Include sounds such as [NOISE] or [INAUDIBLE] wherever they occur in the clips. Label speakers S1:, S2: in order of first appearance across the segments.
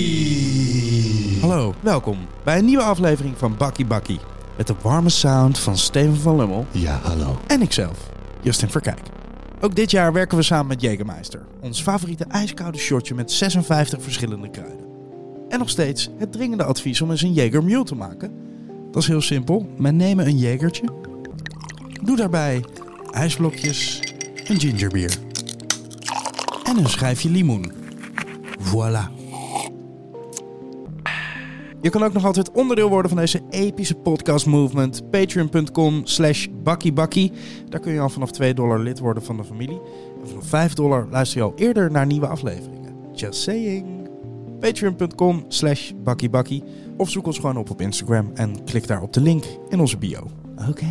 S1: Hey. Hallo, welkom bij een nieuwe aflevering van Bakkie Bakkie. Met de warme sound van Steven van Lummel
S2: Ja, hallo.
S1: en ikzelf, Justin Verkijk. Ook dit jaar werken we samen met Jägermeister, ons favoriete ijskoude shortje met 56 verschillende kruiden. En nog steeds het dringende advies om eens een Jäger Mule te maken. Dat is heel simpel, men nemen een Jägertje, doe daarbij ijsblokjes, een gingerbier en een schijfje limoen. Voilà. Je kan ook nog altijd onderdeel worden van deze epische podcast movement. Patreon.com slash bakkiebakkie. Daar kun je al vanaf 2 dollar lid worden van de familie. En vanaf 5 dollar luister je al eerder naar nieuwe afleveringen. Just saying. Patreon.com slash bakkiebakkie. Of zoek ons gewoon op op Instagram en klik daar op de link in onze bio.
S2: Oké.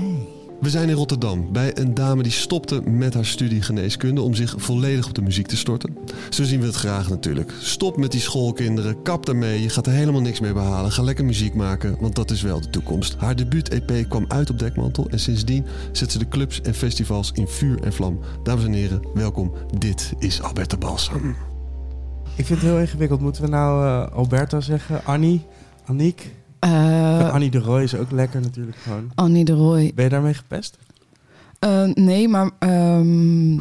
S2: We zijn in Rotterdam bij een dame die stopte met haar studie geneeskunde om zich volledig op de muziek te storten. Zo zien we het graag natuurlijk. Stop met die schoolkinderen, kap daarmee, je gaat er helemaal niks mee behalen. Ga lekker muziek maken, want dat is wel de toekomst. Haar debuut-EP kwam uit op Dekmantel en sindsdien zet ze de clubs en festivals in vuur en vlam. Dames en heren, welkom. Dit is Albert de Balsam.
S3: Ik vind het heel ingewikkeld. Moeten we nou eh, Alberta zeggen? Annie? Aniek?
S4: Eh
S3: Annie de Roy is ook lekker natuurlijk gewoon.
S4: Annie de Roy.
S3: Ben je daarmee gepest?
S4: Eh, nee, maar ehm,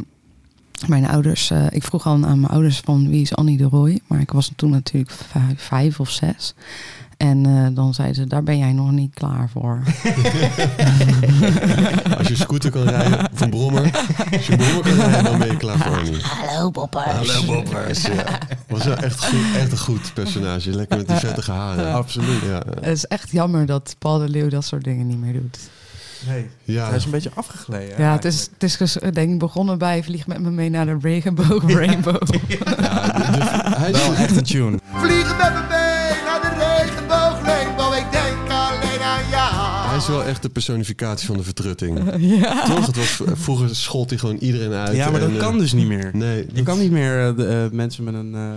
S4: mijn ouders... eh, ik vroeg al aan mijn ouders van wie is Annie de Roy. Maar ik was toen natuurlijk vijf, vijf of zes. En eh, dan zeiden ze, daar ben jij nog niet klaar voor.
S2: [LAUGHS] Als je scooter kan rijden, of een brommer. Als je brommer kan rijden, dan ben je klaar voor Annie.
S4: Hallo Boppers. [LAUGHS]
S2: Boppers. Ja. Was wel echt, goed, echt een goed personage. Lekker met die vettige haren.
S3: Absoluut.
S2: Ja,
S4: Het is echt jammer dat Paul de Leeuw dat soort dingen niet meer doet.
S3: Nee.
S2: ja.
S3: Hij is een beetje afgegleden.
S4: Ja, het is, het is ges- denk ik begonnen bij Vlieg met me mee naar de Rainbow. Rainbow.
S2: Ja, de- de- hij is
S3: Wel echt een tune.
S5: Vliegen met me mee naar de regenboog, rainbow, ik denk alleen aan
S2: Hij
S5: jou.
S2: is wel echt de personificatie van de vertrutting.
S4: ja.
S2: Toch? Het was, eh, vroeger schold hij gewoon iedereen uit.
S3: Ja, maar
S2: en,
S3: dat
S2: eh,
S3: kan dus niet meer.
S2: Nee.
S3: Je kan niet meer eh, de, eh, mensen met een eh,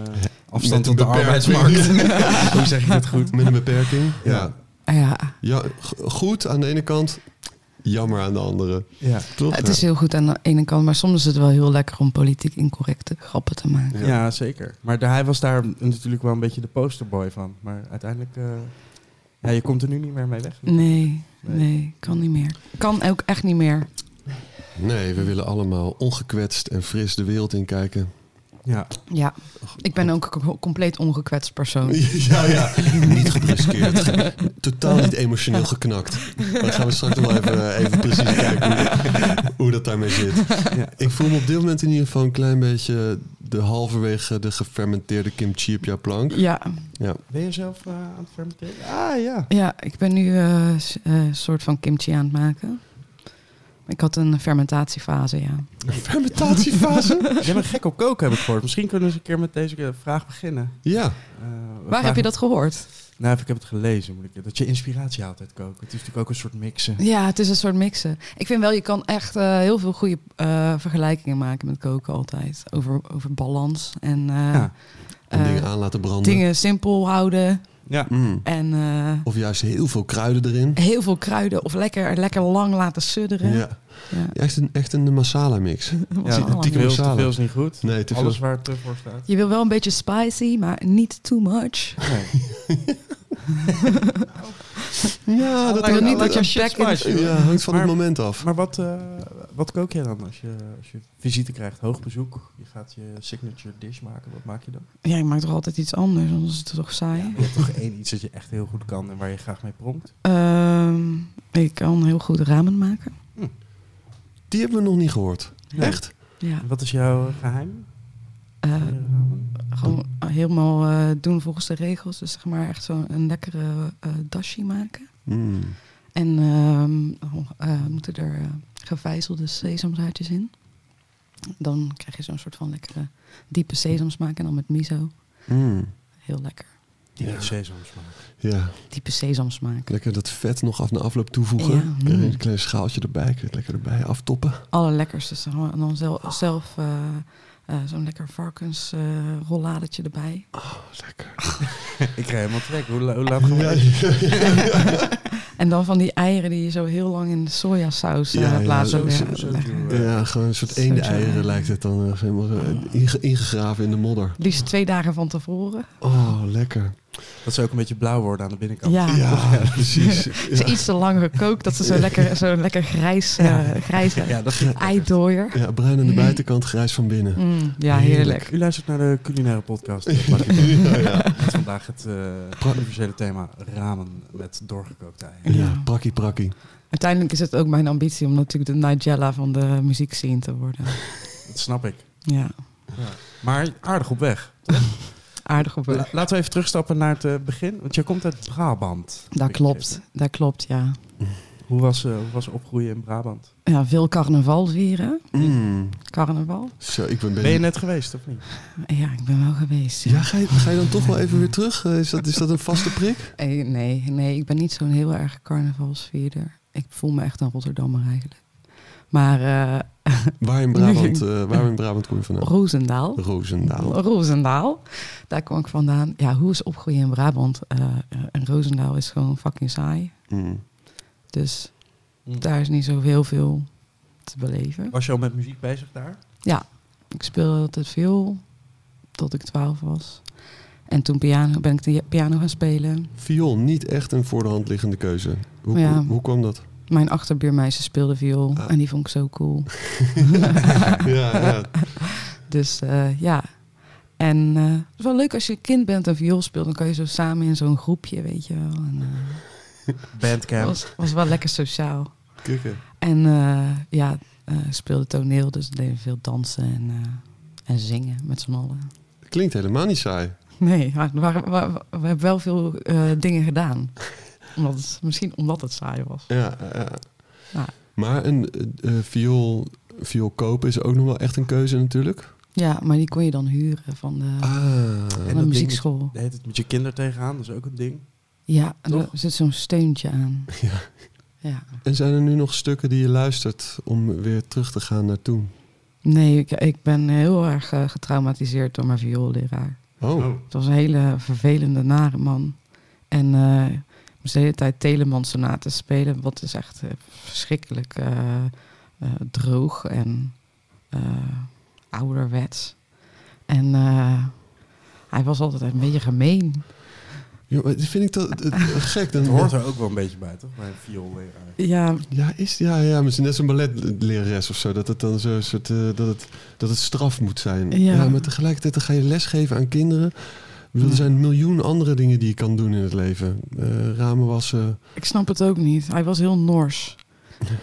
S3: afstand
S2: Met
S3: tot de
S2: een beperking.
S3: arbeidsmarkt. [LAUGHS] Hoe zeg je dat goed?
S2: Met een beperking. Ja.
S3: [LAUGHS] Ja.
S4: ja.
S2: ja. g- Goed aan de ene kant, jammer aan de andere.
S3: Ja.
S2: Toch?
S4: Het is heel goed aan de ene kant, maar soms is het wel heel lekker om politiek incorrecte grappen te maken.
S2: Ja.
S3: Ja. zeker. Maar de- hij was daar natuurlijk wel een beetje de posterboy van. Maar uiteindelijk... eh, ja, je komt er nu niet meer mee weg.
S2: Mm.
S4: Nee,
S3: Nee.
S4: nee, kan niet meer. Kan ook echt niet meer.
S2: Nee, we willen allemaal ongekwetst en fris de wereld in kijken.
S3: Ja.
S4: Ja, ik ben ook een co- compleet ongekwetst persoon.
S2: [LAUGHS] Ja, ja. Niet gebruskeerd. Ge- Totaal niet emotioneel geknakt. Maar dan gaan we straks nog wel even, eh, even precies kijken hoe, hoe dat daarmee zit.
S3: Ja.
S2: Ik voel me op dit moment in ieder geval een klein beetje de halverwege de gefermenteerde kimchi op jouw plank.
S4: [LAUGHS] Ja,
S3: Ben je zelf eh, aan het fermenteren? Ah, ja.
S4: ja ik ben nu eh, s- eh, een soort van kimchi aan het maken. Ik had een fermentatiefase, ja.
S2: Fermentatiefase?
S3: [LAUGHS] Jij bent gek op koken, heb ik gehoord. Misschien kunnen we eens een keer met deze eh, vraag beginnen.
S2: Ja.
S3: Eh,
S4: Waar
S3: vraag-
S4: heb je dat gehoord?
S3: Nou, ik heb het gelezen. Moet ik, dat je inspiratie haalt uit koken. Het is natuurlijk ook een soort mixen.
S4: Ja, het is een soort mixen. Ik vind wel, je kan echt eh, heel veel goede eh, vergelijkingen maken met koken altijd. Over, over balans en eh,
S3: Ja.
S2: En
S4: eh,
S2: dingen aan laten branden.
S4: dingen simpel houden.
S3: Ja.
S2: Mm.
S4: En eh,
S2: Of juist heel veel kruiden erin.
S4: heel veel kruiden of lekker, lekker lang laten sudderen.
S2: Ja.
S4: Ja.
S2: Echt een, echt een masala mix.
S4: Wat
S2: Ja,
S4: een
S2: dikke
S3: veel, te
S2: masala.
S3: veel is niet goed.
S2: Nee, te veel.
S3: Alles waar het te voor staat.
S4: Je wil wel een beetje spicy, maar niet too much.
S3: Nee.
S2: Ja,
S4: Ik wil Oh, niet dat je
S3: shit
S4: bek in-
S3: spicy, hoor.
S2: ja, hangt van het
S3: Maar-
S2: moment af.
S3: Maar wat, eh, wat kook jij dan als je, als je visite krijgt? Hoog bezoek, je gaat je signature dish maken. Wat maak je dan?
S4: Ja, ik maak toch altijd iets anders, anders is het toch saai.
S2: [LAUGHS]
S3: Je hebt toch één iets dat je echt heel goed kan en waar je graag mee pronkt?
S4: Ehm, ik kan heel goed ramen maken.
S2: Die hebben we nog niet gehoord.
S3: Nee.
S2: Echt?
S4: Ja,
S3: En wat is jouw eh, geheim?
S4: eh,
S3: voor je ramen?
S4: gewoon helemaal eh, doen volgens de regels. Dus zeg maar echt zo'n een lekkere eh dashi maken.
S2: Mm.
S4: En ehm, oh, eh, moeten er eh, gevijzelde sesamzaadjes in. Dan krijg je zo'n soort van lekkere diepe sesamsmaak. En dan met miso.
S2: Mm.
S4: Heel lekker.
S3: Die
S2: Ja.
S3: sesamsmaak.
S2: Ja.
S4: Diepe sesamsmaak.
S2: Lekker dat vet nog af na afloop toevoegen.
S4: Ja.
S2: En Een klein schaaltje erbij. kun je het Lekker erbij aftoppen.
S4: allerlekkerste. zeg maar. En dan zelf, zelf eh, eh, zo'n lekker varkensrolladetje erbij.
S2: Oh, lekker.
S3: Ik krijg helemaal trek. Hoe, la- hoe laat gaan we?
S2: Ja, ja, ja.
S4: en En dan van die eieren die je zo heel lang in de sojasaus eh
S2: Ja, ja,
S4: laat
S2: zo-
S4: ja,
S2: zo- zo [LAUGHS]
S3: eh,
S2: Ja, gewoon een soort
S4: Zo Oh. jammer.
S2: eende-eieren lijkt het dan. eh, helemaal zo, eh, inge- ingegraven in de modder.
S4: Liefst twee dagen van tevoren.
S2: Oh, lekker.
S1: Dat ze ook een beetje blauw worden aan de binnenkant.
S4: Ja.
S2: Ja,
S4: [LAUGHS]
S2: precies. Ja.
S4: Ze iets te lang gekookt, dat ze zo lekker, zo lekker grijs, eh grijs
S1: Ja, dat is
S4: eidooier.
S2: Ja, bruin aan de buitenkant, grijs van
S4: [LAUGHS]
S2: binnen.
S4: Mm, ja, heerlijk.
S1: U luistert naar de culinaire
S2: [LAUGHS]
S1: podcast. Met vandaag het eh, universele thema ramen met doorgekookte eieren.
S2: Ja, prakkie prakkie.
S4: Uiteindelijk is het ook mijn ambitie om natuurlijk de Nigella van de muziekscene te worden.
S1: Dat snap ik.
S4: Ja,
S1: Maar aardig op weg.
S4: aardig op
S1: La- laten we even terugstappen naar het eh, begin. Want je komt uit Brabant.
S4: Dat klopt, dat klopt, ja.
S1: Hoe was, eh, hoe was opgroeien in Brabant?
S4: Ja, veel carnaval vieren.
S2: Mm.
S4: Carnaval.
S2: Zo, ik ben... ben-
S1: Ben je net geweest of niet?
S4: Ja, ik ben wel geweest. Ja.
S2: Ja, ga je, ga je dan toch wel even weer terug? Eh, Is dat, is dat een vaste prik?
S4: Eh, nee, nee, ik ben niet zo'n heel erg carnavalsvierder. Ik voel me echt een Rotterdammer eigenlijk. Maar eh,
S2: Waar in Brabant, eh, waar in Brabant kom je vandaan?
S4: Roosendaal.
S2: Roosendaal.
S4: Roosendaal. Daar kwam ik vandaan. Ja, hoe is opgroeien in Brabant? Eh, en Roosendaal is gewoon fucking saai.
S2: Mm.
S4: Dus daar is niet zo heel veel te beleven.
S1: Was je al met muziek bezig daar?
S4: Ik speelde altijd veel tot ik 12 was. En toen piano, ben ik de piano gaan spelen.
S2: Viool, niet echt een voor de hand liggende keuze. Hoe,
S4: Ja.
S2: hoe, hoe kwam dat?
S4: Mijn achterbuurmeisje speelde viool
S2: Ah.
S4: en die vond ik zo cool.
S2: Ja, ja.
S4: Dus eh, ja. En eh, het is wel leuk als je kind bent en viool speelt, dan kan je zo samen in zo'n groepje, weet je wel. En, eh,
S1: Bandcamp.
S4: was, was wel lekker sociaal.
S2: Kikken.
S4: En eh, ja, eh, ik speelde toneel, dus we deden veel dansen en, eh, en zingen met z'n allen.
S2: Klinkt helemaal niet saai.
S4: Nee, maar, maar- maar- we hebben wel veel eh, dingen [LAUGHS] gedaan. Omdat het- misschien omdat het saai was.
S2: Ja, ja.
S4: Ja.
S2: Maar een eh, eh, viool, viool kopen is ook nog wel echt een keuze natuurlijk.
S4: Ja, maar die kon je dan huren van de,
S2: Ah,
S4: van
S1: dat
S4: de
S1: ding
S4: muziekschool.
S1: De heet het met je kinderen tegenaan, dat is ook een ding.
S4: Ja, en er
S1: Toch?
S4: zit zo'n steuntje
S1: [LAUGHS]
S4: aan.
S2: Ja.
S4: Ja.
S2: En zijn er nu nog stukken die je luistert om weer terug te gaan naar toen?
S4: Nee, ik, ik ben heel erg eh, getraumatiseerd door mijn vioolleraar.
S2: Oh,
S4: Het was een hele vervelende, nare man. En eh, ik moest de hele tijd Telemann-sonaten spelen. Wat is echt eh, verschrikkelijk eh, eh, droog en eh, ouderwets. En eh, hij was altijd een beetje gemeen.
S2: Ja, maar dat vind ik dat, dat- gek. Dan,
S1: Het
S2: [LAUGHS]
S1: hoort er ook wel een beetje bij, toch? Bij een eh. vioolleraar.
S4: Ja,
S2: Ja, is, ja, ja, maar het is net zo'n balletlerares of zo. Dat het dan zo'n soort. eh, dat, het, dat het straf moet zijn. Ja.
S4: Ja.
S2: maar tegelijkertijd dan ga je lesgeven aan kinderen. Ik bedoel, er
S4: Ja.
S2: zijn een miljoen andere dingen die je kan doen in het leven. Eh, ramen wassen.
S4: ik snap het ook niet. Hij was heel nors.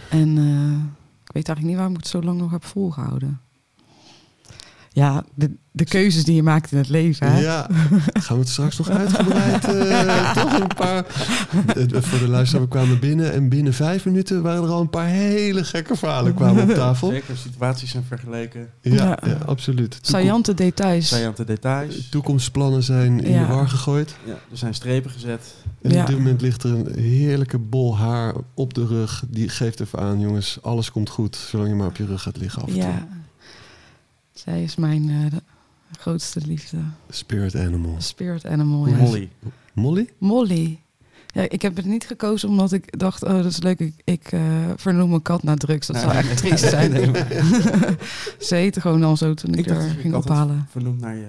S4: En eh, ik weet eigenlijk niet waarom ik het zo lang nog heb volgehouden. Ja, de, de keuzes die je maakt in het leven. Hè?
S2: Ja, gaan we het straks nog uitgebreid.
S4: [LAUGHS]
S2: eh, toch een paar. Eh, voor de luisteraar, we kwamen binnen en binnen vijf minuten waren er al een paar hele gekke verhalen kwamen op tafel.
S1: Zeker situaties zijn vergeleken.
S2: Ja,
S4: Ja.
S2: ja, absoluut.
S4: Saillante details.
S1: Saillante
S2: Eh,
S1: details.
S2: Toekomstplannen zijn in
S4: Ja.
S2: de war gegooid.
S1: Ja, er zijn strepen gezet.
S2: En
S4: Ja.
S2: op dit moment ligt er een heerlijke bol haar op de rug. Die geeft even aan, jongens, alles komt goed. Zolang je maar op je rug gaat liggen af en toe.
S4: Ja. Zij is mijn eh, de grootste liefde.
S2: Spirit animal.
S4: Spirit animal. ja.
S1: Molly.
S4: [LAUGHS]
S2: Molly?
S4: Molly. Ja, ik heb het niet gekozen omdat ik dacht, oh, dat is leuk. Ik, ik eh, vernoem mijn kat naar drugs. Dat zou echt triest zijn.
S1: Nee,
S4: [LAUGHS]
S1: maar-
S4: Ze heette gewoon al zo toen ik,
S1: Ik dacht
S4: haar
S1: dat je
S4: ging
S1: kat had.
S4: ophalen.
S1: Vernoemd naar je eh,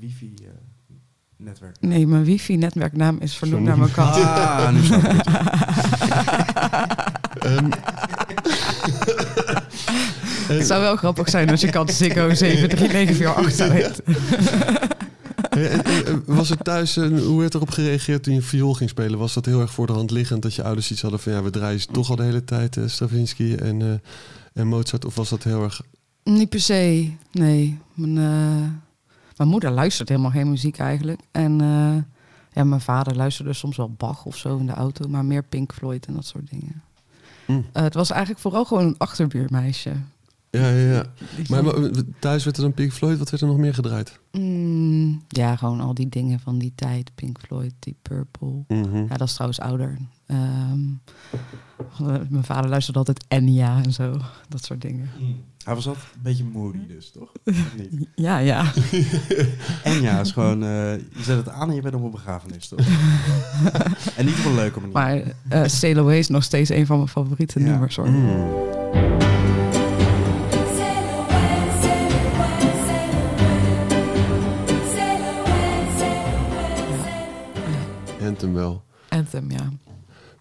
S1: wifi-netwerk.
S4: Nee, mijn wifi-netwerknaam is vernoemd naar mijn kat.
S1: Ah, nu snap ik het.
S2: Ehm,
S4: Het zou wel grappig zijn als je
S1: [LAUGHS]
S4: kat Ziggo 73948 zou heten.
S2: eh, eh, eh, was er thuis, een- hoe werd erop gereageerd toen je viool ging spelen? Was dat heel erg voor de hand liggend dat je ouders iets hadden van... ja, we draaien ze toch al de hele tijd eh, Stravinsky en, eh, en Mozart? Of was dat heel erg...
S4: Niet per se, nee. Mijn, eh, mijn moeder luistert helemaal geen muziek eigenlijk. En eh, ja, mijn vader luisterde soms wel Bach of zo in de auto, maar meer Pink Floyd en dat soort dingen.
S2: Mm.
S4: Eh, het was eigenlijk vooral gewoon een achterbuurmeisje.
S2: Ja, ja, ja.
S4: Die
S2: Maar,
S4: vond-
S2: maar, eh, thuis werd er dan Pink Floyd. Wat werd er nog meer gedraaid?
S4: Mm, ja, gewoon al die dingen van die tijd. Pink Floyd, Deep Purple.
S2: Mhm.
S4: Ja, dat is trouwens ouder. Ehm, mijn vader luisterde altijd Enya en zo. Dat soort dingen.
S1: Hij was altijd een beetje moody dus, toch? Niet.
S4: Ja, ja.
S1: [LAUGHS] En ja, is gewoon, eh, je zet het aan en je bent op een begrafenis,
S4: [LAUGHS]
S1: toch? en niet op een leuke manier.
S4: Maar eh Sail Away is nog steeds een van mijn favoriete
S1: Ja. Mm.
S4: nummers hoor.
S2: Mm,
S6: Sail away, sail away, sail away. Sail away, sail away, sail away.
S2: Anthem wel.
S4: Anthem, ja.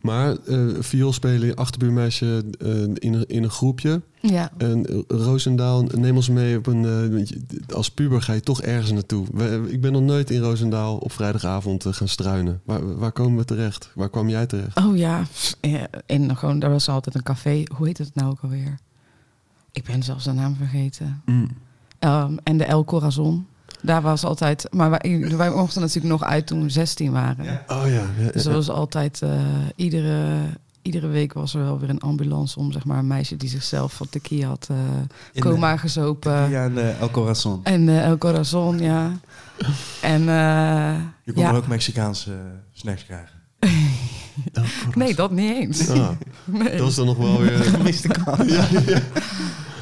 S2: Maar eh viool spelen, achterbuurmeisje eh, in, een- in een groepje.
S4: Ja,
S2: En eh, Roosendaal, neem ons mee op een... eh, want je- als puber ga je toch ergens naartoe. We- eh, ik ben nog nooit in Roosendaal op vrijdagavond eh, gaan struinen. Waar, waar komen we terecht? Waar kwam jij terecht?
S4: Oh ja, Eh, en gewoon, daar was altijd een café. Hoe heet het nou ook alweer? Ik ben zelfs de naam vergeten. Ehm, en de El Corazon. Daar was altijd, maar wij, wij mochten natuurlijk nog uit toen we 16 waren.
S2: Oh ja. ja,
S4: Dus
S2: ja.
S4: er was altijd, eh, iedere, iedere week was er wel weer een ambulance om, zeg maar, een meisje die zichzelf van tequila had eh,
S1: In de-
S4: coma gezopen.
S1: Ja, en eh, El Corazon.
S4: En eh, El Corazon, ja. En eh,
S1: Je kon er
S4: ja,
S1: ook Mexicaanse eh, snacks krijgen.
S4: [LAUGHS] nee, dat niet eens.
S2: Ah,
S4: [LAUGHS] Nee.
S2: dat was dan nog wel weer...
S4: [LAUGHS]
S1: Gemiste kans.
S2: ja, ja.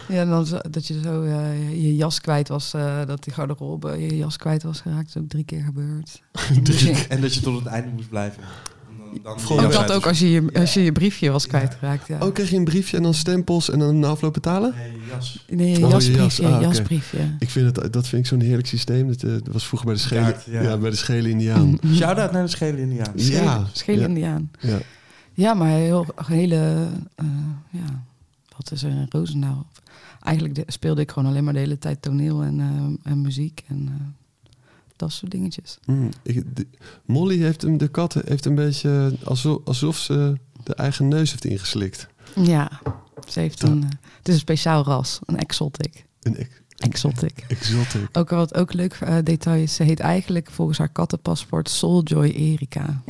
S4: Ja, en dan zo- dat je zo eh, je jas kwijt was, eh, dat die garderobe je jas kwijt was geraakt, is ook drie keer gebeurd. Misschien-
S1: En dat je tot het einde moest blijven. En dan- dan-
S2: Gewoon
S4: Ook
S2: Ja,
S4: dat ook als je je, als je je briefje was kwijtgeraakt. Ja.
S2: [LAUGHS] Oh, kreeg je een briefje en dan stempels en dan na afloop betalen?
S1: Nee, jas.
S4: Nee, je
S2: Oh, je jas.
S4: jasbriefje,
S2: Ah, oké.
S4: jasbriefje.
S2: Ik vind het, dat vind ik zo'n heerlijk systeem. Dat, eh, dat was vroeger bij de schele,
S1: Kaart,
S2: ja.
S1: ja.
S2: bij de schele
S4: Mm.
S2: Indiaan.
S4: Mm-hmm.
S1: Shout-out naar de schele Indiaan.
S2: Ja,
S4: Schelen
S2: ja,
S4: Indiaan.
S2: ja.
S4: Ja, maar heel hele, eh, ja, wat is er in Roosendaal? Eigenlijk de- speelde ik gewoon alleen maar de hele tijd toneel en, eh, en muziek en eh, dat soort dingetjes.
S2: Mm, ik- de- Molly heeft hem, de kat heeft een beetje alsof, alsof ze de eigen neus heeft ingeslikt.
S4: Ja, ze heeft een, eh, het is een speciaal ras, een exotic.
S2: Een ex-
S4: Exotic.
S2: exotic.
S4: Ook wat ook leuk eh, detail is, ze heet eigenlijk volgens haar kattenpaspoort Souljoy Erika.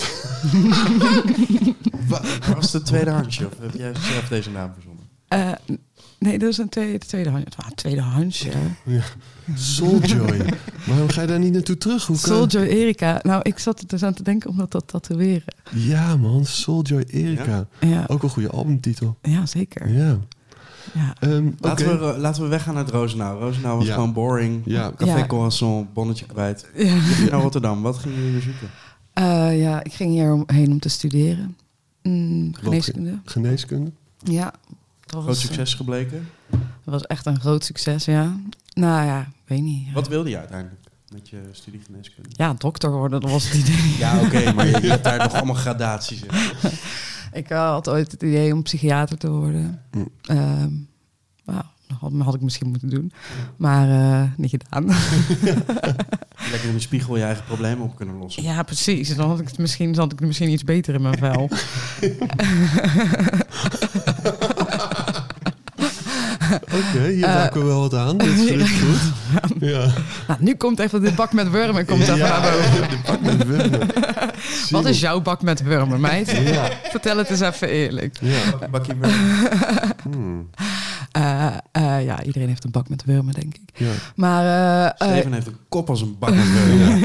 S1: Wa- Was het tweede handje? Of heb jij zelf deze naam verzonnen?
S4: Eh, nee, dat is een tweede, tweede handje. Ah, tweede handje. [LAUGHS]
S2: Souljoy. Waarom ga je daar niet naartoe terug? Hoe kan...
S4: Souljoy Erika. Nou, ik zat er dus aan te denken om dat te tatoeëren.
S2: Ja man, Souljoy Erika.
S4: Ja,
S2: Ook een goede albumtitel.
S4: ja zeker.
S2: Ja.
S4: Ja.
S2: Ehm, Oké.
S1: Laten, we, laten we weggaan naar het Rozenaal. Rozenaal was
S2: Ja.
S1: gewoon boring.
S2: Ja.
S1: Café
S4: Ja.
S1: Corazon, bonnetje kwijt.
S4: Ja.
S1: Je ging naar Rotterdam. Wat gingen jullie zoeken?
S4: Eh, ja, ik ging hierheen om te studeren. Mm, geneeskunde.
S2: Geneeskunde.
S4: Ja. Dat
S1: Groot
S4: was, eh,
S1: succes gebleken.
S4: Dat was echt een groot succes, ja. Nou ja, weet niet. Ja,
S1: Wat wilde je uiteindelijk met je studie geneeskunde?
S4: ja dokter worden, dat was het idee. [LAUGHS]
S1: Ja, oké, maar je, je hebt daar nog allemaal gradaties in.
S4: Ik eh, had ooit het idee om psychiater te worden.
S2: Hm.
S4: Ehm, nou, dat had, had ik misschien moeten doen. Maar eh, niet gedaan. [LAUGHS]
S1: Lekker in de spiegel je eigen problemen op kunnen lossen.
S4: ja, precies. Dan had ik het misschien, zat ik er misschien iets beter in mijn vel.
S2: Oké, hier
S4: Eh,
S2: raken we wel wat
S4: [LAUGHS]
S2: aan. Dat is
S4: hier
S2: gelukkig goed. Ja.
S4: nou, nu komt even de bak met wormen komt even naar boven.
S2: de pak met wurmen.
S4: [LAUGHS] [LAUGHS] Wat is
S2: Zie
S4: jouw bak met wormen, meid?
S2: je. Ja.
S4: Vertel het eens even eerlijk.
S2: ja.
S1: Bak- Bakje meer.
S2: Hmm.
S4: Eh, eh, ja, iedereen heeft een bak met wormen, denk ik.
S2: ja.
S4: Maar eh, eh,
S1: Steven heeft een kop als een bak met beuren.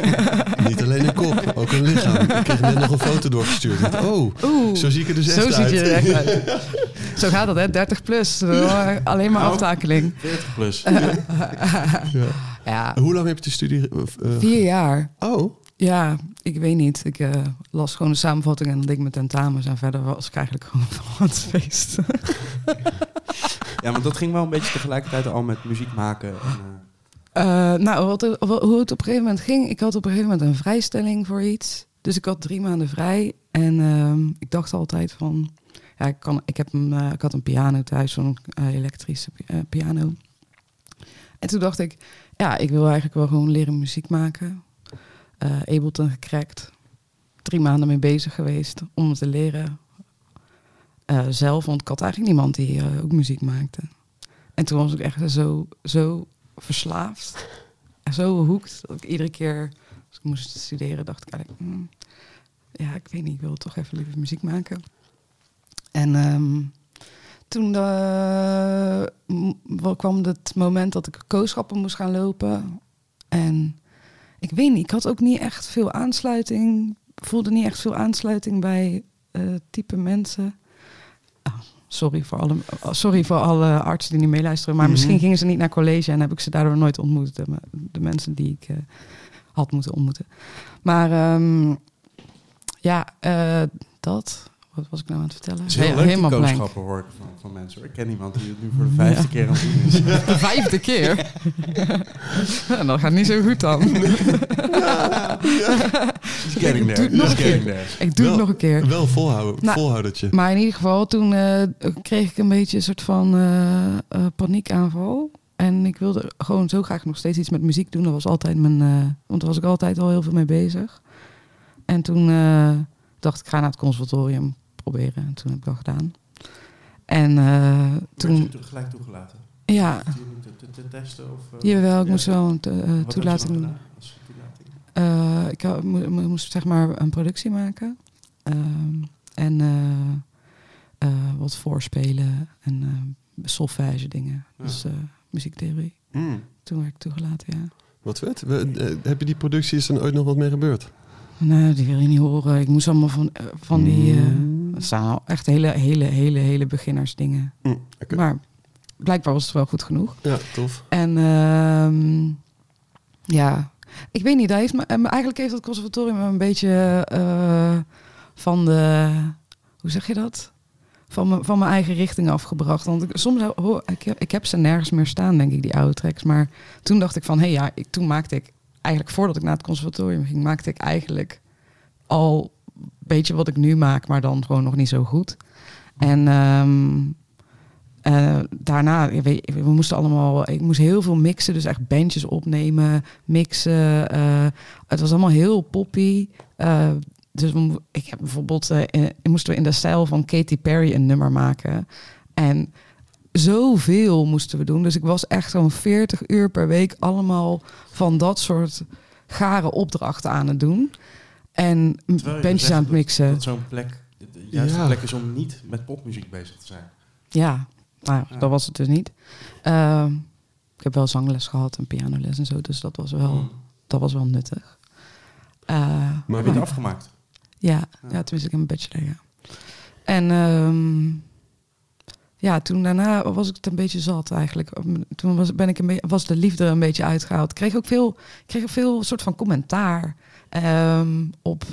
S2: Niet alleen een kop, ook een lichaam. Ik kreeg net nog een foto doorgestuurd. Ik dacht, Oh,
S4: Oeh,
S2: zo zie ik er dus
S4: zo
S2: echt
S4: ziet
S2: uit.
S4: je er echt uit. Zo gaat dat, hè? 30 plus. Eh, Alleen maar
S1: Nou.
S4: aftakeling.
S1: 40 plus.
S2: [LAUGHS] Ja.
S4: [LAUGHS] Ja,
S2: Hoe lang heb je de studie... eh, eh,
S4: vier jaar.
S2: oh,
S4: Ja, ik weet niet. Ik eh, las gewoon de samenvatting en dan deed ik mijn tentamens. En verder was ik eigenlijk gewoon [LAUGHS] van het feest.
S1: Ja, want dat ging wel een beetje tegelijkertijd al met muziek maken. En, eh,
S4: Eh, nou, wat, er- wa- hoe het op een gegeven moment ging. Ik had op een gegeven moment een vrijstelling voor iets. Dus ik had drie maanden vrij. En ehm, ik dacht altijd van... Ja, ik, kan, ik, heb een, eh, ik had een piano thuis, zo'n eh, elektrische pi- eh, piano. En toen dacht ik... Ja, ik wil eigenlijk wel gewoon leren muziek maken. Eh Ableton gecrackt. Drie maanden mee bezig geweest om het te leren. Eh, zelf, want ik had eigenlijk niemand die eh, ook muziek maakte. En toen was ik echt zo, zo verslaafd. En zo hoekt dat ik iedere keer als ik moest studeren, dacht ik eigenlijk, "Hmm, ja, ik weet niet, ik wil toch even liever muziek maken. En ehm, toen eh, m- wel kwam het moment dat ik kooschappen moest gaan lopen. En ik weet niet, ik had ook niet echt veel aansluiting, voelde niet echt veel aansluiting bij eh, eh, type mensen. Ah, sorry, voor alle, ah, sorry voor alle artsen die niet meeluisteren.
S1: Mhm.
S4: Maar misschien gingen ze niet naar college en heb ik ze daardoor nooit ontmoet. De, me- de mensen die ik eh, had moeten ontmoeten. Maar ehm, ja, eh, dat. Wat was ik nou aan het vertellen?
S1: Het is heel
S4: Ja,
S1: leuk, die
S4: helemaal blank.
S1: kooschappen hoor ik van, van mensen. hoor. Ik ken iemand die het nu voor de vijfde keer aan het doen
S4: [LAUGHS]
S1: is.
S4: De vijfde keer. nou, dat gaat niet zo goed dan.
S1: She's getting
S4: Doe
S1: there.
S4: het nog
S1: She's
S4: een keer.
S1: getting there.
S4: Ik doe
S2: Wel-
S4: het nog een keer.
S2: Wel volhouden,
S4: Nou,
S2: volhoudertje.
S4: Maar in ieder geval, toen eh, kreeg ik een beetje een soort van eh, eh, paniekaanval. En ik wilde gewoon zo graag nog steeds iets met muziek doen. Dat was altijd mijn. eh, want daar was ik altijd al heel veel mee bezig. En toen eh, dacht ik, ga naar het conservatorium proberen. En toen heb ik dat gedaan. En eh,
S1: Toen
S4: toen.
S1: je toen gelijk toegelaten.
S4: Ja,
S1: Had je niet Te, te, te testen of. eh,
S4: jawel, ik
S1: ja.
S4: moest wel een eh,
S1: Wat had je
S4: toelating
S1: dan
S4: doen.
S1: gedaan als toelating?
S4: Eh, ik had- mo- mo- moest zeg maar een productie maken. Ehm, en eh, eh, wat voorspelen en eh solfège dingen.
S1: Ja.
S4: Dus eh, muziektheorie.
S2: Mm.
S1: Hmm.
S4: Toen werd ik toegelaten, ja.
S2: Wat vet. We- eh, heb je die productie, is er ooit nog wat mee gebeurd?
S4: Nou, die wil je niet horen. Ik moest allemaal van, eh, van die... eh, het zijn al echt hele, hele, hele, hele beginnersdingen.
S2: Mm, oké.
S4: Maar blijkbaar was het wel goed genoeg.
S2: Ja, tof.
S4: En ehm, ja, ik weet niet. Dat heeft me, eh, eigenlijk heeft het conservatorium me een beetje eh, van de, hoe zeg je dat? Van, me, van mijn eigen richting afgebracht. Want ik, soms hoor ik, heb, ik heb ze nergens meer staan, denk ik, die oude tracks. Maar toen dacht ik van, hé hey, ja, ik, toen maakte ik eigenlijk voordat ik naar het conservatorium ging, maakte ik eigenlijk al een beetje wat ik nu maak, maar dan gewoon nog niet zo goed. En ehm, eh, daarna, je weet- we moesten allemaal, ik moest heel veel mixen, dus echt bandjes opnemen, mixen. eh, het was allemaal heel poppy. eh, dus we mo- ik heb bijvoorbeeld, eh, eh, moesten we in de stijl van Katy Perry een nummer maken. En zoveel moesten we doen. Dus ik was echt zo'n 40 uur per week allemaal van dat soort gare opdrachten aan het doen. En m-
S1: Terwijl je
S4: bandjes
S1: zegt
S4: aan het
S1: dat-
S4: mixen.
S1: Dat zo'n plek de juiste
S2: Ja.
S1: plek is om niet met popmuziek bezig te zijn.
S4: Ja, nou,
S1: Ja.
S4: dat was het dus niet. Ehm, ik heb wel zangles gehad en pianoles en zo, dus dat was wel, dat was wel nuttig. Eh,
S2: Maar
S1: Mm. Heb je het
S2: wie-
S1: afgemaakt?
S4: ja,
S1: Ja.
S4: ja. tenminste, ik heb een bachelor, ja. En ehm, ja, toen daarna was ik het een beetje zat eigenlijk. Toen was, ben ik een be- was de liefde een beetje uitgehaald. Ik kreeg ook veel, ik kreeg ook veel soort van commentaar ehm, op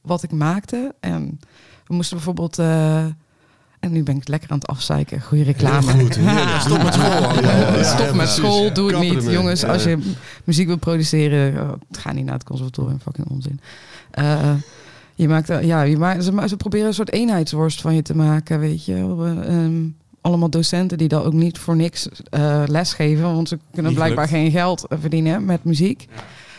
S4: wat ik maakte. En we moesten bijvoorbeeld... eh, en nu ben ik het lekker aan het afzeiken. Goede reclame.
S2: Heel goed.
S4: [LAUGHS]
S2: heerlijk. Stop met school. allemaal.
S4: Ja,
S2: Ja,
S4: Stop
S2: ja,
S4: met
S2: precies.
S4: school, doe het
S2: Kappen
S4: niet.
S2: ermee.
S4: Jongens,
S2: Ja.
S4: als je muziek wil produceren, eh, ga niet naar het conservatorium, fucking onzin. Eh, je maakt, eh, ja, je maakt, ze, ma- ze proberen een soort eenheidsworst van je te maken, weet je. wel. We, ehm, allemaal docenten die dan ook niet voor niks eh, lesgeven, want ze kunnen
S1: Niet
S4: blijkbaar geen geld eh, verdienen met muziek.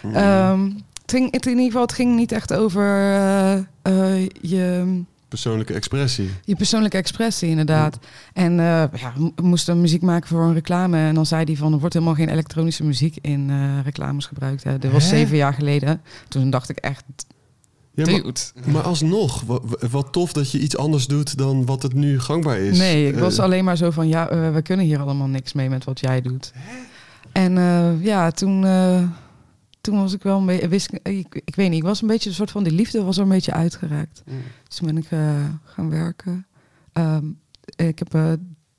S2: Hmm.
S4: Ehm, het, ging, het, in ieder geval, het ging niet echt over eh, eh, je
S2: Persoonlijke expressie.
S4: je persoonlijke expressie, inderdaad. En eh, ja, we mo- moesten muziek maken voor een reclame. En dan zei hij van, er wordt helemaal geen elektronische muziek in eh, reclames gebruikt. Hè. Dat was zeven jaar geleden. Toen dacht ik echt,
S2: Ja, maar,
S4: dude.
S2: [LAUGHS] maar alsnog, wa- wa- wat, tof dat je iets anders doet dan wat het nu gangbaar is.
S4: Nee, ik
S2: Eh,
S4: was alleen maar zo van, ja, eh, we kunnen hier allemaal niks mee met wat jij doet. En eh, ja, toen, eh, toen was ik wel een beetje, wist, ik, ik, ik weet niet, ik was een beetje een soort van, die liefde was er een beetje uitgeraakt. Dus toen ben ik eh, gaan werken. Ehm, ik heb eh,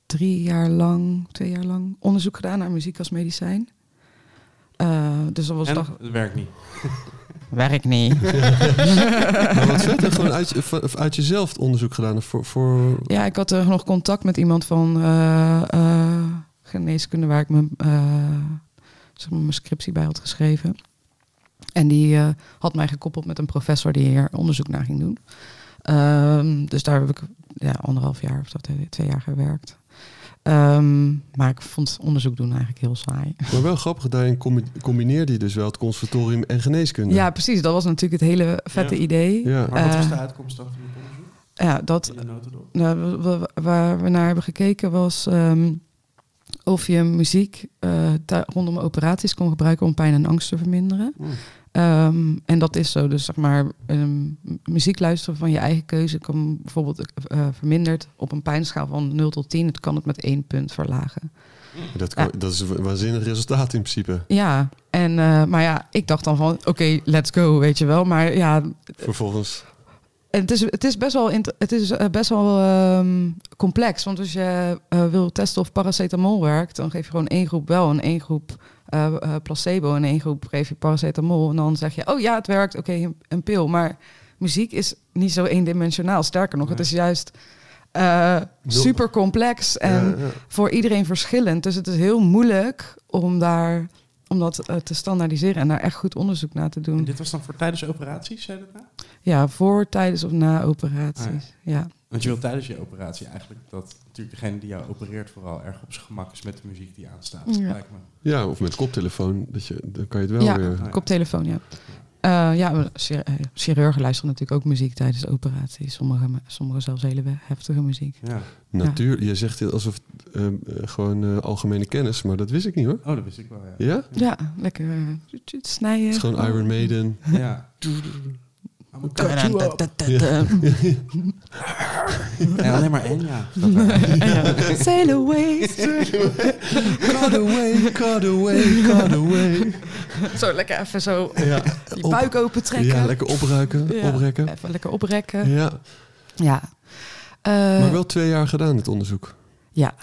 S4: drie jaar lang, twee jaar lang onderzoek gedaan naar muziek als medicijn. Eh, dus dat was
S1: En
S4: dag...
S1: het werkt niet.
S4: Werk niet.
S2: [LAUGHS] Maar wat vet, hè? gewoon uit, je- van- uit jezelf onderzoek gedaan voor... voor
S4: Ja, ik had eh, nog contact met iemand van eh, eh, geneeskunde waar ik mijn, eh, zeg maar mijn scriptie bij had geschreven. En die eh, had mij gekoppeld met een professor die hier onderzoek naar ging doen. Ehm, dus daar heb ik ja, anderhalf jaar of zo, twee, twee jaar gewerkt. Ehm, maar ik vond onderzoek doen eigenlijk heel saai.
S2: maar wel grappig, daarin combi- combineerde je dus wel het conservatorium en geneeskunde.
S4: Ja, precies. Dat was natuurlijk het hele vette
S1: Ja.
S4: idee.
S2: Ja.
S1: Maar wat was
S4: Eh,
S1: de uitkomst dan van het onderzoek?
S4: ja, dat,
S1: In de notendop?
S4: Nou, wa- wa- waar we naar hebben gekeken was ehm, of je muziek eh, thu- rondom operaties kon gebruiken om pijn en angst te verminderen.
S2: Mm.
S4: Ehm, en dat is zo. Dus zeg maar, ehm, m- muziek luisteren van je eigen keuze kan bijvoorbeeld eh, verminderd op een pijnschaal van 0 tot 10. Het kan het met één punt verlagen.
S2: Dat, kan- dat is een waanzinnig resultaat in principe.
S4: Ja, en, eh, maar ja, ik dacht dan van oké, let's go, weet je wel. Maar ja,
S2: Vervolgens.
S4: en het, is, het is best wel, int- het is, eh, best wel ehm, complex. Want als je eh, wil testen of paracetamol werkt, dan geef je gewoon één groep wel en één groep eh, eh, placebo. En één groep geef je paracetamol. En dan zeg je, oh ja, het werkt, oké, een, een pil. Maar muziek is niet zo eendimensionaal. Sterker nog, het
S3: Nee. eh,
S4: is juist eh
S2: Nul-
S4: super complex en
S2: Ja, ja.
S4: voor iedereen verschillend. Dus het is heel moeilijk om, daar, om dat eh, te standaardiseren en daar echt goed onderzoek naar te
S3: En
S4: doen.
S3: dit was dan voor tijdens operaties, zei dat nou?
S4: Ja, voor, tijdens of na operaties.
S3: Ah,
S4: ja.
S3: Want je wil tijdens je operatie eigenlijk dat natuurlijk degene die jou opereert vooral erg op zijn gemak is met de muziek die aanstaat.
S4: Ja.
S3: Lijkt me.
S2: Ja, of met koptelefoon, dat je, dan kan je het wel
S4: Ja.
S2: weer...
S4: Koptelefoon, ja. Eh, ja, maar chir- eh, chirurgen luisteren natuurlijk ook muziek tijdens de operaties. Sommigen sommige zelfs hele heftige muziek.
S3: Ja.
S2: Natuur, je zegt dit alsof eh, eh, gewoon eh, algemene kennis, maar dat wist ik niet hoor.
S3: Oh, dat wist ik
S4: [LAUGHS]
S3: wel, ja.
S2: Ja? Het
S4: Ja, lekker eh, tjut, tjut, snijden. Oh.
S2: is gewoon Iron Maiden.
S3: Ja. Oh, I'm gonna cut you up. En alleen maar Enya. Dat wel.
S4: [LAUGHS] Ja. Sail away.
S2: Cut away, cut away, cut away.
S4: [LAUGHS] Zo lekker even zo
S2: [LAUGHS] Ja,
S4: die
S2: op-
S4: buik open trekken.
S2: ja lekker opruiken,
S4: Ja,
S2: oprekken.
S4: Even lekker oprekken.
S2: Ja,
S4: Ja. Eh,
S2: maar wel twee jaar gedaan dit onderzoek.
S4: Ja.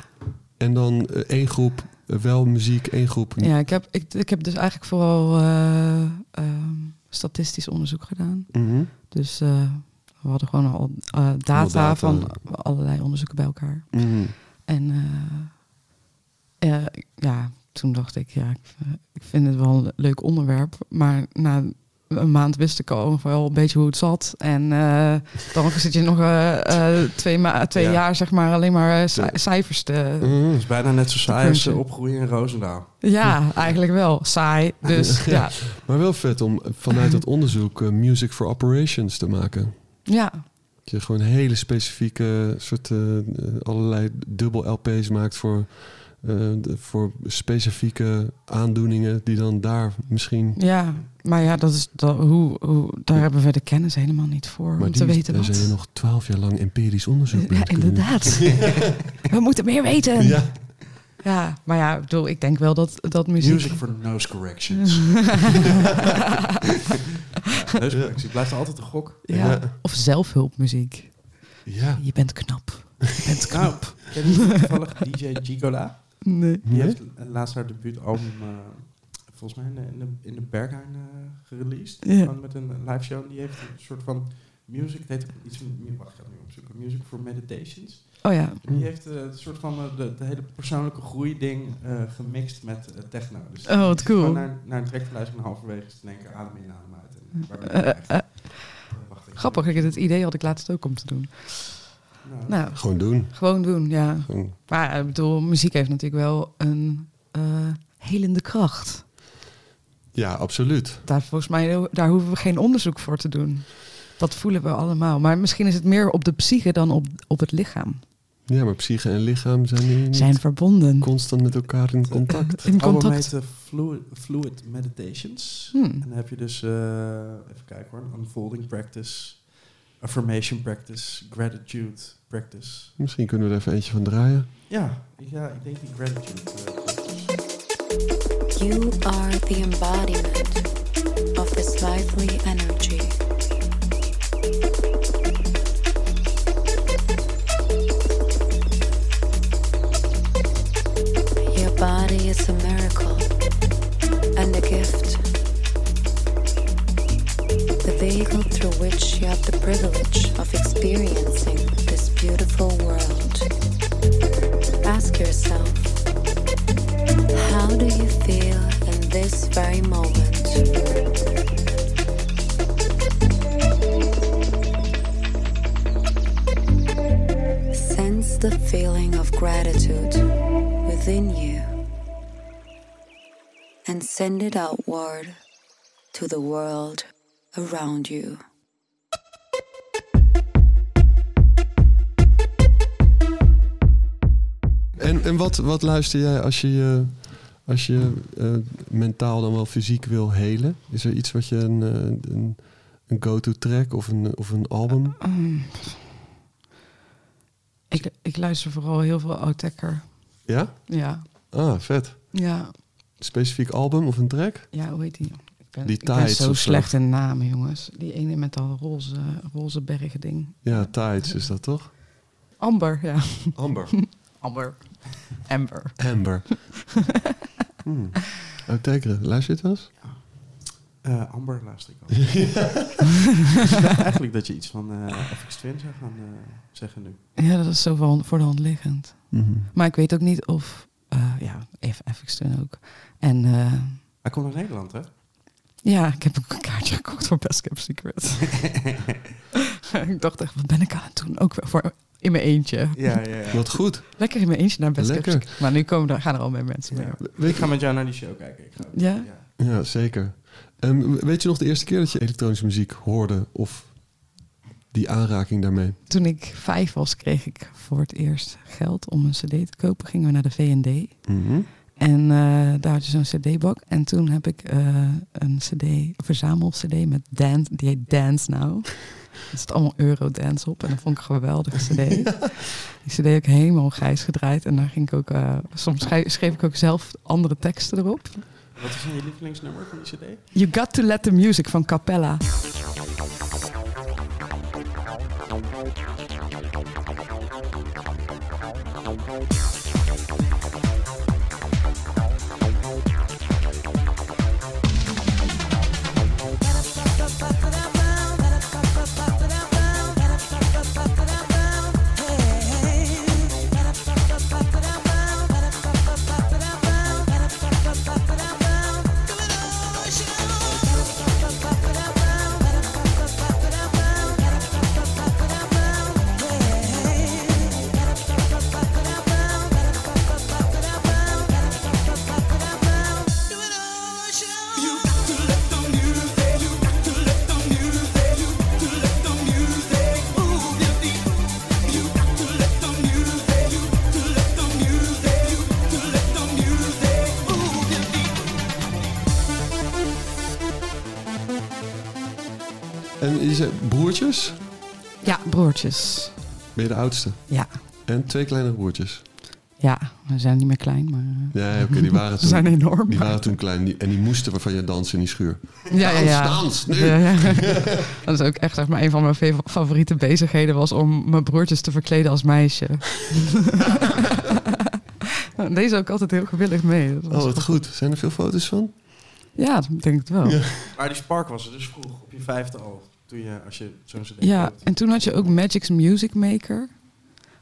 S2: En dan eh, één groep eh, wel muziek, één groep niet.
S4: Ja, ik heb, ik, ik heb dus eigenlijk vooral eh, ehm, statistisch onderzoek gedaan.
S2: Mhm.
S4: Dus eh, we hadden gewoon al eh, data,
S2: data.
S4: van allerlei onderzoeken bij elkaar.
S2: Mhm.
S4: En eh, eh, ja, toen dacht ik, ja, ik, eh, ik vind het wel een leuk onderwerp. Maar na een maand wist ik al wel een beetje hoe het zat. En eh, dan zit je nog eh, eh, twee, ma- twee
S3: Ja.
S4: jaar, zeg maar, alleen maar eh, ci- cijfers te,
S2: Mhm.
S3: Het is bijna net zo saai als eh,
S4: Punten.
S3: opgroeien in Roosendaal.
S4: Ja, eigenlijk wel. Saai. Dus ja.
S2: Maar wel vet om vanuit dat onderzoek eh, music for operations te maken.
S4: Ja,
S2: Dat je gewoon hele specifieke soort eh, eh, allerlei dubbel LP's maakt voor, eh, de- voor specifieke aandoeningen die dan daar misschien.
S4: ja. Maar ja, dat is dat, hoe, hoe, daar hebben we de kennis helemaal niet voor
S2: Maar
S4: om te
S2: die-
S4: weten
S2: daar
S4: wat.
S2: zijn er nog twaalf jaar lang empirisch onderzoek bij
S4: Ja,
S2: te kunnen doen.
S4: inderdaad. [LAUGHS] we moeten meer weten. Ja.
S2: Ja,
S4: maar ja, ik bedoel, ik denk wel dat, dat muziek...
S3: Music for nose corrections. ja, nose corrections blijft altijd een gok.
S4: [LAUGHS] ja.
S2: Ja.
S4: Of zelfhulpmuziek.
S2: ja.
S4: Je bent knap. Je bent
S3: Nou,
S4: knap.
S3: ken je
S4: [LAUGHS]
S3: toevallig DJ Gigola?
S4: Nee.
S3: Die
S2: Nee?
S3: heeft laatst haar debuutalbum eh, volgens mij in de, in de, in de Berghain eh, gereleased.
S4: Ja.
S3: Gewoon met een live show. En die heeft een soort van music, het heet iets van, wacht, ik ga het nu opzoeken. Music for meditations.
S4: Oh ja.
S3: Die heeft eh, een soort van eh, de, de hele persoonlijke groeiding eh gemixt met eh, techno. Dus
S4: Oh, wat cool.
S3: gewoon naar, naar een track te luisteren en halverwege is te denken adem in, adem uit. En waar ben ik
S4: Eh, eh,
S3: echt?
S4: eh,
S3: Wacht even.
S4: grappig, ik, dit idee had ik laatst ook om te doen.
S3: Nou,
S4: Nou,
S2: Gewoon doen.
S4: gewoon doen, ja.
S2: Gewoon-
S4: Maar ja, ik bedoel, muziek heeft natuurlijk wel een eh, helende kracht.
S2: Ja, absoluut.
S4: Daar, volgens mij, daar hoeven we geen onderzoek voor te doen. Dat voelen we allemaal. Maar misschien is het meer op de psyche dan op, op het lichaam.
S2: Ja, maar psyche en lichaam zijn nu niet
S4: Zijn verbonden.
S2: constant met elkaar in contact.
S4: In
S3: Het album
S4: contact.
S3: heet eh, Fluid, Fluid Meditations.
S4: Hmm.
S3: En dan heb je dus, eh, even kijken hoor, een unfolding practice, affirmation practice, gratitude practice.
S2: Misschien kunnen we er even eentje van draaien.
S3: Ja, ik- ja ik denk die gratitude eh, practice.
S7: You are the embodiment of this lively energy. Your body is a miracle and a gift. The vehicle through which you have the privilege of experiencing this beautiful world. Ask yourself. How do you feel in this very moment? Sense the feeling of gratitude within you and send it outward to the world around you.
S2: En, en wat, wat luister jij als je je, als je eh, mentaal dan wel fysiek wil helen? Is er iets wat je een, eh, een, een go-to track of een, of een album?
S4: Mm. Ik, ik luister vooral heel veel oud-tekker.
S2: Ja?
S4: Ja.
S2: Ah, vet.
S4: Ja.
S2: Specifiek album of een track?
S4: ja, hoe heet die? ben,
S2: Die
S4: ik ben
S2: tights
S4: zo
S2: of zo.
S4: slecht in namen, jongens. Die ene met dat roze, roze bergen ding.
S2: Ja, tights is dat toch?
S4: Amber, ja.
S2: Amber.
S4: Amber. Amber.
S2: Amber. Hmm. Oh, tekenen. Luister je het wel eens?
S1: [LAUGHS] Eh, Amber luister [LAUGHS] ik al. Ik dacht eigenlijk dat je iets van eh FX Twin zou gaan eh, zeggen nu.
S4: Ja, dat is zo van- voor de hand liggend.
S2: Mhm.
S4: Maar ik weet ook niet of... eh, ja, even FX toen ook. En eh,
S1: Hij komt naar Nederland, hè?
S4: ja, ik heb ook een kaartje gekocht voor Best Kept Secret. ik dacht echt, wat ben ik aan het doen? Ook weer voor in mijn eentje.
S1: Ja, ja, ja.
S2: Wat goed.
S4: Lekker in mijn eentje naar Best Kept
S2: Lekker.
S4: Secret. Maar nu komen er, gaan er al meer mensen mee.
S2: Weet
S1: Ik ga met jou naar die show kijken. Ik ga,
S4: Ja?
S2: Ja, zeker. Ehm, weet je nog de eerste keer dat je elektronische muziek hoorde of die aanraking daarmee?
S4: Toen ik vijf was, kreeg ik voor het eerst geld om een cd te kopen. Gingen we naar de V&D. Mhm. En eh, daar had je zo'n cd-bak. En toen heb ik eh, een cd, een verzamel-cd met dance. Die heet Dance Now. [LAUGHS] Er zit allemaal Eurodance op. En dat vond ik een geweldige
S2: [LAUGHS]
S4: cd. Die cd heb ik helemaal grijs gedraaid. En daar ging ik ook... eh, soms schrij- schreef ik ook zelf andere teksten erop.
S1: Wat is dan je lievelingsnummer van die CD?
S4: You Got To Let The Music van Capella.
S2: En je zei broertjes?
S4: Ja, broertjes.
S2: Ben je de oudste?
S4: Ja.
S2: En twee kleinere broertjes?
S4: Ja, we zijn niet meer klein, maar... eh,
S2: Ja, oké, die
S4: [LAUGHS]
S2: waren
S4: Ze
S2: toen...
S4: zijn enorm.
S2: Die waren toen klein die- en die moesten waarvan je dansen in die schuur.
S4: Ja, ja, ja.
S2: Dans, dans, nu!
S4: Ja, ja. [LAUGHS] Dat is ook echt zeg maar, een van mijn fav- favoriete bezigheden was om mijn broertjes te verkleden als meisje. [LAUGHS] Deze ook altijd heel gewillig mee. Dat was
S2: Oh, wat
S4: goed.
S2: goed. Zijn er veel foto's van?
S4: Ja, dat denk ik wel.
S2: Ja.
S4: Ja.
S1: Maar die Spark was er dus vroeg, op je vijfde al. Toen je, als je zo'n CD koopt.
S4: en toen had je ook Magic's Music Maker,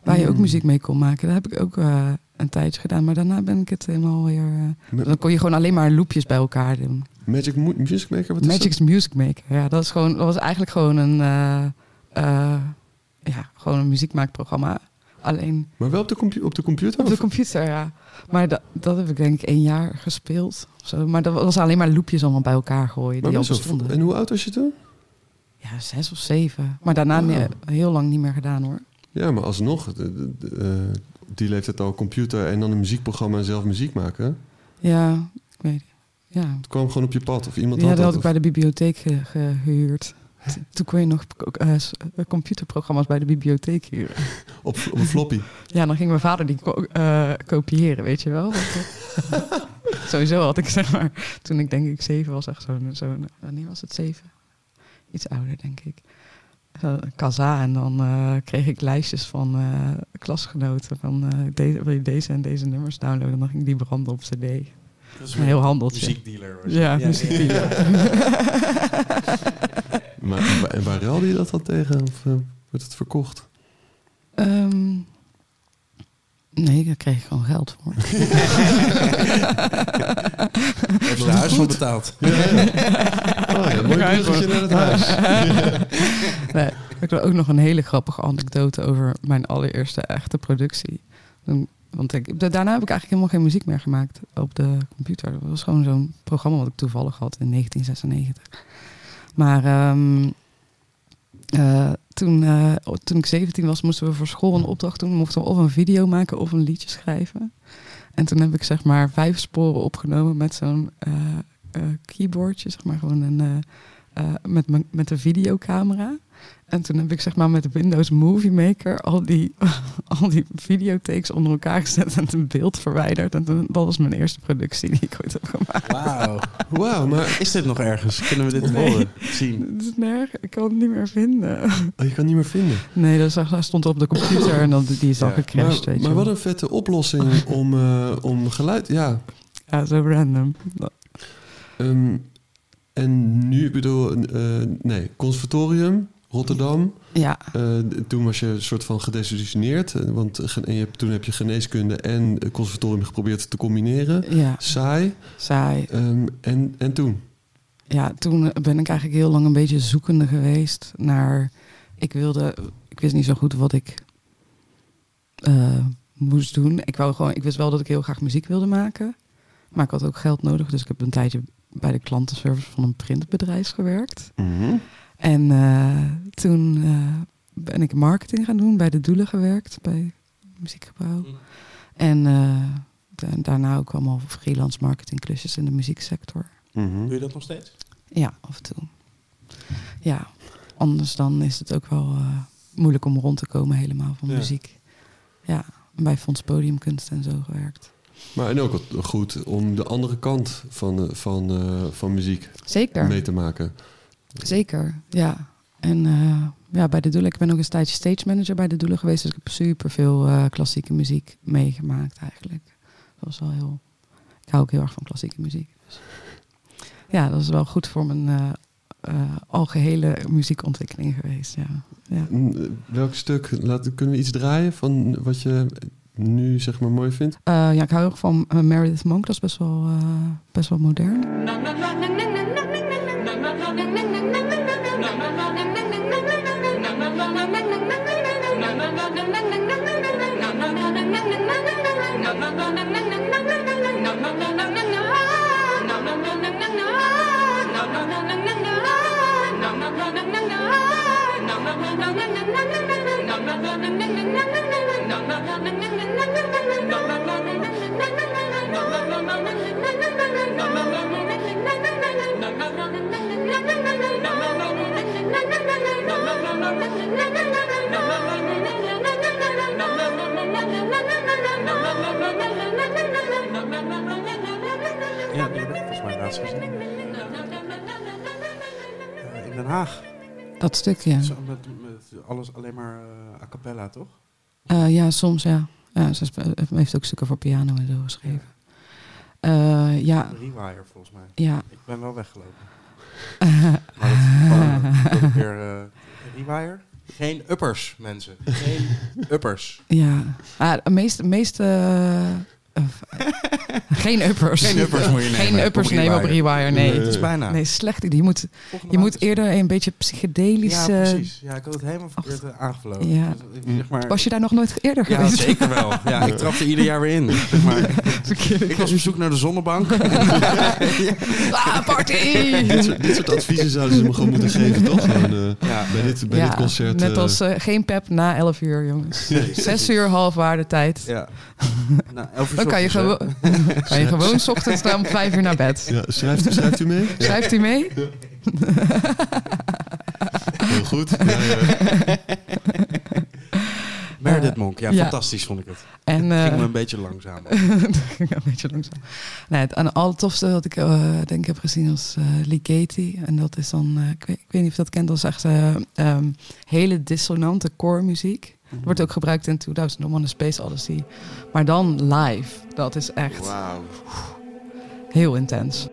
S4: waar je ook
S2: Hmm.
S4: muziek mee kon maken. Dat heb ik ook eh, een tijdje gedaan, maar daarna ben ik het helemaal weer... eh,
S2: Ma-
S4: dan kon je gewoon alleen maar loopjes bij elkaar doen.
S2: Magic Mu- Music Maker? Wat is
S4: Magic's Music Maker. Ja, dat, is gewoon, dat was eigenlijk gewoon een, eh, eh, ja, gewoon een muziekmaakprogramma. Alleen
S2: dat? Maar wel op de, compu- op de computer?
S4: op de
S2: of-
S4: computer, ja. Maar dat, dat heb ik denk ik één jaar gespeeld. of Zo. Maar dat was alleen maar loopjes allemaal bij elkaar gooien.
S2: maar
S4: die al
S2: best wel-
S4: bestonden.
S2: En hoe oud was je toen?
S4: Ja, zes of zeven. Maar daarna
S2: Wow.
S4: ne- heel lang niet meer gedaan hoor.
S2: Ja, maar alsnog, de, de- de, eh, op die leeftijd al computer en dan een muziekprogramma en zelf muziek maken.
S4: Ja, ik weet het. Ja,
S2: Het kwam gewoon op je pad of iemand
S4: ja
S2: had
S4: dat had ik
S2: of-
S4: bij de bibliotheek ge- gehuurd. T- Toen kon je nog ook, eh, s- computerprogramma's bij de bibliotheek huren.
S2: op, op een
S4: [LAUGHS]
S2: floppy.
S4: Ja, dan ging mijn vader die ko- eh, kopiëren, weet je wel. Dat- eh, Sowieso had ik, zeg maar, toen ik denk ik zeven was, echt zo'n, zo'n wanneer was het zeven? Iets ouder, denk ik. Zo'n Kaza en dan eh, kreeg ik lijstjes van eh, klasgenoten van eh, deze, wil je deze en deze nummers downloaden en dan ging ik die branden op cd.
S1: Dat is
S4: Een heel handeltje.
S1: muziekdealer. was
S4: Ja,
S1: het.
S4: muziekdealer. [LAUGHS]
S2: maar, en waar- en waar ruilde je dat dan tegen? Of eh, werd het verkocht?
S4: Ehm, nee, daar kreeg ik gewoon geld voor.
S1: Heeft ze de huis van betaald.
S2: Ja, ja.
S4: [LAUGHS]
S2: Oh, ja mooi bruggetje naar het huis.
S4: Nee, ik wil ook nog een hele grappige anekdote over mijn allereerste echte productie. Toen- Want ik, da- daarna heb ik eigenlijk helemaal geen muziek meer gemaakt op de computer. Dat was gewoon zo'n programma wat ik toevallig had in 1996. Maar ehm, eh, toen, eh, toen ik 17 was, moesten we voor school een opdracht doen. We mochten of een video maken of een liedje schrijven. En toen heb ik zeg maar vijf sporen opgenomen met zo'n eh, eh, keyboardje. Zeg maar gewoon een eh, eh, met, mijn- met de videocamera. En toen heb ik zeg maar met de Windows Movie Maker al die, [LAUGHS] al die videotakes onder elkaar gezet en het een beeld verwijderd. En toen, dat was mijn eerste productie die ik ooit heb gemaakt.
S1: Wauw.
S2: Wauw, maar
S1: Is dit nog ergens? Dus Kunnen we dit
S4: Nee.
S1: horen? Zien?
S2: Hm.
S4: Het is nergens, ik kan het niet meer vinden.
S2: [LAUGHS] oh, je kan het niet meer vinden.
S4: Nee, dat zag- dat stond op de computer en dan, die is al
S1: Ja,
S4: gecrashed,
S2: maar,
S4: weet je
S2: maar
S4: wel.
S2: wat een vette
S4: [LAUGHS]
S2: oplossing om, eh, om geluid. Ja.
S4: Ja, zo random.
S2: ehm, en nu, ik bedoel, eh, nee, conservatorium, Rotterdam.
S4: Ja,
S2: Eh, d- toen was je een soort van gedesillusioneerd. eh, Want ge- en je, hebt- toen heb je geneeskunde en eh, conservatorium geprobeerd te combineren.
S4: ja,
S2: Saai.
S4: saai.
S2: Ehm, en, en toen?
S4: Ja, toen ben ik eigenlijk heel lang een beetje zoekende geweest naar. Ik wilde, ik wist niet zo goed wat ik eh, moest doen. Ik wou gewoon, ik wist wel dat ik heel graag muziek wilde maken, maar ik had ook geld nodig. Dus ik heb een tijdje bij de klantenservice van een printbedrijf gewerkt.
S2: Mhm.
S4: En eh, toen eh, ben ik marketing gaan doen, bij de Doelen gewerkt, bij muziekgebouw. En eh, da- daarna ook allemaal freelance marketingklusjes in de muzieksector.
S2: Mhm.
S1: Doe je dat nog steeds?
S4: Ja, af en toe. Ja, anders dan is het ook wel eh, moeilijk om rond te komen helemaal van
S1: Ja.
S4: muziek. Ja, bij Fonds Podiumkunst en zo gewerkt.
S2: Maar en ook wat goed om de andere kant van, eh, van, eh, van muziek
S4: Zeker,
S2: mee te maken.
S4: zeker, ja. En eh, ja, bij de Doelen, ik ben ook een tijdje stage manager bij de Doelen geweest. Dus ik heb superveel eh klassieke muziek meegemaakt eigenlijk. Dat was wel heel... Ik hou ook heel erg van klassieke muziek. Dus Ja, dat is wel goed voor mijn eh, eh, algehele muziekontwikkeling geweest, ja. ja.
S2: Mm, eh, Welk stuk? Laat, kunnen we iets draaien van wat je nu zeg maar mooi vindt?
S4: Eh, ja, ik hou heel erg van eh, Meredith Monk. Dat is best wel, eh, best wel modern.
S1: Ja, die heb ik volgens mij laatst gezien. Eh, in Den Haag.
S4: Dat stukje.
S1: Zo met, met alles alleen maar eh a cappella, toch?
S4: Eh, ja, soms ja. ja ze spe- heeft ook stukken voor piano en zo geschreven. Eh, ja,
S1: Rewire, volgens mij.
S4: ja.
S1: Ik ben wel weggelopen. Maar dat is gewoon dat ik weer... eh, rewire? Geen uppers, mensen. Geen uppers.
S4: ja. Ah, de meeste... meeste eh, eh, [LAUGHS] geen uppers.
S1: Geen uppers moet je nemen.
S4: Geen uppers
S1: op
S4: nemen op Rewire, nee.
S1: Dat is bijna.
S4: Nee, slecht. Je moet,
S1: Volgende maand
S4: je moet
S1: is-
S4: eerder een beetje psychedelisch...
S1: Ja,
S4: eh,
S1: precies. Ja, ik had het helemaal verkeerd eh, aangevlogen.
S4: Ja.
S1: Dus, ik- zeg maar,
S4: was je daar nog nooit eerder [LAUGHS]
S1: ja,
S4: geweest?
S1: zeker wel. Ja, ik trapte ieder jaar weer
S4: [LAUGHS]
S1: in. Zeg maar. Ik was op zoek naar de zonnebank.
S4: Ah,
S1: [LAUGHS]
S2: Dit
S4: party!
S2: soort, [LAUGHS] dit soort adviezen zouden ze me gewoon moeten geven, toch? Gewoon, eh,
S1: Ja.
S2: bij dit, bij dit concert.
S4: Net
S2: eh,
S4: als eh, geen pep na 11 uur, jongens.
S1: Nee.
S4: 6 uur halfwaardetijd.
S1: Ja. Nou, elf uur
S4: Dan kan je,
S1: ochtends, hè.
S4: gewoon [LAUGHS] kan je gewoon 's ochtends dan om 5 uur naar bed.
S2: eh, ja, schrijft, schrijft u mee?
S4: Schrijft u mee?
S2: Heel goed. Ja, ja.
S1: Meredith Monk, ja,
S4: ja.
S1: fantastisch vond ik het.
S4: En
S1: Het ging me
S4: eh,
S1: een beetje langzaam.
S4: [LAUGHS] dat ging een beetje langzaam. Nee, het, en het allertofste wat ik eh, denk heb gezien was eh Lee Katie. En dat is dan, eh, ik, weet, ik weet niet of je dat kent, dat is echt eh, ehm, hele dissonante core muziek.
S1: Mhm.
S4: Wordt ook gebruikt in 2001 A Space Odyssey. Maar dan live. Dat is echt
S2: Wauw.
S4: heel intens.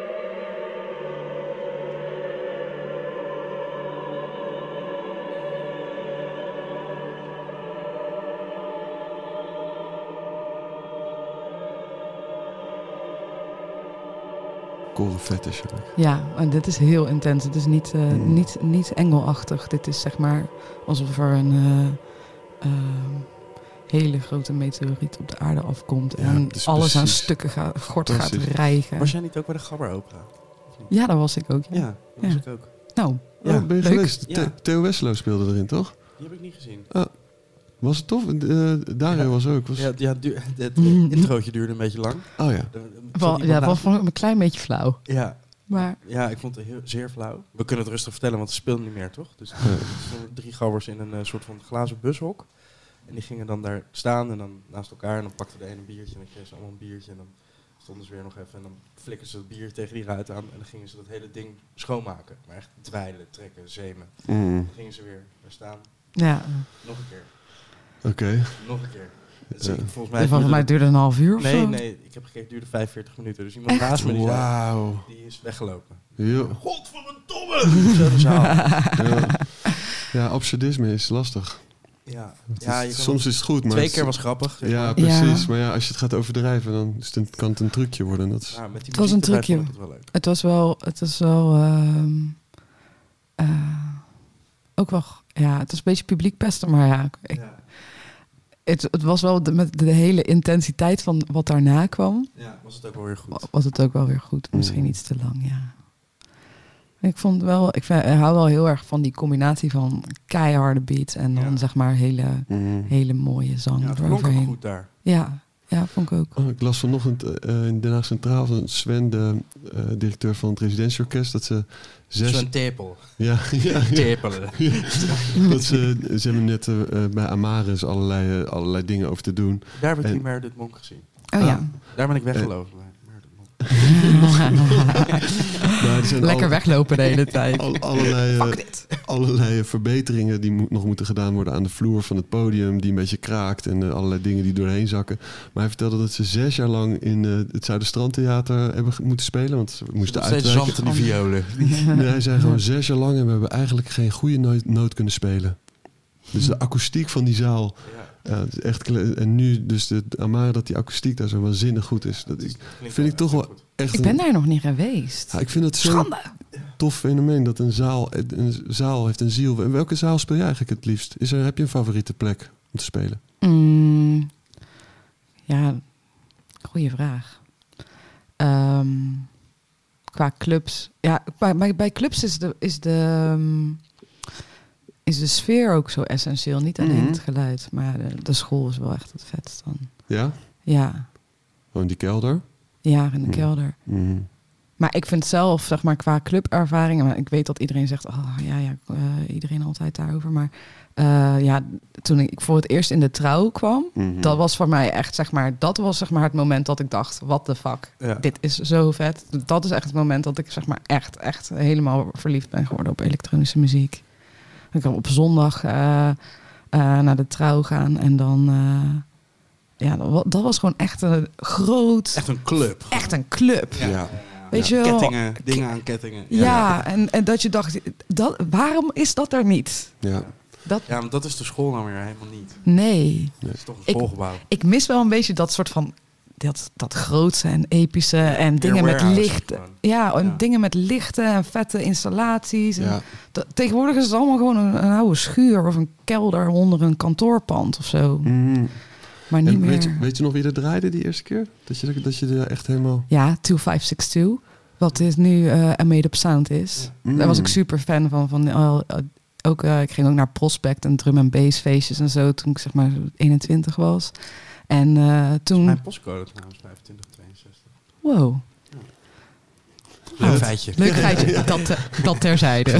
S6: Thank
S2: hardcore fetish hebben.
S4: Ja, en dit is heel intens. Het is niet, eh,
S2: Mm.
S4: niet, niet engelachtig. Dit is zeg maar alsof er een eh, ehm, hele grote meteoriet op de aarde afkomt.
S2: Ja,
S4: en
S2: het is
S4: alles aan
S2: precies.
S4: stukken gaat, gort gaat
S2: Precies.
S4: rijgen.
S1: Was jij niet ook bij de Gabber Opera?
S4: Ja, daar was ik ook. Ja.
S1: Ja, dat was
S4: Ja.
S1: ik ook.
S4: Nou,
S2: Ja, ben je
S4: leuk.
S2: geweest?
S1: Ja.
S2: The- Theo Weslo speelde erin, toch?
S1: Die heb ik niet gezien.
S2: Was het tof? Eh, Dario
S1: Ja.
S2: was ook. Was...
S1: Ja, ja du- [LAUGHS] het introotje duurde een beetje lang.
S2: Oh ja.
S1: Er- er zat
S4: Mm. Wel,
S1: iemand
S4: ja,
S1: naast-
S4: dat vond ik een klein beetje flauw.
S1: ja,
S4: Maar
S1: ja, ik vond het heel, zeer flauw. We kunnen het rustig vertellen, want ze speelden niet meer, toch? Dus
S2: Nee.
S1: er stonden drie gabbers in een eh, soort van glazen bushok. En die gingen dan daar staan en dan naast elkaar. En dan pakte de ene een biertje en dan kreeg ze allemaal een biertje. En dan stonden ze weer nog even en dan flikkerden ze het bier tegen die ruit aan. En dan gingen ze dat hele ding schoonmaken. Maar echt dweilen, trekken, zemen.
S2: Mm.
S1: Dan gingen ze weer daar staan.
S4: ja,
S1: Nog een keer,
S2: Oké.
S1: nog een keer. Dus
S2: Ja.
S1: ik- volgens mij...
S4: dit volgens mij duurde een half uur of
S1: Nee,
S4: zo.
S1: nee, ik heb gekeken, het duurde 45 minuten. Dus iemand
S4: Echt?
S1: naast me die, zei-
S2: Wauw.
S1: die is weggelopen. [LAUGHS]
S2: Jo.
S1: Godverdomme! Zo de
S4: [LAUGHS]
S1: zaal.
S2: Ja. ja, absurdisme is lastig.
S1: Ja,
S2: Het
S1: ja
S2: is-
S1: je kan
S2: soms is het goed, maar...
S1: twee
S2: het-
S1: keer was grappig. zeg
S2: Ja,
S1: maar.
S2: precies.
S4: Ja.
S2: Maar ja, als je het gaat overdrijven, dan is het een, kan het een trucje worden. Dat is...
S1: Nou, met die
S4: Het was een
S1: muziek erbij
S4: trucje.
S1: vond ik het wel leuk.
S4: Het was wel, het was wel, ehm, eh, ook wel, ja, het was een beetje publiek pesten, maar ja, ik,
S1: Ja,
S4: het, het was wel de, met de hele intensiteit van wat daarna kwam,
S1: ja, was het ook wel weer goed.
S4: was het ook wel weer goed. Misschien
S2: Mm.
S4: iets te lang, ja. Ik vond wel, ik, vind, ik hou wel heel erg van die combinatie van keiharde beats en dan
S1: Ja.
S4: zeg maar hele,
S2: Mm.
S4: hele mooie zang
S1: Ja,
S4: ja,
S1: het klonk ook
S4: eroverheen.
S1: goed daar.
S4: Ja, ja, vond ik ook.
S2: Oh, ik las vanochtend eh, in Den Haag Centraal van Sven, de eh, directeur van het residentieorkest, dat ze zes...
S1: Zo'n tepel.
S2: Ja, [LAUGHS] ja, ja.
S1: [LAUGHS]
S2: [LAUGHS]
S1: Tepelen.
S4: Mm.
S2: dat ze, ze hebben net eh, eh, bij Amaris allerlei, eh, allerlei dingen over te doen.
S1: Daar heb ik
S4: Eh.
S2: En-
S1: die Meredith Monk gezien.
S4: Oh ja. [LAUGHS]
S1: Daar ben ik weggelopen. bij Meredith Monk.
S2: Maar er zijn
S4: Lekker
S2: al-
S4: weglopen de hele tijd.
S2: al-
S1: [LAUGHS]
S2: allerlei, eh, allerlei verbeteringen die mo- nog moeten gedaan worden aan de vloer van het podium, die een beetje kraakt en eh, allerlei dingen die doorheen zakken. Maar hij vertelde dat ze zes jaar lang in eh, het Zuiderstrandtheater hebben ge- moeten spelen, want ze moesten
S1: Steeds
S2: uitwijken. Oh.
S1: zand in die violen.
S2: [LAUGHS] Nee, hij zei gewoon zes jaar lang en we hebben eigenlijk geen goede noot, noot kunnen spelen. Dus de akoestiek van die zaal,
S1: Ja,
S2: ja, het is echt kle- en nu dus de Amara dat die akoestiek daar zo waanzinnig goed is. Dat ik
S1: klinkt
S2: vind ik
S1: echt
S2: toch wel
S1: goed.
S2: echt
S4: Ik ben
S2: een-
S4: daar nog niet geweest.
S2: Ja, ik vind dat zo'n
S4: Schande.
S2: tof fenomeen dat een zaal, een zaal heeft een ziel. En welke zaal speel je eigenlijk het liefst? Is er, heb je een favoriete plek om te spelen?
S4: Mm, ja, goede vraag. Ehm, qua clubs. Ja, bij, bij, bij clubs is de, is, de, ehm, is de sfeer ook zo essentieel. Niet alleen
S2: Mhm.
S4: het geluid, maar de, de school is wel echt het vetst dan.
S2: Ja?
S4: Ja,
S2: Gewoon die kelder?
S4: jaren in de
S2: Mhm.
S4: kelder.
S2: Mm.
S4: Maar ik vind zelf, zeg maar, qua clubervaringen... Maar ik weet dat iedereen zegt, oh ja, ja eh, iedereen altijd daarover. Maar eh, ja, toen ik voor het eerst in de trouw kwam...
S2: Mhm.
S4: Dat was voor mij echt, zeg maar, dat was zeg maar het moment dat ik dacht, what the fuck,
S1: Ja.
S4: dit is zo vet. Dat is echt het moment dat ik zeg maar echt, echt helemaal verliefd ben geworden op elektronische muziek. Ik kan op zondag eh, eh, naar de trouw gaan en dan, eh, ja, dat wa- dat was gewoon echt een groot,
S1: Echt een club.
S4: echt een club.
S2: Ja. Ja.
S4: Weet je wel?
S1: Kettingen, dingen aan kettingen.
S4: Ja, en, en dat je dacht, dat, waarom is dat er niet?
S2: Ja.
S4: Dat,
S1: Ja, want dat is de school nou weer helemaal niet.
S4: nee.
S1: Het is toch een
S4: Ik-
S1: schoolgebouw.
S4: ik mis wel een beetje dat soort van dat, dat grootse en epische en dingen met
S1: warehouse
S4: licht.
S1: gewoon.
S4: Ja, en
S1: Ja.
S4: dingen met lichten en vette installaties. En dat- tegenwoordig is het allemaal gewoon een, een oude schuur of een kelder onder een kantoorpand of zo.
S2: Mm.
S4: Maar niet
S2: En
S4: meer.
S2: weet, je, weet je nog wie er draaide die eerste keer? Dat je, dat je er echt helemaal...
S4: Ja, 2562. Wat is nu eh A Made Up Sound is.
S2: Mm.
S4: Daar was ik super fan van. van eh, ook, eh, ik ging ook naar Prospect en drum en bass feestjes en zo toen ik zeg maar 21 was. En eh, toen...
S1: Mijn postcode trouwens, 2562.
S4: Wow.
S1: Leuk feitje.
S4: Oh, Leuk
S2: [LAUGHS]
S4: feitje, dat, eh, dat
S2: [LAUGHS] Ga
S4: terzijde.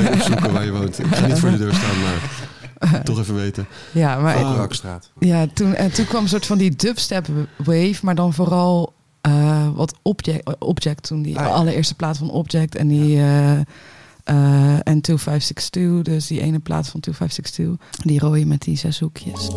S2: je opzoeken waar je woont. Ik ga niet voor de deur staan, maar toch even weten.
S4: [LAUGHS] Ja, maar
S2: Ah.
S1: Rookstraat.
S4: ja, toen, en toen kwam een soort van die dubstep wave, maar dan vooral eh, wat Object, eh, Object toen, die
S1: Ah, ja.
S4: allereerste plaat van Object en die... eh, eh, en 2562, dus die ene plaat van 2562. Die rode met die zes hoekjes.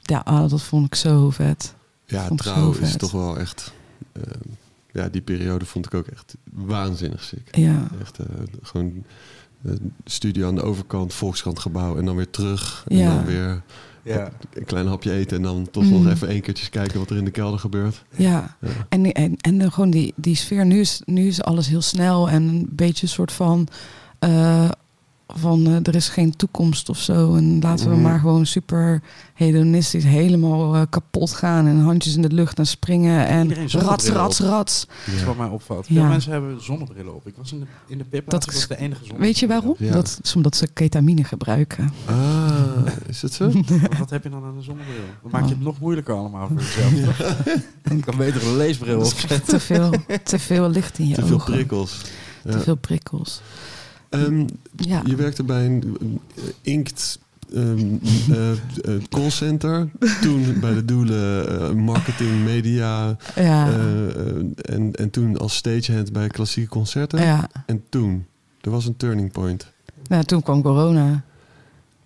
S4: Ja, ah, dat vond ik zo vet.
S2: Ja,
S4: Vond ik
S2: trouw
S4: zo
S2: is
S4: vet.
S2: toch wel echt... eh, ja, die periode vond ik ook echt waanzinnig sick.
S4: Ja,
S2: Echt eh, gewoon eh, studio aan de overkant, Volkskrant gebouw en dan weer terug. En
S4: Ja.
S2: dan weer
S1: [LAUGHS] Ja.
S2: een klein hapje eten en dan toch
S4: Mm.
S2: nog even één keertje kijken wat er in de kelder gebeurt.
S4: ja.
S2: Ja.
S4: En, en, en dan gewoon die, die sfeer. Nu is, nu is alles heel snel en een beetje een soort van... eh, van eh, er is geen toekomst of zo. En laten we
S2: Mhm.
S4: maar gewoon super hedonistisch helemaal eh, kapot gaan. En handjes in de lucht en springen. En
S1: Iedereen zonder
S4: rats,
S1: bril op.
S4: rats, rats.
S1: Dat is wat mij opvalt.
S4: Ja.
S1: Veel mensen hebben zonnebrillen op. Ik was in de, in de pip,
S4: Dat
S1: dat
S4: is-
S1: was de enige zonnebril.
S4: Weet je waarom?
S2: Ja.
S4: Dat is omdat ze ketamine gebruiken.
S2: Ah, is dat zo?
S1: Want wat heb je dan aan een zonnebril? Dan maak je
S4: Oh.
S1: het nog moeilijker allemaal voor jezelf.
S4: [LAUGHS]
S1: [LAUGHS] Ik kan beter een leesbril op.
S4: Te veel, te veel licht in
S2: [LAUGHS]
S4: je
S2: Te
S4: ogen.
S2: veel prikkels. Ja.
S4: Te veel prikkels.
S2: Ehm,
S4: Ja.
S2: Je werkte bij een eh, inkt ehm, eh, eh, callcenter. Toen bij de doelen eh, marketing, media.
S4: Ja.
S2: eh, eh, en, en toen als stagehand bij klassieke concerten.
S4: ja.
S2: En toen, er was een turning point.
S4: Nou, toen kwam corona.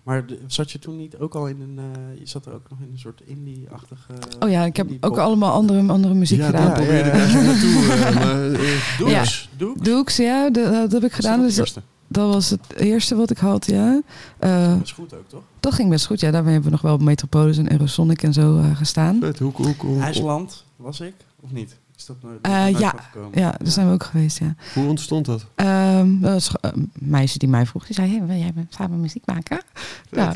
S1: Maar de- zat je toen niet ook al in een... eh, je zat er ook nog in een soort indie-achtige...
S4: Oh ja, ik heb
S1: indie-pop?
S4: ook allemaal andere, andere muziek
S2: ja,
S4: gedaan.
S2: daar probeerde ik eigenlijk naartoe.
S4: [LAUGHS]
S2: eh, maar, eh,
S1: Doe
S4: Ja.
S1: eens, doe eens.
S4: Doeks, ja, de- dat heb ik gedaan.
S1: Is
S4: Dus
S1: dat
S4: dat,
S1: het eerste?
S4: dat was het eerste wat ik had, ja. Eh,
S1: Dat is goed ook, toch?
S4: dat ging best goed, ja. Daarmee hebben we nog wel op Metropolis en Eurosonic en zo eh, gestaan.
S2: vet, hoe, hoe, hoe, hoe,
S1: IJsland was ik, of niet? Is dat nooit,
S4: Eh,
S1: nooit
S4: ja.
S1: van gekomen?
S4: Ja, daar zijn we ook geweest, ja.
S2: hoe ontstond dat?
S4: Ehm, dat was eh, een meisje die mij vroeg, die zei, hey, wil jij met- samen muziek maken? [LAUGHS] Ja,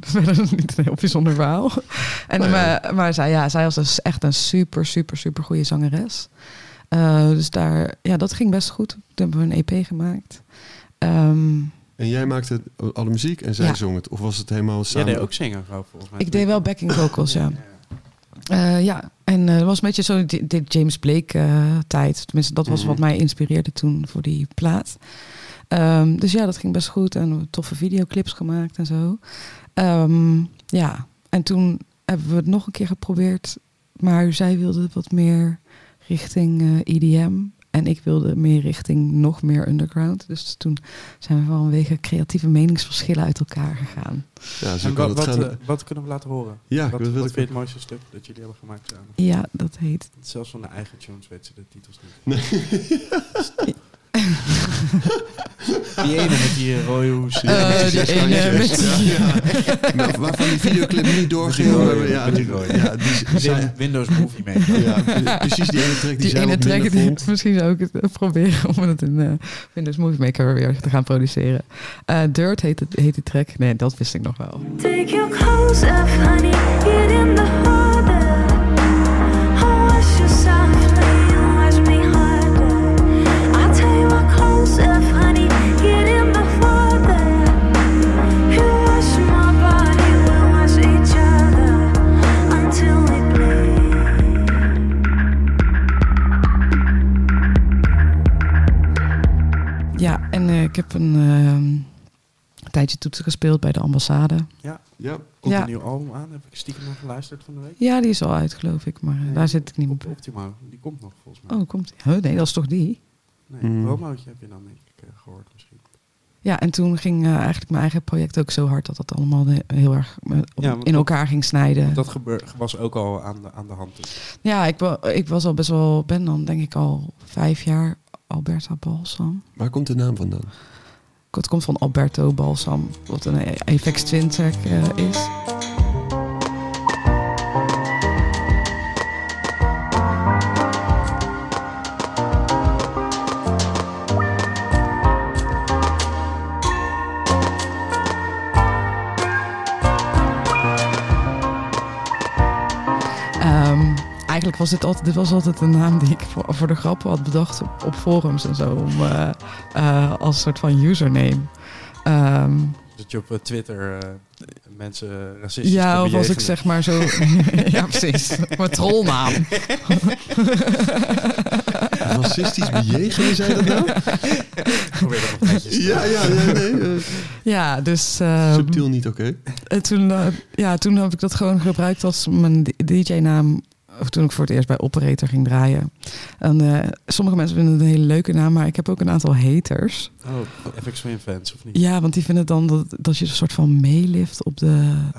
S4: verder niet een heel bijzonder verhaal. En,
S2: Nou ja.
S4: maar, maar zij, ja, zij was dus echt een super, super, super goede zangeres. Eh, dus daar, ja, dat ging best goed. Toen hebben we een EP gemaakt. Ehm,
S2: En jij maakte alle muziek en zij
S4: Ja.
S2: zong het? Of was het helemaal
S1: Jij
S2: samen?
S1: deed ook zingen, vrouw, volgens mij.
S4: ik deed wel backing vocals, ja. Eh, ja, en eh, het was een beetje zo die, die James Blake eh, tijd. Tenminste, dat was wat mij inspireerde toen voor die plaat. Ehm, dus ja, dat ging best goed. En we hebben toffe videoclips gemaakt en zo. Ehm, ja, en toen hebben we het nog een keer geprobeerd. Maar zij wilde wat meer richting eh EDM. En ik wilde meer richting nog meer underground. Dus toen zijn we vanwege creatieve meningsverschillen uit elkaar gegaan.
S2: Ja, zo
S1: En
S2: kan
S1: wat,
S2: het
S1: wat,
S2: gaan.
S1: eh, wat kunnen we laten horen?
S2: ja,
S1: wat
S2: dat
S1: wat
S2: wil
S1: vind je
S2: ik.
S1: het mooiste stuk dat jullie hebben gemaakt samen?
S4: Ja, dat heet.
S1: Zelfs van de eigen tunes weet ze de titels niet. [LAUGHS] Die ene met die eh, rode hoes.
S4: Eh, die ene met die-
S2: [LAUGHS] Maar waarvan die videoclip niet doorging.
S1: Met die
S2: maar-
S1: rode,
S2: ja,
S1: met die
S2: die-
S1: rode.
S2: ja, die- die
S1: Win-
S2: zijn-
S1: Windows Movie mee.
S2: ja, pre- precies die ene track die,
S4: Die
S2: zij
S4: ene
S2: wat
S4: track,
S2: minder
S4: die,
S2: vond.
S4: [LAUGHS] misschien zou ik het eh, proberen om het in eh, Windows Movie Maker weer te gaan produceren. Eh, Dirt heet, het, heet die track. Nee, dat wist ik nog wel.
S6: Take your clothes off, honey. Get in the harder. I'll wash you softly and wash me harder. I'll take my clothes off, honey. Get in the father. You wash my body, we'll wash each other until we bleed.
S4: Ja, en eh, ik heb een, ehm, een tijdje toetsen gespeeld bij de ambassade.
S2: Ja,
S1: Komt
S4: Ja.
S1: een nieuw album aan, heb ik stiekem nog geluisterd van de week.
S4: Ja, die is al uit, geloof ik, maar eh, daar zit ik niet
S1: Op
S4: op.
S1: Optima, die komt nog volgens mij.
S4: Oh, komt die? Huh, nee, dat is toch die?
S1: Nee,
S4: Hm.
S2: Mm.
S1: een promootje heb je dan denk ik eh, gehoord misschien.
S4: Ja, en toen ging eh, eigenlijk mijn eigen project ook zo hard dat dat allemaal de- heel erg eh, op-
S1: Ja, want
S4: in
S1: dat-
S4: elkaar ging snijden.
S1: Dat gebeur, was ook al aan de, aan de hand. toen.
S4: Ja, ik, wa- ik was al best wel, ben dan denk ik al vijf jaar Alberta Balsam.
S2: waar komt de naam vandaan?
S4: Het komt van Alberto Balsam, wat een Apex Twin track eh, is. Ehm, eigenlijk was dit altijd, dit was altijd een naam die ik voor, voor de grappen had bedacht op, op forums en zo. Om, eh, eh, als soort van username. Ehm,
S1: Dat je op eh, Twitter eh, mensen racistisch
S4: ja,
S1: kan
S4: of als ik
S1: bejegenen.
S4: zeg maar zo. ja, precies. Mijn trollnaam.
S2: Racistisch bejegenen, zei dat nou?
S1: Ik probeer dat nog
S4: [LAUGHS]
S1: netjes te-
S2: Ja, ja, ja, nee. eh,
S4: Ja, dus. ehm,
S2: subtiel niet oké.
S4: En toen, eh, ja, toen heb ik dat gewoon gebruikt als mijn DJ-naam of toen ik voor het eerst bij Operator ging draaien. En, eh, sommige mensen vinden het een hele leuke naam, maar ik heb ook een aantal haters.
S1: Oh, FX Twin fans, of niet?
S4: Ja, want die vinden dan dat, dat je een soort van meelift op, de,
S1: Ah,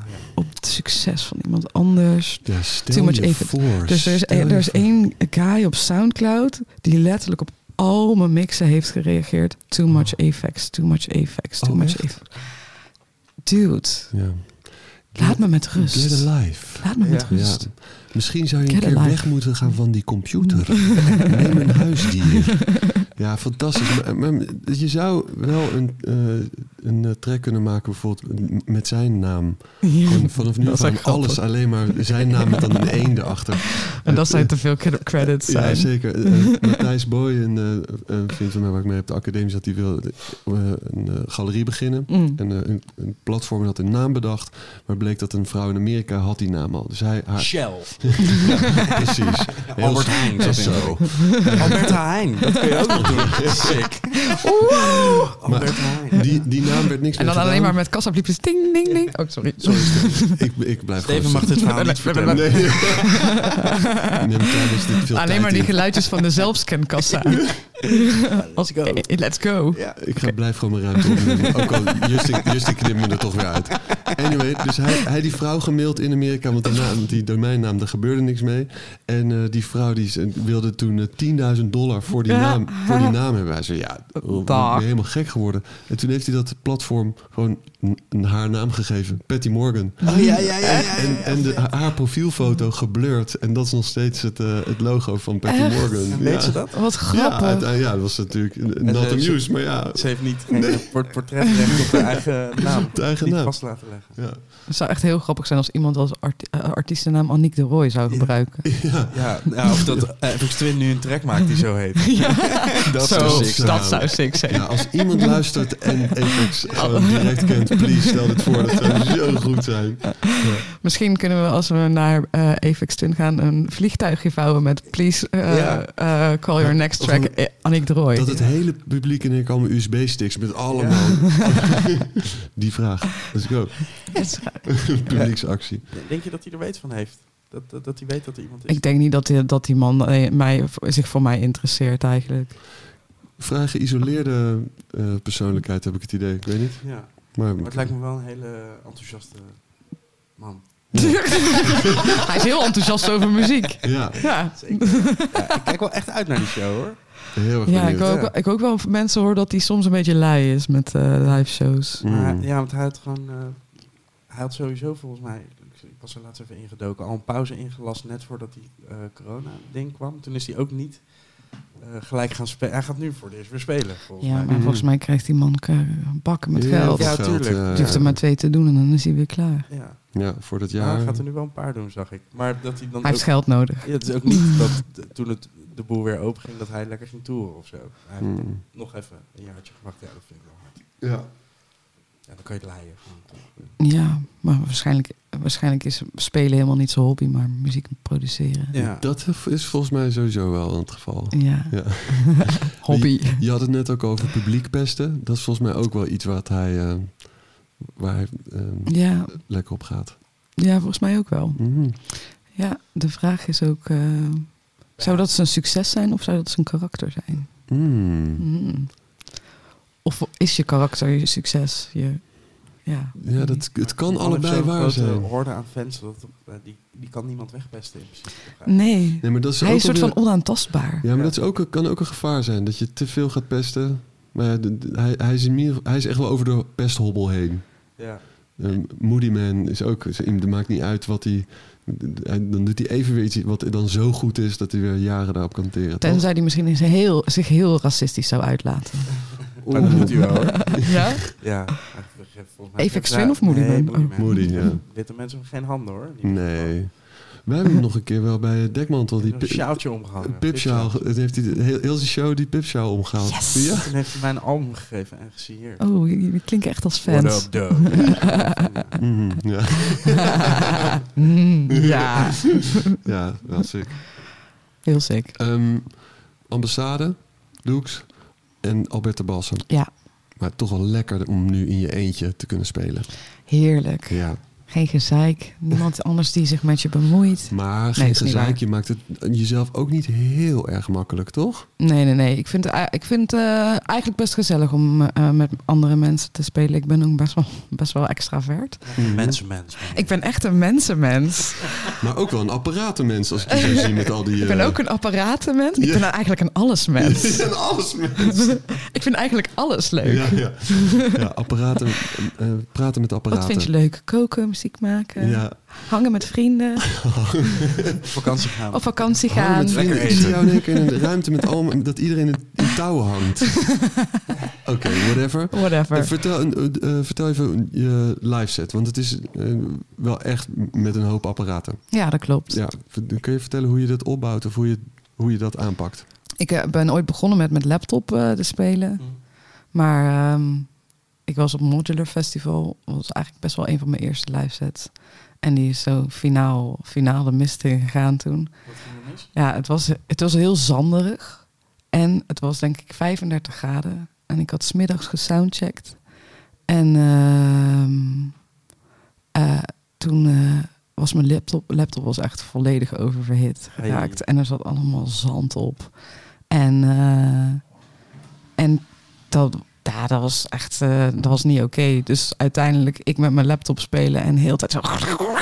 S1: ja.
S4: op het succes van iemand anders.
S2: Ja, stel
S4: Too much
S2: je
S4: effort.
S2: voor.
S4: Dus er is,
S2: stel
S4: er
S2: je
S4: is
S2: voor.
S4: één guy op Soundcloud die letterlijk op al mijn mixen heeft gereageerd. Too much effects, too much effects, too
S2: Oh,
S4: much
S2: echt?
S4: effects. Dude,
S2: Ja.
S4: laat me met
S2: Get
S4: rust.
S2: alive.
S4: Laat me met
S1: Ja.
S2: Ja.
S4: rust.
S2: Misschien zou je een
S4: Get
S2: keer
S4: alive.
S2: weg moeten gaan van die
S4: [LAUGHS]
S2: computer. Neem een huisdier. Ja, fantastisch. Maar, maar je zou wel een, eh, een eh, track kunnen maken bijvoorbeeld met zijn naam.
S4: Ja.
S2: Gewoon vanaf nu
S4: Dat is
S2: van
S4: echt grappig.
S2: alles alleen maar zijn naam met dan een eend erachter.
S4: En dat zijn te veel cred- credits
S2: Ja,
S4: zijn.
S2: zeker. Eh, Matthijs Boy, een, eh, een vriend van mij waar ik mee op de academie zat, die wil eh, een eh, galerie beginnen.
S4: Mm.
S2: En eh, een, een platform had een naam bedacht, maar bleek dat een vrouw in Amerika had die naam al. Dus hij, haar,
S1: Shell.
S2: [LAUGHS] Precies. Heel
S1: Albert
S2: s-
S1: Heijn zat in.
S2: zo.
S1: [LAUGHS] Alberta Heijn, dat kun je ook nog [LAUGHS] doen. Sick. Alberta Heijn.
S2: Die, die naam werd niks
S4: En
S2: meer
S4: dan alleen maar
S2: gedaan.
S4: met kassabliepjes. Ding, ding, ding. Oh,
S2: [LAUGHS]
S4: sorry. [LAUGHS]
S2: Ik, ik blijf
S1: Steven
S2: gewoon
S1: mag dit verhaal niet vertellen.
S2: Nee. Nee, maar daarom is dit veel tijd
S4: Alleen maar die
S2: in.
S4: geluidjes van de
S2: [LAUGHS]
S4: zelfscankassa. [LAUGHS] Als
S1: go.
S4: ik Let's go.
S2: Ja, ik ga blijf gewoon mijn ruimte opnemen. Ook al Justin, Justin knipt me er toch weer uit. Anyway, dus hij, hij die vrouw gemaild in Amerika, want die, naam, die domeinnaam, daar gebeurde niks mee. En eh, die vrouw die ze- wilde toen eh, 10.000 dollar voor die
S4: Ja.
S2: naam, voor die naam hebben. Hij zei, ja, ik ben
S4: Dag.
S2: helemaal gek geworden. En toen heeft hij dat platform gewoon n- n- haar naam gegeven, Patty Morgan.
S1: [LAUGHS] Oh ja, ja, ja. ja.
S2: En, en de, haar profielfoto geblurred. En dat is nog steeds het, eh, het logo van Patty
S4: Echt?
S2: Morgan.
S1: Weet
S2: ja.
S1: ze dat?
S4: Wat
S2: Ja,
S4: grappig.
S2: uiteindelijk- ja, dat was natuurlijk
S1: ze-
S2: not amused,
S1: eh, ze-
S2: maar ja.
S1: Ze heeft niet geen eh, port- portretrecht op haar [LAUGHS] eigen naam.
S2: De eigen
S1: Niet
S2: naam.
S1: vast laten leggen.
S2: Ja.
S4: Het zou echt heel grappig zijn als iemand als arti- eh, artiestennaam Annick de Roy zou gebruiken.
S2: Ja.
S1: Ja, nou, of dat eh, FX Twin nu een track maakt die zo heet.
S2: [LAUGHS] Dat
S4: Zo,
S2: is sick.
S4: dat zou sick zijn.
S2: Ja, als iemand luistert en Apex
S1: Oh.
S2: gewoon direct kent, please stel dit voor. Dat
S1: [LAUGHS]
S2: zou zo goed zijn.
S4: Misschien kunnen we als we naar eh Avex Twin gaan een vliegtuigje vouwen met please eh,
S1: Ja.
S4: eh, call your next track
S2: een-
S4: eh, Annick de Roy.
S2: Dat het hele publiek in één keer allemaal USB-sticks met allemaal [LAUGHS] die vraag. Let's go. [LAUGHS] Publieksactie.
S1: Denk je dat hij er weet van heeft? Dat, dat, dat hij weet dat er iemand is?
S4: Ik denk niet dat die, dat die man eh, mij, zich voor mij interesseert eigenlijk.
S2: Vraag geïsoleerde eh, persoonlijkheid heb ik het idee. Ik weet niet.
S1: Ja,
S2: Maar,
S1: maar Oh, het lijkt me wel een hele enthousiaste man.
S4: [LAUGHS] Hij is heel enthousiast over muziek.
S2: Ja,
S4: Ja,
S1: Ja, ik kijk wel echt uit naar die show hoor.
S2: heel erg
S4: ja ik,
S2: benieuwd.
S4: ook,
S1: ja.
S4: ik ook wel van mensen hoor dat hij soms een beetje lui is met eh live shows.
S1: Maar,
S2: Mm.
S1: ja, want hij had gewoon. eh, hij had sowieso volgens mij. ik- Ik was er laatst even ingedoken. Al een pauze ingelast net voordat die eh, corona-ding kwam. Toen is hij ook niet eh, gelijk gaan spelen. Hij gaat nu voor het eerst weer spelen. Volgens
S4: Ja, maar
S1: mij.
S2: Mhm.
S4: volgens mij krijgt die man k- bakken met
S2: Heel veel
S4: geld.
S1: Ja,
S2: geld,
S1: tuurlijk.
S2: eh,
S4: Je hoeft er maar twee te doen en dan is hij weer klaar.
S1: Ja,
S2: Ja, voor dat
S1: ja. Nou,
S2: jaar.
S1: hij Ah, gaat er nu wel een paar doen, zag ik. Maar dat hij dan.
S4: Hij
S1: Ook,
S4: heeft geld nodig.
S1: Ja, het is ook niet dat de- toen het, de boel weer open ging, dat hij lekker ging toeren of zo. Hij heeft
S2: Mm.
S1: nog even een jaartje gewacht. Ja, dat vind ik wel hard.
S2: Ja.
S1: Ja, dan kan je het leiden. Gewoon.
S4: Ja, maar waarschijnlijk, waarschijnlijk is spelen helemaal niet zijn hobby, maar muziek produceren.
S1: Ja.
S2: Dat is volgens mij sowieso wel het geval.
S4: Ja,
S2: Ja.
S4: hobby.
S2: Je, je had het net ook over publiek pesten. Dat is volgens mij ook wel iets wat hij, eh, waar hij eh,
S4: [LAUGHS] Ja,
S2: lekker op gaat.
S4: ja, volgens mij ook wel.
S2: Mhm.
S4: Ja, de vraag is ook, eh, zou dat zijn succes zijn of zou dat zijn karakter zijn?
S2: Mm.
S4: Hmm. Of is je karakter je succes? Je, ja,
S2: Ja, dat, het kan
S1: Maar
S2: allebei
S1: zo'n
S2: waar
S1: grote
S2: zijn.
S1: horde aan fans, dat, eh, die, die kan niemand wegpesten in principe.
S4: Nee,
S2: Nee, maar dat is
S4: hij
S2: ook
S4: is een soort
S2: alweer-
S4: van onaantastbaar.
S2: Ja, maar dat is ook, een- kan ook een gevaar zijn. Dat je te veel gaat pesten. Maar ja, de- de- hij, hij, is in ieder- hij is echt wel over de pesthobbel heen.
S1: Ja.
S2: Ehm, Moody Man is ook, is- het maakt niet uit wat hij, hij- dan doet hij even weer iets wat dan zo goed is dat hij weer jaren daarop kan teren. toch?
S4: Tenzij die misschien eens heel, zich heel racistisch zou uitlaten.
S2: Oh,
S1: Maar dat doet hij wel hoor.
S4: Ja?
S1: [LAUGHS] Ja. echt, we geven volgens mij-
S4: Even
S1: Ja,
S4: Swin of Moody Man?
S1: nee,
S4: Oh.
S2: Moody, ja.
S1: Witte mensen hebben geen handen hoor. Die-
S2: Nee. Wij hebben hem nog een keer wel bij Dekmantel die
S1: Zo'n
S2: pi-
S1: sjaaltje omgehangen.
S2: pipsjaal.
S1: Pipsjaal.
S2: Het heeft hij de- heel, heel zijn show die pipsjaal omgehaald.
S4: Yes!
S2: Ja.
S1: Toen heeft hij mij een album gegeven en gesieerd.
S4: Oh, jullie klinken echt als fans.
S1: What up, dude?
S2: Mhm, ja. [LAUGHS]
S4: Mm, ja,
S2: ja, dat is ik.
S4: heel sick.
S2: Ehm, ambassade, Doeks en Alberta Bassen.
S4: Ja,
S2: Maar toch wel lekker om nu in je eentje te kunnen spelen.
S4: heerlijk.
S2: Ja.
S4: Geen gezeik. Niemand anders die zich met je bemoeit.
S2: Maar
S4: Nee,
S2: geen
S4: is niet
S2: gezeik,
S4: waar.
S2: je maakt het eh, jezelf ook niet heel erg makkelijk, toch?
S4: Nee, nee, nee. Ik vind, eh, ik vind het eh, eigenlijk best gezellig om eh, met andere mensen te spelen. Ik ben ook best wel, [LAUGHS] best wel extravert.
S3: Mensen, mensen.
S4: Ik ben echt een mensenmens.
S2: Maar ook wel een apparatenmens, als ik je zo zie met al die...
S4: Ik ben
S2: eh,
S4: ook
S2: [LAUGHS]
S4: een apparatenmens. Ik
S2: Ja.
S4: ben eigenlijk een allesmens.
S2: en
S4: [LAUGHS]
S2: alles mens.
S4: ik vind eigenlijk alles leuk.
S2: Ja, ja. ja apparaten, eh, praten met apparaten.
S4: Wat vind je eh? leuk? Koken, muziek maken,
S2: Ja.
S4: hangen met vrienden,
S3: Op vakantie
S4: [LAUGHS]
S3: gaan.
S4: op vakantie
S2: Hangen
S4: gaan.
S2: met
S3: Lekker
S2: vrienden. Ik
S3: eten.
S2: zie jou in één keer in een ruimte met allemaal... dat iedereen in, in touwen
S4: [LAUGHS]
S2: hangt. Oké, whatever. Eh,
S4: Whatever.
S2: Vertel, een- eh, eh, vertel even je live set, want het is eh, wel echt met een hoop apparaten.
S4: Ja, dat klopt.
S2: Ja, ver- kun je vertellen hoe je dat opbouwt of hoe je, hoe je dat aanpakt?
S4: Ik eh, ben ooit begonnen met met laptop eh, te spelen. Maar ehm, ik was op Modular Festival. Dat was eigenlijk best wel een van mijn eerste live sets. En die is zo finaal, finaal de mist in gegaan toen. Ja, het was, het was heel zanderig. En het was denk ik 35 graden. En ik had smiddags gesoundcheckt. En ehm, eh, toen eh, was mijn laptop, laptop was echt volledig oververhit geraakt. En er zat allemaal zand op. En, eh, en dat, ja, dat was echt eh, dat was niet oké. Dus uiteindelijk ik met mijn laptop spelen en heel de tijd zo... [LAUGHS]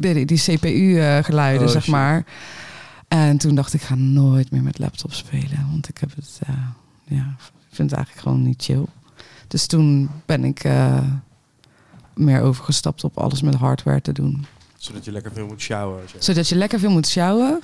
S4: Die, die CPU-geluiden,
S3: Oh,
S4: eh, zeg
S3: shit.
S4: maar. En toen dacht ik, ik ga nooit meer met laptop spelen. Want ik heb het, eh, ja, ik vind het eigenlijk gewoon niet chill. Dus toen ben ik eh, meer overgestapt op alles met hardware te doen.
S1: Zodat je lekker veel moet showeren. zeg.
S4: Zodat je lekker veel moet
S3: [LAUGHS]
S4: sjouwen.
S1: En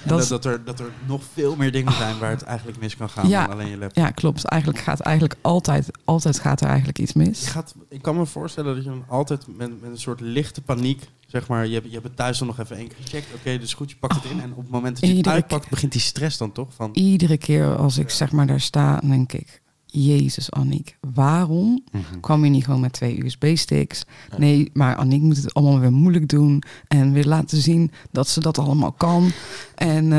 S4: dat
S1: Dat,
S4: is-
S1: dat, er, dat er nog veel meer dingen zijn waar het eigenlijk mis kan gaan
S4: Ja.
S1: dan alleen je laptop.
S4: Ja, klopt. Eigenlijk gaat eigenlijk altijd, altijd gaat er eigenlijk iets
S1: Je
S4: mis.
S1: gaat, ik kan me voorstellen dat je dan altijd met, met een soort lichte paniek, zeg maar, je hebt, je hebt het thuis dan nog even één keer gecheckt. Oké, dus goed, je pakt het
S4: Oh.
S1: in. En op het moment dat je het
S4: Iedere
S1: uitpakt, begint die stress dan toch? Van,
S4: Iedere keer als ik zeg maar daar sta, dan denk ik, Jezus Anniek, waarom
S2: Mhm.
S4: Mm-hmm. kwam je niet gewoon met twee USB-sticks? Nee, maar Anniek moet het allemaal weer moeilijk doen en weer laten zien dat ze dat allemaal kan. En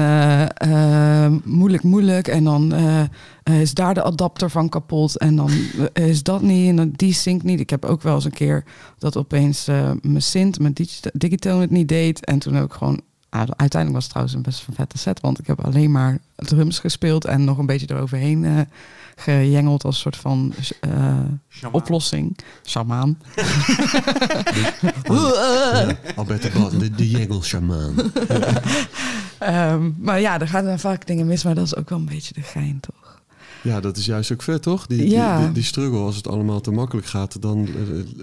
S4: eh, eh, moeilijk, moeilijk. En dan eh, eh, is daar de adapter van kapot. En dan eh, is dat niet en dan die sync niet. Ik heb ook wel eens een keer dat opeens eh, mijn synth, mijn digita- digitone het niet deed. En toen heb ik gewoon... ah, uiteindelijk was het trouwens een best een vette set, want ik heb alleen maar drums gespeeld en nog een beetje eroverheen eh, gejengeld als soort van eh, oplossing. Shamaan.
S2: [LAUGHS]
S4: [LAUGHS]
S2: Alberto Bas, de, de jengelsjamaan.
S4: Ehm, maar ja, er gaan dan vaak dingen mis, maar dat is ook wel een beetje de gein, toch?
S2: Ja, dat is juist ook vet, toch? Die, die-
S4: Ja.
S2: die, die struggle, als het allemaal te makkelijk gaat, dan eh,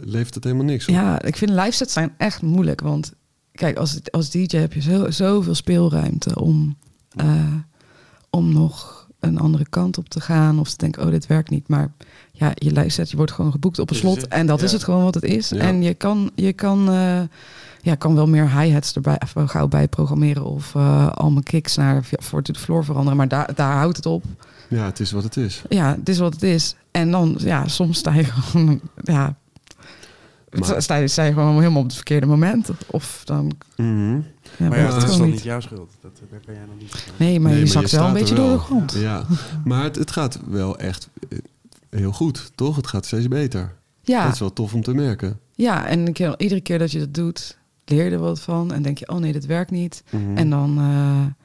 S2: levert het helemaal niks op.
S4: Ja, ik vind live sets zijn echt moeilijk, want kijk, als, als DJ heb je zo, zoveel speelruimte om, eh, om nog een andere kant op te gaan of te denken, oh, dit werkt niet. Maar ja, je live set, je wordt gewoon geboekt op een
S1: Dus het
S4: slot
S1: is-
S4: en dat
S1: ja.
S4: is het gewoon wat het is.
S2: Ja.
S4: En je kan, je kan, eh, ja, kan wel meer hi-hats erbij even gauw bij programmeren of eh, al mijn kicks naar voor de floor veranderen, maar daar, daar houdt het op.
S2: Ja, het is wat het is.
S4: ja, het is wat het is. En dan, ja, soms sta je [LAUGHS] gewoon, ja,
S2: Maar-
S4: sta, je, sta je gewoon helemaal op het verkeerde moment. Of dan,
S2: Mhm.
S4: ja,
S1: maar ja,
S4: werkt het
S1: dat is
S4: gewoon
S1: dan
S4: niet.
S1: niet jouw schuld. Dat, daar kan jij dan niet aan.
S4: Nee, maar
S2: Nee,
S4: je zakt wel een
S2: staat er
S4: beetje door de grond.
S2: Ja, maar het, het gaat wel echt eh, heel goed, toch? Het gaat steeds beter.
S4: Ja,
S2: Dat is wel tof om te merken.
S4: ja en een keer, iedere keer dat je dat doet, leer je er wat van. En denk je, oh nee, dit werkt niet.
S2: Mhm.
S4: En dan, eh,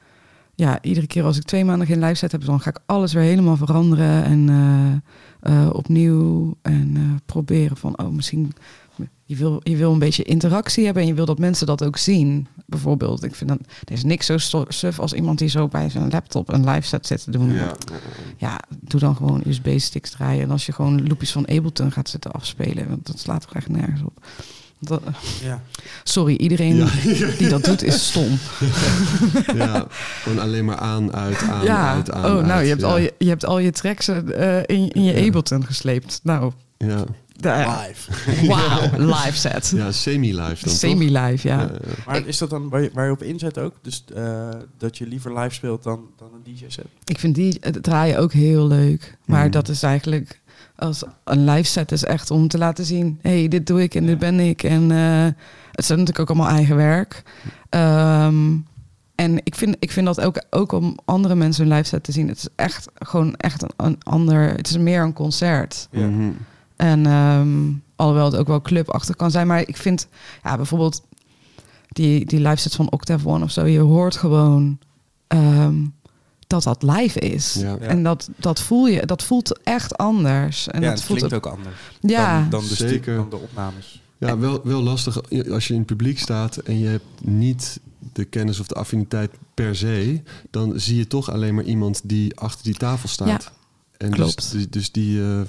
S4: ja, iedere keer als ik twee maanden geen live set heb, dan ga ik alles weer helemaal veranderen en eh, eh, opnieuw en eh, proberen van, oh, misschien. Je wil, je wil een beetje interactie hebben en je wil dat mensen dat ook zien. Bijvoorbeeld, ik vind dan, er is niks zo sto- suf als iemand die zo bij zijn laptop een live set zit te doen.
S2: Ja.
S4: Ja, doe dan gewoon USB-sticks draaien. En als je gewoon loopjes van Ableton gaat zitten afspelen, want dat slaat toch echt nergens op. Dat-
S1: Ja.
S4: sorry, iedereen
S2: Ja.
S4: die dat doet is stom. [LAUGHS]
S2: ja, gewoon alleen maar aan, uit, aan,
S4: ja.
S2: uit, aan,
S4: oh, nou,
S2: uit.
S4: je hebt,
S2: Ja.
S4: al je, je hebt al je tracks eh, in, in je
S2: Ja.
S4: Ableton gesleept. Nou,
S2: Ja,
S4: daar-
S1: Live.
S2: [LAUGHS]
S4: wauw, live set.
S2: ja semi-live dan,
S4: Semi-live, ja.
S2: toch? Ja, ja.
S1: Maar is dat dan waar je, waar je op inzet ook? Dus eh, dat je liever live speelt dan, dan een DJ-set?
S4: Ik vind die het draaien ook heel leuk. Maar dat is eigenlijk als een live set is echt om te laten zien. hey, dit doe ik en dit ben ik. En eh, het zijn natuurlijk ook allemaal eigen werk. Ehm, en ik vind, ik vind dat ook, ook om andere mensen hun live set te zien. Het is echt gewoon echt een, een ander. Het is meer een concert.
S1: Ja.
S2: Mhm.
S4: En ehm, Alhoewel het ook wel clubachtig kan zijn. Maar ik vind ja, bijvoorbeeld die, die live set van Octave One of zo. Je hoort gewoon ehm, dat dat live is.
S2: Ja.
S1: Ja.
S4: En dat, dat voel je. Dat voelt echt anders. En
S1: ja,
S4: dat
S1: het
S4: voelt
S1: klinkt ook anders
S4: Ja.
S1: dan, dan, de stu-
S2: Zeker.
S1: dan de opnames.
S2: Ja, wel, wel lastig als je in het publiek staat en je hebt niet de kennis of de affiniteit per se, dan zie je toch alleen maar iemand die achter die tafel staat. en Dus,
S4: klopt.
S2: die- dus die. eh, ehm,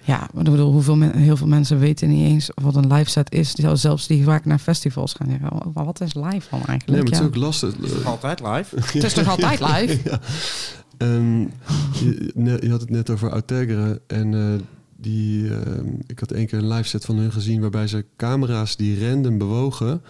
S4: Ja, maar ik bedoel, hoeveel men- heel veel mensen weten niet eens wat een live set is. Die zou zelfs die vaak naar festivals gaan zeggen, "Oh, wat is live dan eigenlijk?
S2: nee, maar het is
S4: Ja.
S2: ook lastig. eh,
S1: Altijd live.
S4: Het is toch altijd live?
S2: [LAUGHS] Ja. Ehm, je, ne- je had het net over Outegre. En eh, die, ehm, ik had één keer een live set van hun gezien... waarbij ze camera's die random bewogen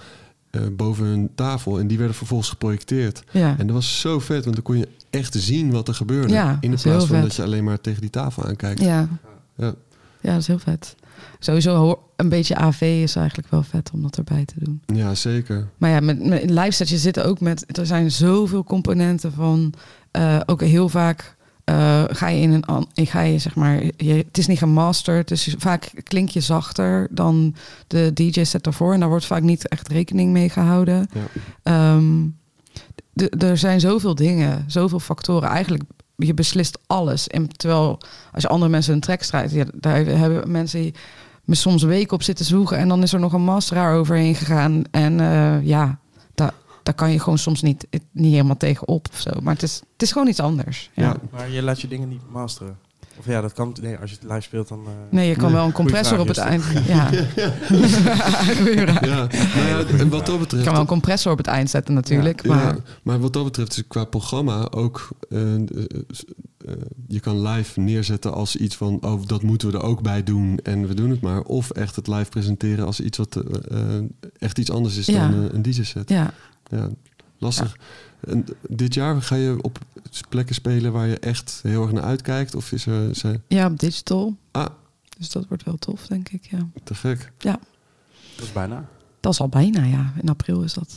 S2: eh, boven hun tafel. En die werden vervolgens geprojecteerd.
S4: Ja.
S2: En dat was zo vet, want dan kon je echt zien wat er gebeurde.
S4: Ja,
S2: in de
S4: dat is heel
S2: plaats van
S4: vet.
S2: dat je alleen maar tegen die tafel aankijkt.
S4: Ja.
S2: Ja.
S4: ja, dat is heel vet. Sowieso hoor, een beetje AV is eigenlijk wel vet om dat erbij te doen.
S2: Ja, zeker.
S4: Maar ja, met, met live sets, je zit ook met... Er zijn zoveel componenten van... eh, ook heel vaak eh, ga je in een... an- Ga je, zeg maar, je, het is niet gemasterd, dus je- vaak klink je zachter dan de DJ-set daarvoor. En daar wordt vaak niet echt rekening mee gehouden.
S2: Ja.
S4: Ehm, d- er zijn zoveel dingen, zoveel factoren. Eigenlijk, je beslist alles. En terwijl als je andere mensen een track strijdt, ja, daar hebben mensen me soms weken op zitten zwoegen. En dan is er nog een masteraar overheen gegaan. En eh, ja, daar, daar kan je gewoon soms niet, het- niet helemaal tegen op of zo. Maar het is, het is gewoon iets anders. Ja.
S2: Ja.
S1: Maar je laat je dingen niet masteren. Of ja, dat kan. Nee, als je het live speelt, dan. eh,
S4: Nee, je kan
S2: Nee.
S4: wel een compressor op het
S1: Goeie
S4: eind. Ja.
S2: [LAUGHS]
S4: [LAUGHS] Goeie raad.
S2: Ja, nou ja, en wat dat
S4: Je
S2: betreft...
S4: kan wel een compressor op het eind zetten natuurlijk.
S2: Ja,
S4: maar
S2: maar wat dat betreft is qua programma ook... eh, eh, s- eh, je kan live neerzetten als iets van... oh, dat moeten we er ook bij doen en we doen het maar. Of echt het live presenteren als iets wat eh, eh, echt iets anders is
S4: Ja.
S2: dan eh, een DJ-set. Ja.
S4: ja.
S2: lastig. En dit jaar ga je op plekken spelen waar je echt heel erg naar uitkijkt? Of is er... Zijn,
S4: Ja, op digital.
S2: Ah.
S4: Dus dat wordt wel tof, denk ik. Ja.
S2: te gek.
S1: Dat is bijna.
S4: Dat is al bijna, ja. In april is dat.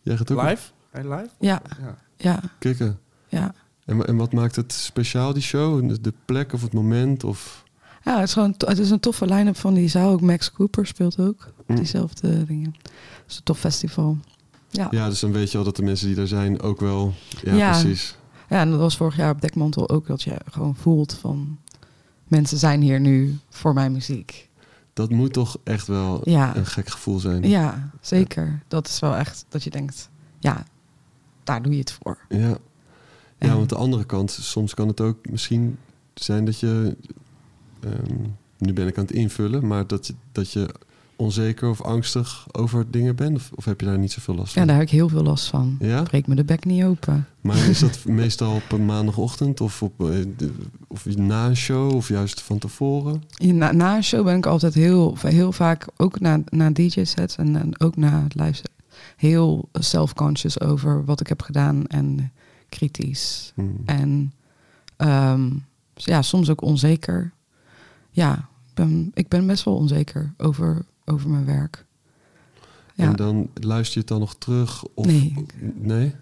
S2: Jij gaat ook op
S1: Live? Hey, live?
S4: Ja,
S1: Ja.
S4: ja,
S2: kicken.
S4: ja.
S2: En, wa- en wat maakt het speciaal, die show? De- De plek of het moment? Of...
S4: Ja, het is gewoon to- het is een toffe line-up van die zaal. Ook Max Cooper speelt ook
S2: Mm.
S4: diezelfde dingen. Het is een tof festival. Ja. ja.
S2: Ja, dus dan weet je al dat de mensen die daar zijn ook wel... Ja,
S4: Ja.
S2: precies.
S4: en dat was vorig jaar op Dekmantel ook. Dat je gewoon voelt van... Mensen zijn hier nu voor mijn muziek.
S2: Dat moet toch echt wel
S4: Ja,
S2: een gek gevoel zijn.
S4: ja zeker. Dat is wel echt dat je denkt... Ja, daar doe je het voor.
S2: Ja. Ja,
S4: En-
S2: want de andere kant, soms kan het ook misschien zijn dat je... ehm, nu ben ik aan het invullen, maar dat je, dat je onzeker of angstig over dingen bent. Of, of heb je daar niet zoveel last van?
S4: Ja, daar heb ik heel veel last van.
S2: Ja?
S4: Breek me de bek niet open.
S2: Maar is dat [LAUGHS] meestal op een maandagochtend of, op, eh, de- of na een show of juist van tevoren?
S4: Ja, Na, na een show ben ik altijd heel, heel vaak, ook na, na DJ-sets en, en ook na het live set, heel self-conscious over wat ik heb gedaan en kritisch.
S2: Hmm.
S4: En ehm, ja, soms ook onzeker. Ja, ik ben, ik ben best wel onzeker over, over mijn werk. Ja,
S2: En dan luister je het dan nog terug? Of,
S4: Nee.
S2: Nee?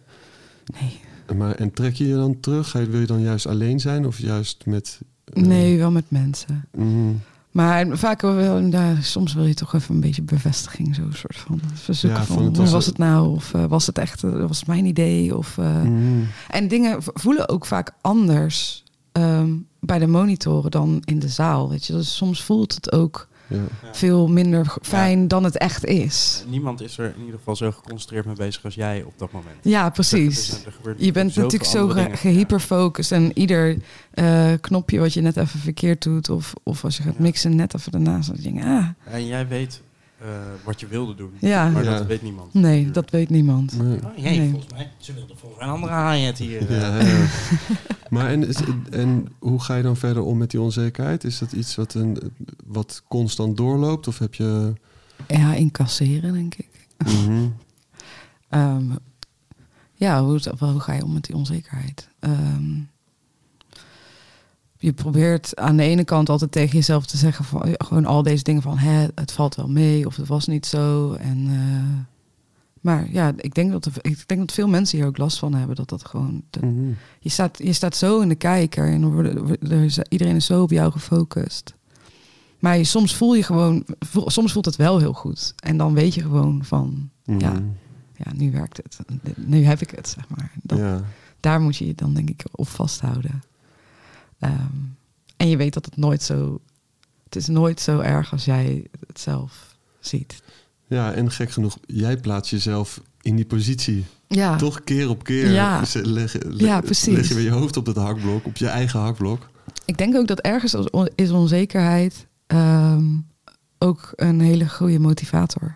S4: nee.
S2: Maar, en trek je je dan terug? Ga je- Wil je dan juist alleen zijn of juist met... eh,
S4: nee, wel met mensen.
S2: mm,
S4: Maar vaak wel, daar, soms wil je toch even een beetje bevestiging, zo'n soort van verzoeken
S2: Ja,
S4: van,
S2: van het
S4: hoe
S2: was-
S4: was het nou? Of eh, was het echt, eh, was het mijn idee? Of, eh,
S1: Mhm.
S2: mm.
S4: En dingen v- voelen ook vaak anders ehm, bij de monitoren dan in de zaal. Weet je? Dus soms voelt het ook
S2: Ja.
S1: Ja.
S4: veel minder g- fijn dan het echt is.
S1: Niemand is er in ieder geval zo geconcentreerd mee bezig als jij op dat moment.
S4: Ja,
S1: Er
S4: precies.
S1: zijn- er gebeurt
S4: Je bent
S1: zoveel
S4: natuurlijk zo
S1: andere
S4: ge-
S1: dingen.
S4: gehyperfocust en ieder eh, knopje wat je net even verkeerd doet, of, of als je gaat
S1: Ja.
S4: mixen, net even daarnaast. Dan denk je, ah,
S1: Ja. En jij weet eh, wat je wilde doen.
S4: Ja.
S1: Maar
S2: Ja.
S1: dat weet niemand.
S4: nee, dat weet niemand.
S2: Nee.
S1: Oh, jee,
S4: Nee.
S1: volgens mij. Ze wilde volgens mij een andere haaien hier. eh. [LAUGHS]
S2: Ja, ja. maar en, is- en hoe ga je dan verder om met die onzekerheid? Is dat iets wat, een, wat constant doorloopt? Of heb je...
S4: Ja, incasseren, denk ik.
S2: Mhm.
S4: Ehm, ja, hoe, het- hoe ga je om met die onzekerheid? Ehm, je probeert aan de ene kant altijd tegen jezelf te zeggen van ja, gewoon al deze dingen van hè, het valt wel mee of het was niet zo. En, eh, maar ja, ik denk, dat er- ik denk dat veel mensen hier ook last van hebben. Dat dat gewoon. dat-
S2: Mhm.
S4: je, staat, je staat zo in de kijker en er worden, er is- iedereen is zo op jou gefocust. Maar je- soms voel je gewoon, vo- soms voelt het wel heel goed. En dan weet je gewoon van, ja,
S2: Mm,
S4: ja, nu werkt het. Nu heb ik het, zeg maar. Dan,
S2: ja.
S4: Daar moet je je dan denk ik op vasthouden. Ehm, en je weet dat het nooit zo, het is nooit zo erg als jij het zelf ziet.
S2: ja, en gek genoeg, jij plaatst jezelf in die positie.
S4: Ja,
S2: Toch keer op keer [LAUGHS]
S4: Ja.
S2: ze- leg, le-
S4: Ja, precies.
S2: leg je weer je hoofd op dat hakblok, op je eigen hakblok.
S4: ik denk ook dat ergens als on- is onzekerheid ehm, ook een hele goede motivator.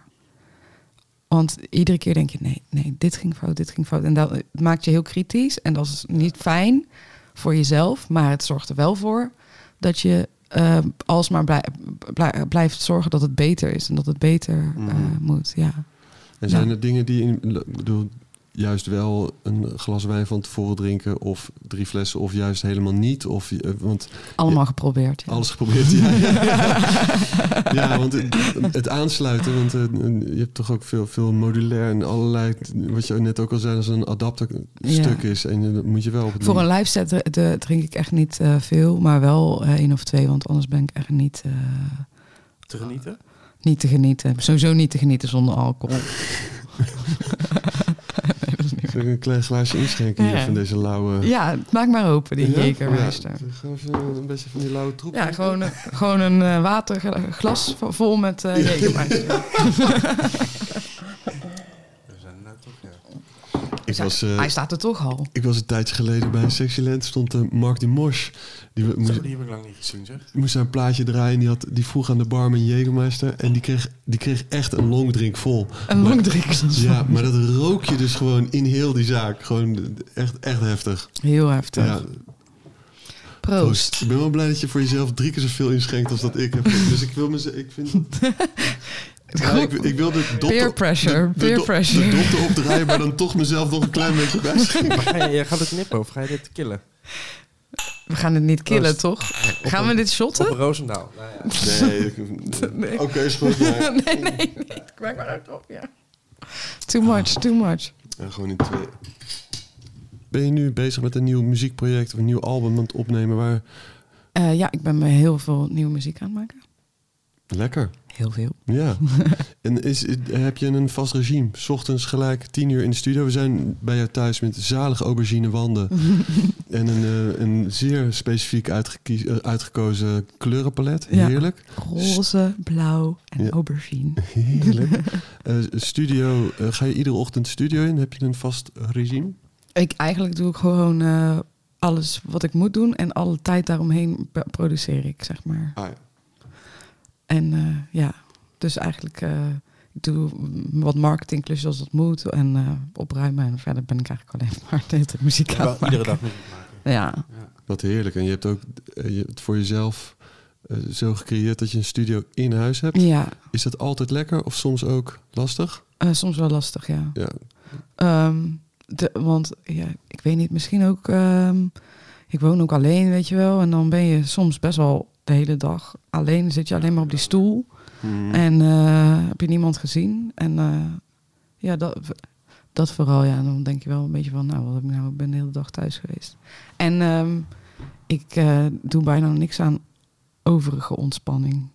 S4: Want iedere keer denk je, nee, nee, dit ging fout, dit ging fout. En dat het maakt je heel kritisch. En dat is niet fijn voor jezelf. Maar het zorgt er wel voor dat je eh, alsmaar blij- blij- blijft zorgen dat het beter is. En dat het beter eh,
S2: Mhm.
S4: moet, ja.
S2: En zijn
S4: Ja.
S2: er dingen die, in, ik bedoel, juist wel een glas wijn van tevoren drinken of drie flessen of juist helemaal niet? Of, eh, want
S4: Allemaal geprobeerd. Ja.
S2: Alles [LAUGHS] geprobeerd, ja.
S4: [LAUGHS]
S2: ja. ja, want het, het aansluiten, want eh, je hebt toch ook veel, veel modulair en allerlei, wat je net ook al zei, als een adapterstuk stuk is. En eh, dat moet je wel op het
S4: Voor een
S2: moment-
S4: live set dr- de- drink ik echt niet eh, veel, maar wel eh, één of twee, want anders ben ik echt niet, eh,
S1: Te genieten?
S4: niet te genieten. Sowieso niet te genieten zonder alcohol.
S2: Oh.
S4: Nee, [LAUGHS] dat is niet waar.
S2: Zal ik een klein glaasje inschenken hier
S4: Ja.
S2: van deze lauwe...
S4: ja, maak maar open die
S2: Ja?
S4: jekermeister.
S2: Ja, gaan we even een beetje van die lauwe troep.
S4: Ja, gewoon, een- gewoon een eh, waterglas vo- vol met eh jekermeister.
S1: We zijn er nou toch, ja.
S2: Ik was, eh,
S4: Hij staat er toch al.
S2: ik was een tijdje geleden bij Sexyland, stond eh, Mark de Mosch. Die we- moest,
S1: Zo, die heb ik lang niet gezien, zeg.
S2: moest zijn plaatje draaien. Die, had, die vroeg aan de barman Jägermeister. En die kreeg, die kreeg echt een longdrink vol.
S4: Een
S2: Maar-
S4: longdrinkersglas. [LAUGHS]
S2: Ja, maar dat rook je dus gewoon in heel die zaak. Gewoon echt, echt heftig.
S4: Heel heftig.
S2: Ja,
S4: Proost.
S2: Ik ben wel blij dat je voor jezelf drie keer zoveel inschenkt als dat ik
S4: [LAUGHS]
S2: heb. Dus ik wil me... Ik vind... Ja, ik, ik wil de dop...
S4: Peer pressure,
S2: de,
S4: peer
S2: dop-
S4: pressure.
S2: De dop erop draaien, maar dan toch mezelf nog een klein beetje
S4: [LAUGHS]
S2: bijschenken.
S1: Ah. Maar ga je, jij gaat het knippen of ga je dit killen?
S4: We gaan het niet killen,
S1: Proost.
S4: toch? Gaan we dit shotten?
S1: Op Roosendaal. Nou ja.
S2: Nee,
S4: [LAUGHS]
S2: ik-
S4: Nee.
S2: oké, is goed. maar-
S4: [LAUGHS] nee, nee, nee. Ik maak maar uit op, ja. Too much, too much.
S2: Ja, gewoon in twee. Ben je nu bezig met een nieuw muziekproject of een nieuw album aan het opnemen? Waar...
S4: Eh, ja, ik ben me heel veel nieuwe muziek aan het maken.
S2: Lekker.
S4: Heel veel. [LAUGHS]
S2: Ja. en is, heb je een vast regime? 's ochtends gelijk tien uur in de studio. We zijn bij jou thuis met zalige aubergine
S4: [LAUGHS]
S2: wanden. en een, eh, een zeer specifiek uitgekie- eh, uitgekozen kleurenpalet.
S4: Ja. [LAUGHS]
S2: Heerlijk.
S4: Roze, blauw en
S2: Ja.
S4: aubergine.
S2: Heerlijk. Eh, studio, eh, ga je iedere ochtend studio in? Heb je een vast regime?
S4: Ik, eigenlijk doe ik gewoon eh, alles wat ik moet doen en alle tijd daaromheen p- produceer ik, zeg maar.
S2: Ah, ja.
S4: En eh, ja, dus eigenlijk eh, ik doe wat marketingklusjes als dat moet en eh, opruimen. En verder ben ik eigenlijk alleen [LAUGHS] maar de hele tijd muziek aan
S1: Wel
S4: het
S1: iedere
S4: maken.
S1: dag muziek maken.
S4: Ja,
S2: Wat heerlijk. En je hebt ook eh, je hebt het voor jezelf eh, zo gecreëerd dat je een studio in huis hebt.
S4: ja.
S2: Is dat altijd lekker of soms ook lastig?
S4: Eh, soms wel lastig, ja.
S2: Ja.
S4: Ehm, de, want ja, ik weet niet, misschien ook. ehm, ik woon ook alleen, weet je wel. En dan ben je soms best wel de hele dag alleen. Dan zit je alleen maar op die stoel.
S1: Hmm.
S3: Mm.
S4: En eh, heb je niemand gezien. En eh, ja, dat, dat vooral. Ja, En dan denk je wel een beetje van, nou, wat heb ik nou? Ik ben de hele dag thuis geweest. En ehm, ik eh, doe bijna niks aan overige ontspanning.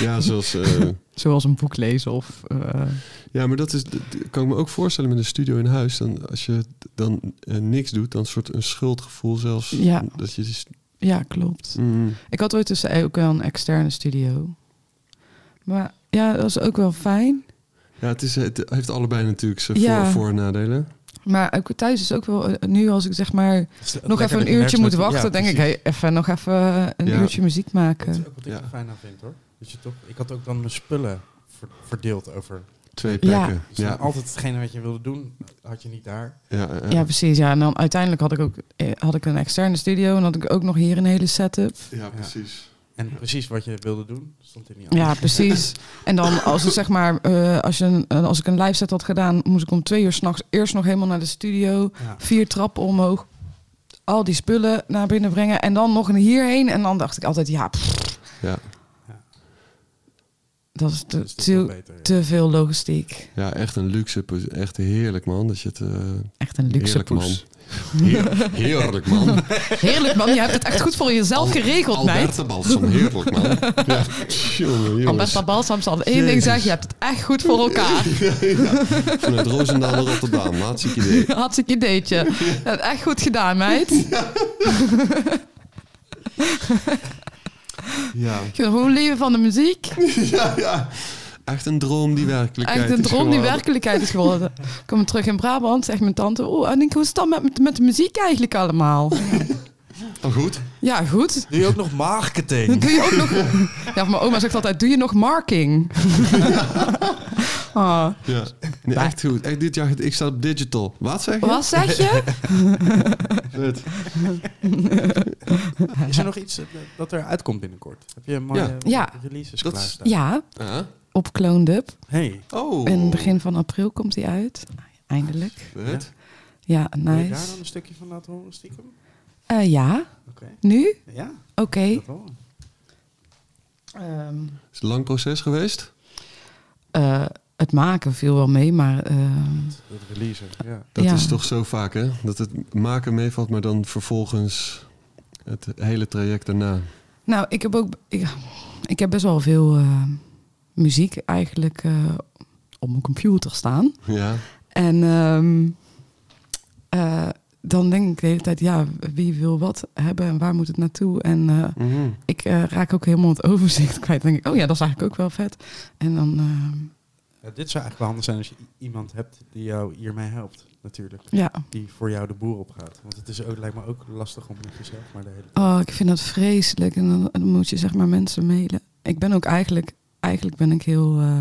S2: Ja, zoals... eh,
S4: Zoals een boek lezen of. eh,
S2: Ja, maar dat is, dat kan ik me ook voorstellen met een studio in huis. Dan, als je dan eh, niks doet, dan een soort een schuldgevoel zelfs.
S4: Ja.
S2: Dat je dus,
S4: ja, klopt.
S2: Mm.
S4: Ik had ooit dus ook wel een externe studio. Maar ja, dat was ook wel fijn.
S2: ja, het, is, eh, het heeft allebei natuurlijk zijn
S4: Ja.
S2: voor, voor- en nadelen.
S4: Maar ook thuis is ook wel, eh, nu als ik zeg maar nog even een uurtje moet wachten, denk ik, hey, even nog even een
S2: Ja.
S4: uurtje muziek
S1: Dat is
S4: maken.
S1: ook wat ik
S2: Ja.
S1: er fijn aan vind hoor. Dat je toch, ik had ook dan mijn spullen ver- verdeeld over.
S2: Twee
S4: Ja.
S2: plekken.
S1: Dus dan
S2: Ja,
S1: altijd hetgene wat je wilde doen, had je niet daar.
S2: ja, ja.
S4: Ja, precies. Ja, en dan uiteindelijk had ik ook eh, had ik een externe studio en had ik ook nog hier een hele setup.
S2: Ja, precies.
S1: En precies wat je wilde doen, stond er niet aan.
S4: Ja, precies. En dan als het zeg maar, eh, als, je een, eh, als ik een live set had gedaan, moest ik om twee uur s'nachts eerst nog helemaal naar de studio.
S1: Ja.
S4: vier trappen omhoog. Al die spullen naar binnen brengen. En dan nog een hierheen. En dan dacht ik altijd, ja, pff,
S2: Ja.
S4: dat is te,
S1: Dus dat is wel
S4: te,
S1: beter, ja.
S4: te veel logistiek.
S2: Ja, echt een luxe. pos- Echt heerlijk, man. Dat je het, eh,
S4: Echt een luxe
S2: heerlijk, man.
S4: poes.
S2: Heer- heerlijk,
S4: [LAUGHS]
S2: man.
S4: Heerlijk man, je hebt het echt goed voor jezelf geregeld, meid.
S2: Alberta Balsam, heerlijk,
S4: [LAUGHS]
S2: man. Ja, jongen, jongens.
S4: Alberta Balsam zal één ding
S2: Jezus.
S4: zeggen, je hebt het echt goed voor
S2: [LAUGHS]
S4: elkaar.
S2: Vanuit Roosendaal naar Rotterdam. Hartstikke idee.
S4: Hartstikke ideetje. Je hebt echt goed gedaan, meid.
S2: Ja.
S4: Gewoon leven van de muziek.
S2: [LAUGHS] ja, ja. Echt een droom die werkelijkheid
S4: Echt een
S2: is
S4: droom die
S2: geworden.
S4: werkelijkheid is
S1: [LAUGHS]
S4: geworden. Kom terug in Brabant, zegt mijn tante. Oh, en ik, hoe is het dan met- met, met de muziek eigenlijk allemaal?
S2: Maar goed.
S4: Ja, goed.
S3: Doe je ook nog
S4: [LAUGHS]
S3: marketing?
S4: Doe je ook nog... Ja, mijn oma zegt altijd, doe je nog
S1: [LAUGHS]
S4: marking? Ah,
S2: Ja. Nee, echt goed. Echt dit jaar, ik sta op digital. Wat zeg je?
S4: wat zeg je?
S2: Vet.
S1: Is er nog iets eh, dat er uitkomt binnenkort? Heb je mooie
S2: Ja.
S1: ja.
S4: Ja.
S1: releases
S2: Dat is-
S1: klaarstaan?
S4: Ja,
S2: Ja.
S4: op Cloned Up.
S1: Hey,
S2: Oh.
S4: In het begin van april komt die uit. Eindelijk.
S2: Vet.
S4: Ja,
S1: wil je daar dan
S4: nice.
S1: een stukje van laten horen, stiekem?
S4: Eh, ja,
S1: Oké.
S4: nu?
S1: Ja,
S4: Oké.
S1: dat wel.
S4: Ehm,
S2: Is het een lang proces geweest?
S4: eh, het maken viel wel mee, maar... ehm,
S1: Het releasen, ja.
S2: Dat
S4: Ja.
S2: is toch zo vaak, hè? Dat het maken meevalt, maar dan vervolgens het hele traject daarna.
S4: Nou, ik heb ook. Ik, ik heb best wel veel eh, muziek eigenlijk eh, op mijn computer staan.
S2: Ja.
S4: En ehm, eh, dan denk ik de hele tijd, ja, wie wil wat hebben en waar moet het naartoe? En eh,
S2: Mhm.
S4: ik eh, raak ook helemaal het overzicht [LAUGHS] kwijt. Dan denk ik, oh ja, dat is eigenlijk ook wel vet. En dan, ehm,
S1: Ja, Dit zou eigenlijk wel handig zijn als je i- iemand hebt die jou hiermee helpt, natuurlijk.
S4: ja.
S1: Die voor jou de boer opgaat. Want het is ook, lijkt me ook lastig om met jezelf maar de hele tijd...
S4: Oh, ik vind dat vreselijk. En dan, dan moet je zeg maar mensen mailen. Ik ben ook eigenlijk, eigenlijk ben ik heel eh,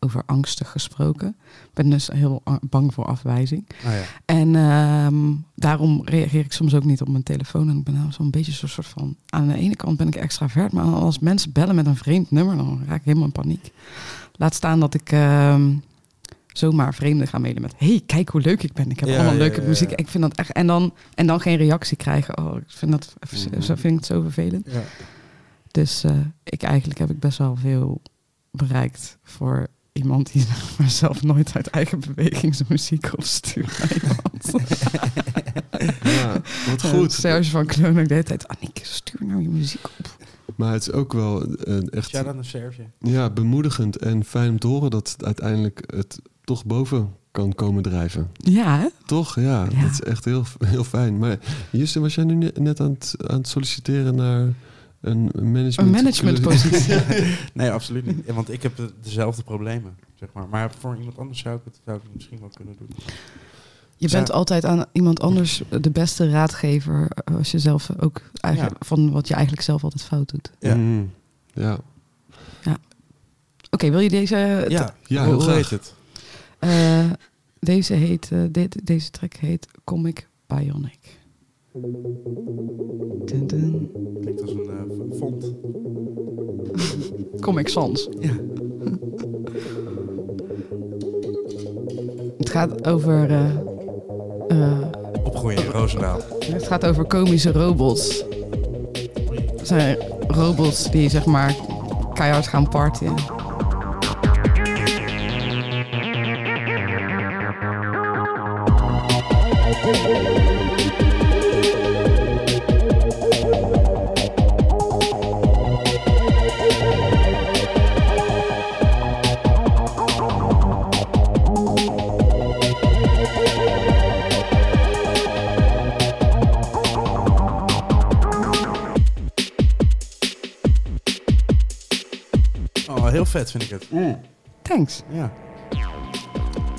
S4: over angstig gesproken. Ik ben dus heel a- bang voor afwijzing.
S1: Ah ja.
S4: En ehm, daarom reageer ik soms ook niet op mijn telefoon. En ik ben nou zo'n beetje zo'n soort van... Aan de ene kant ben ik extravert, maar als mensen bellen met een vreemd nummer... dan raak ik helemaal in paniek. Laat staan dat ik ehm, zomaar vreemden ga mailen met... hey, kijk hoe leuk ik ben. Ik heb
S1: Ja,
S4: allemaal
S1: ja,
S4: leuke
S1: ja, ja.
S4: muziek. Ik vind dat echt... En dan, en dan geen reactie krijgen. Oh, ik vind dat,
S2: Mhm.
S4: zo vind ik het zo vervelend.
S1: ja.
S4: Dus eh, ik, eigenlijk heb ik best wel veel bereikt voor... Iemand die [LAUGHS] maar zelf nooit uit eigen bewegingsmuziek opstuurt naar iemand.
S2: ja. Wat
S4: Ja,
S2: goed.
S4: Serge van Kloon ook de hele tijd. Annick, stuur nou je muziek op.
S2: Maar het is ook wel eh, echt
S1: Shout-out naar [LAUGHS] Serge.
S2: ja, bemoedigend en fijn om te horen dat het uiteindelijk het toch boven kan komen drijven.
S4: Ja, hè?
S2: Toch? Ja,
S4: Ja.
S2: dat is echt heel, heel fijn. Maar Justin, was jij nu ne- net aan het, aan het solliciteren naar een management...
S4: een [LAUGHS] managementpositie.
S1: Nee, absoluut niet. Ja, Want ik heb eh, dezelfde problemen, zeg maar. Maar voor iemand anders zou ik het, zou ik het misschien wel kunnen doen.
S4: Je bent altijd aan iemand anders de beste raadgever. eh, Als je zelf ook eigenlijk, van wat je eigenlijk zelf altijd fout doet.
S1: Ja.
S2: Mhm. ja.
S4: Oké, wil je deze.
S1: Ja,
S2: Ja,
S1: hoe,
S2: heel
S1: hoe
S2: graag.
S1: heet het?
S4: eh, deze, heet, eh, dit, deze track heet Comic Bionic. Dun, dun.
S1: Klinkt als een eh, font.
S4: Comic Sans. Het gaat over. eh, eh,
S1: Opgroeien in Roosendaal.
S4: Het gaat over komische robots. Het zijn robots die zeg maar keihard gaan partyen.
S1: Oh, heel vet vind ik het.
S4: Thanks.
S1: Ja.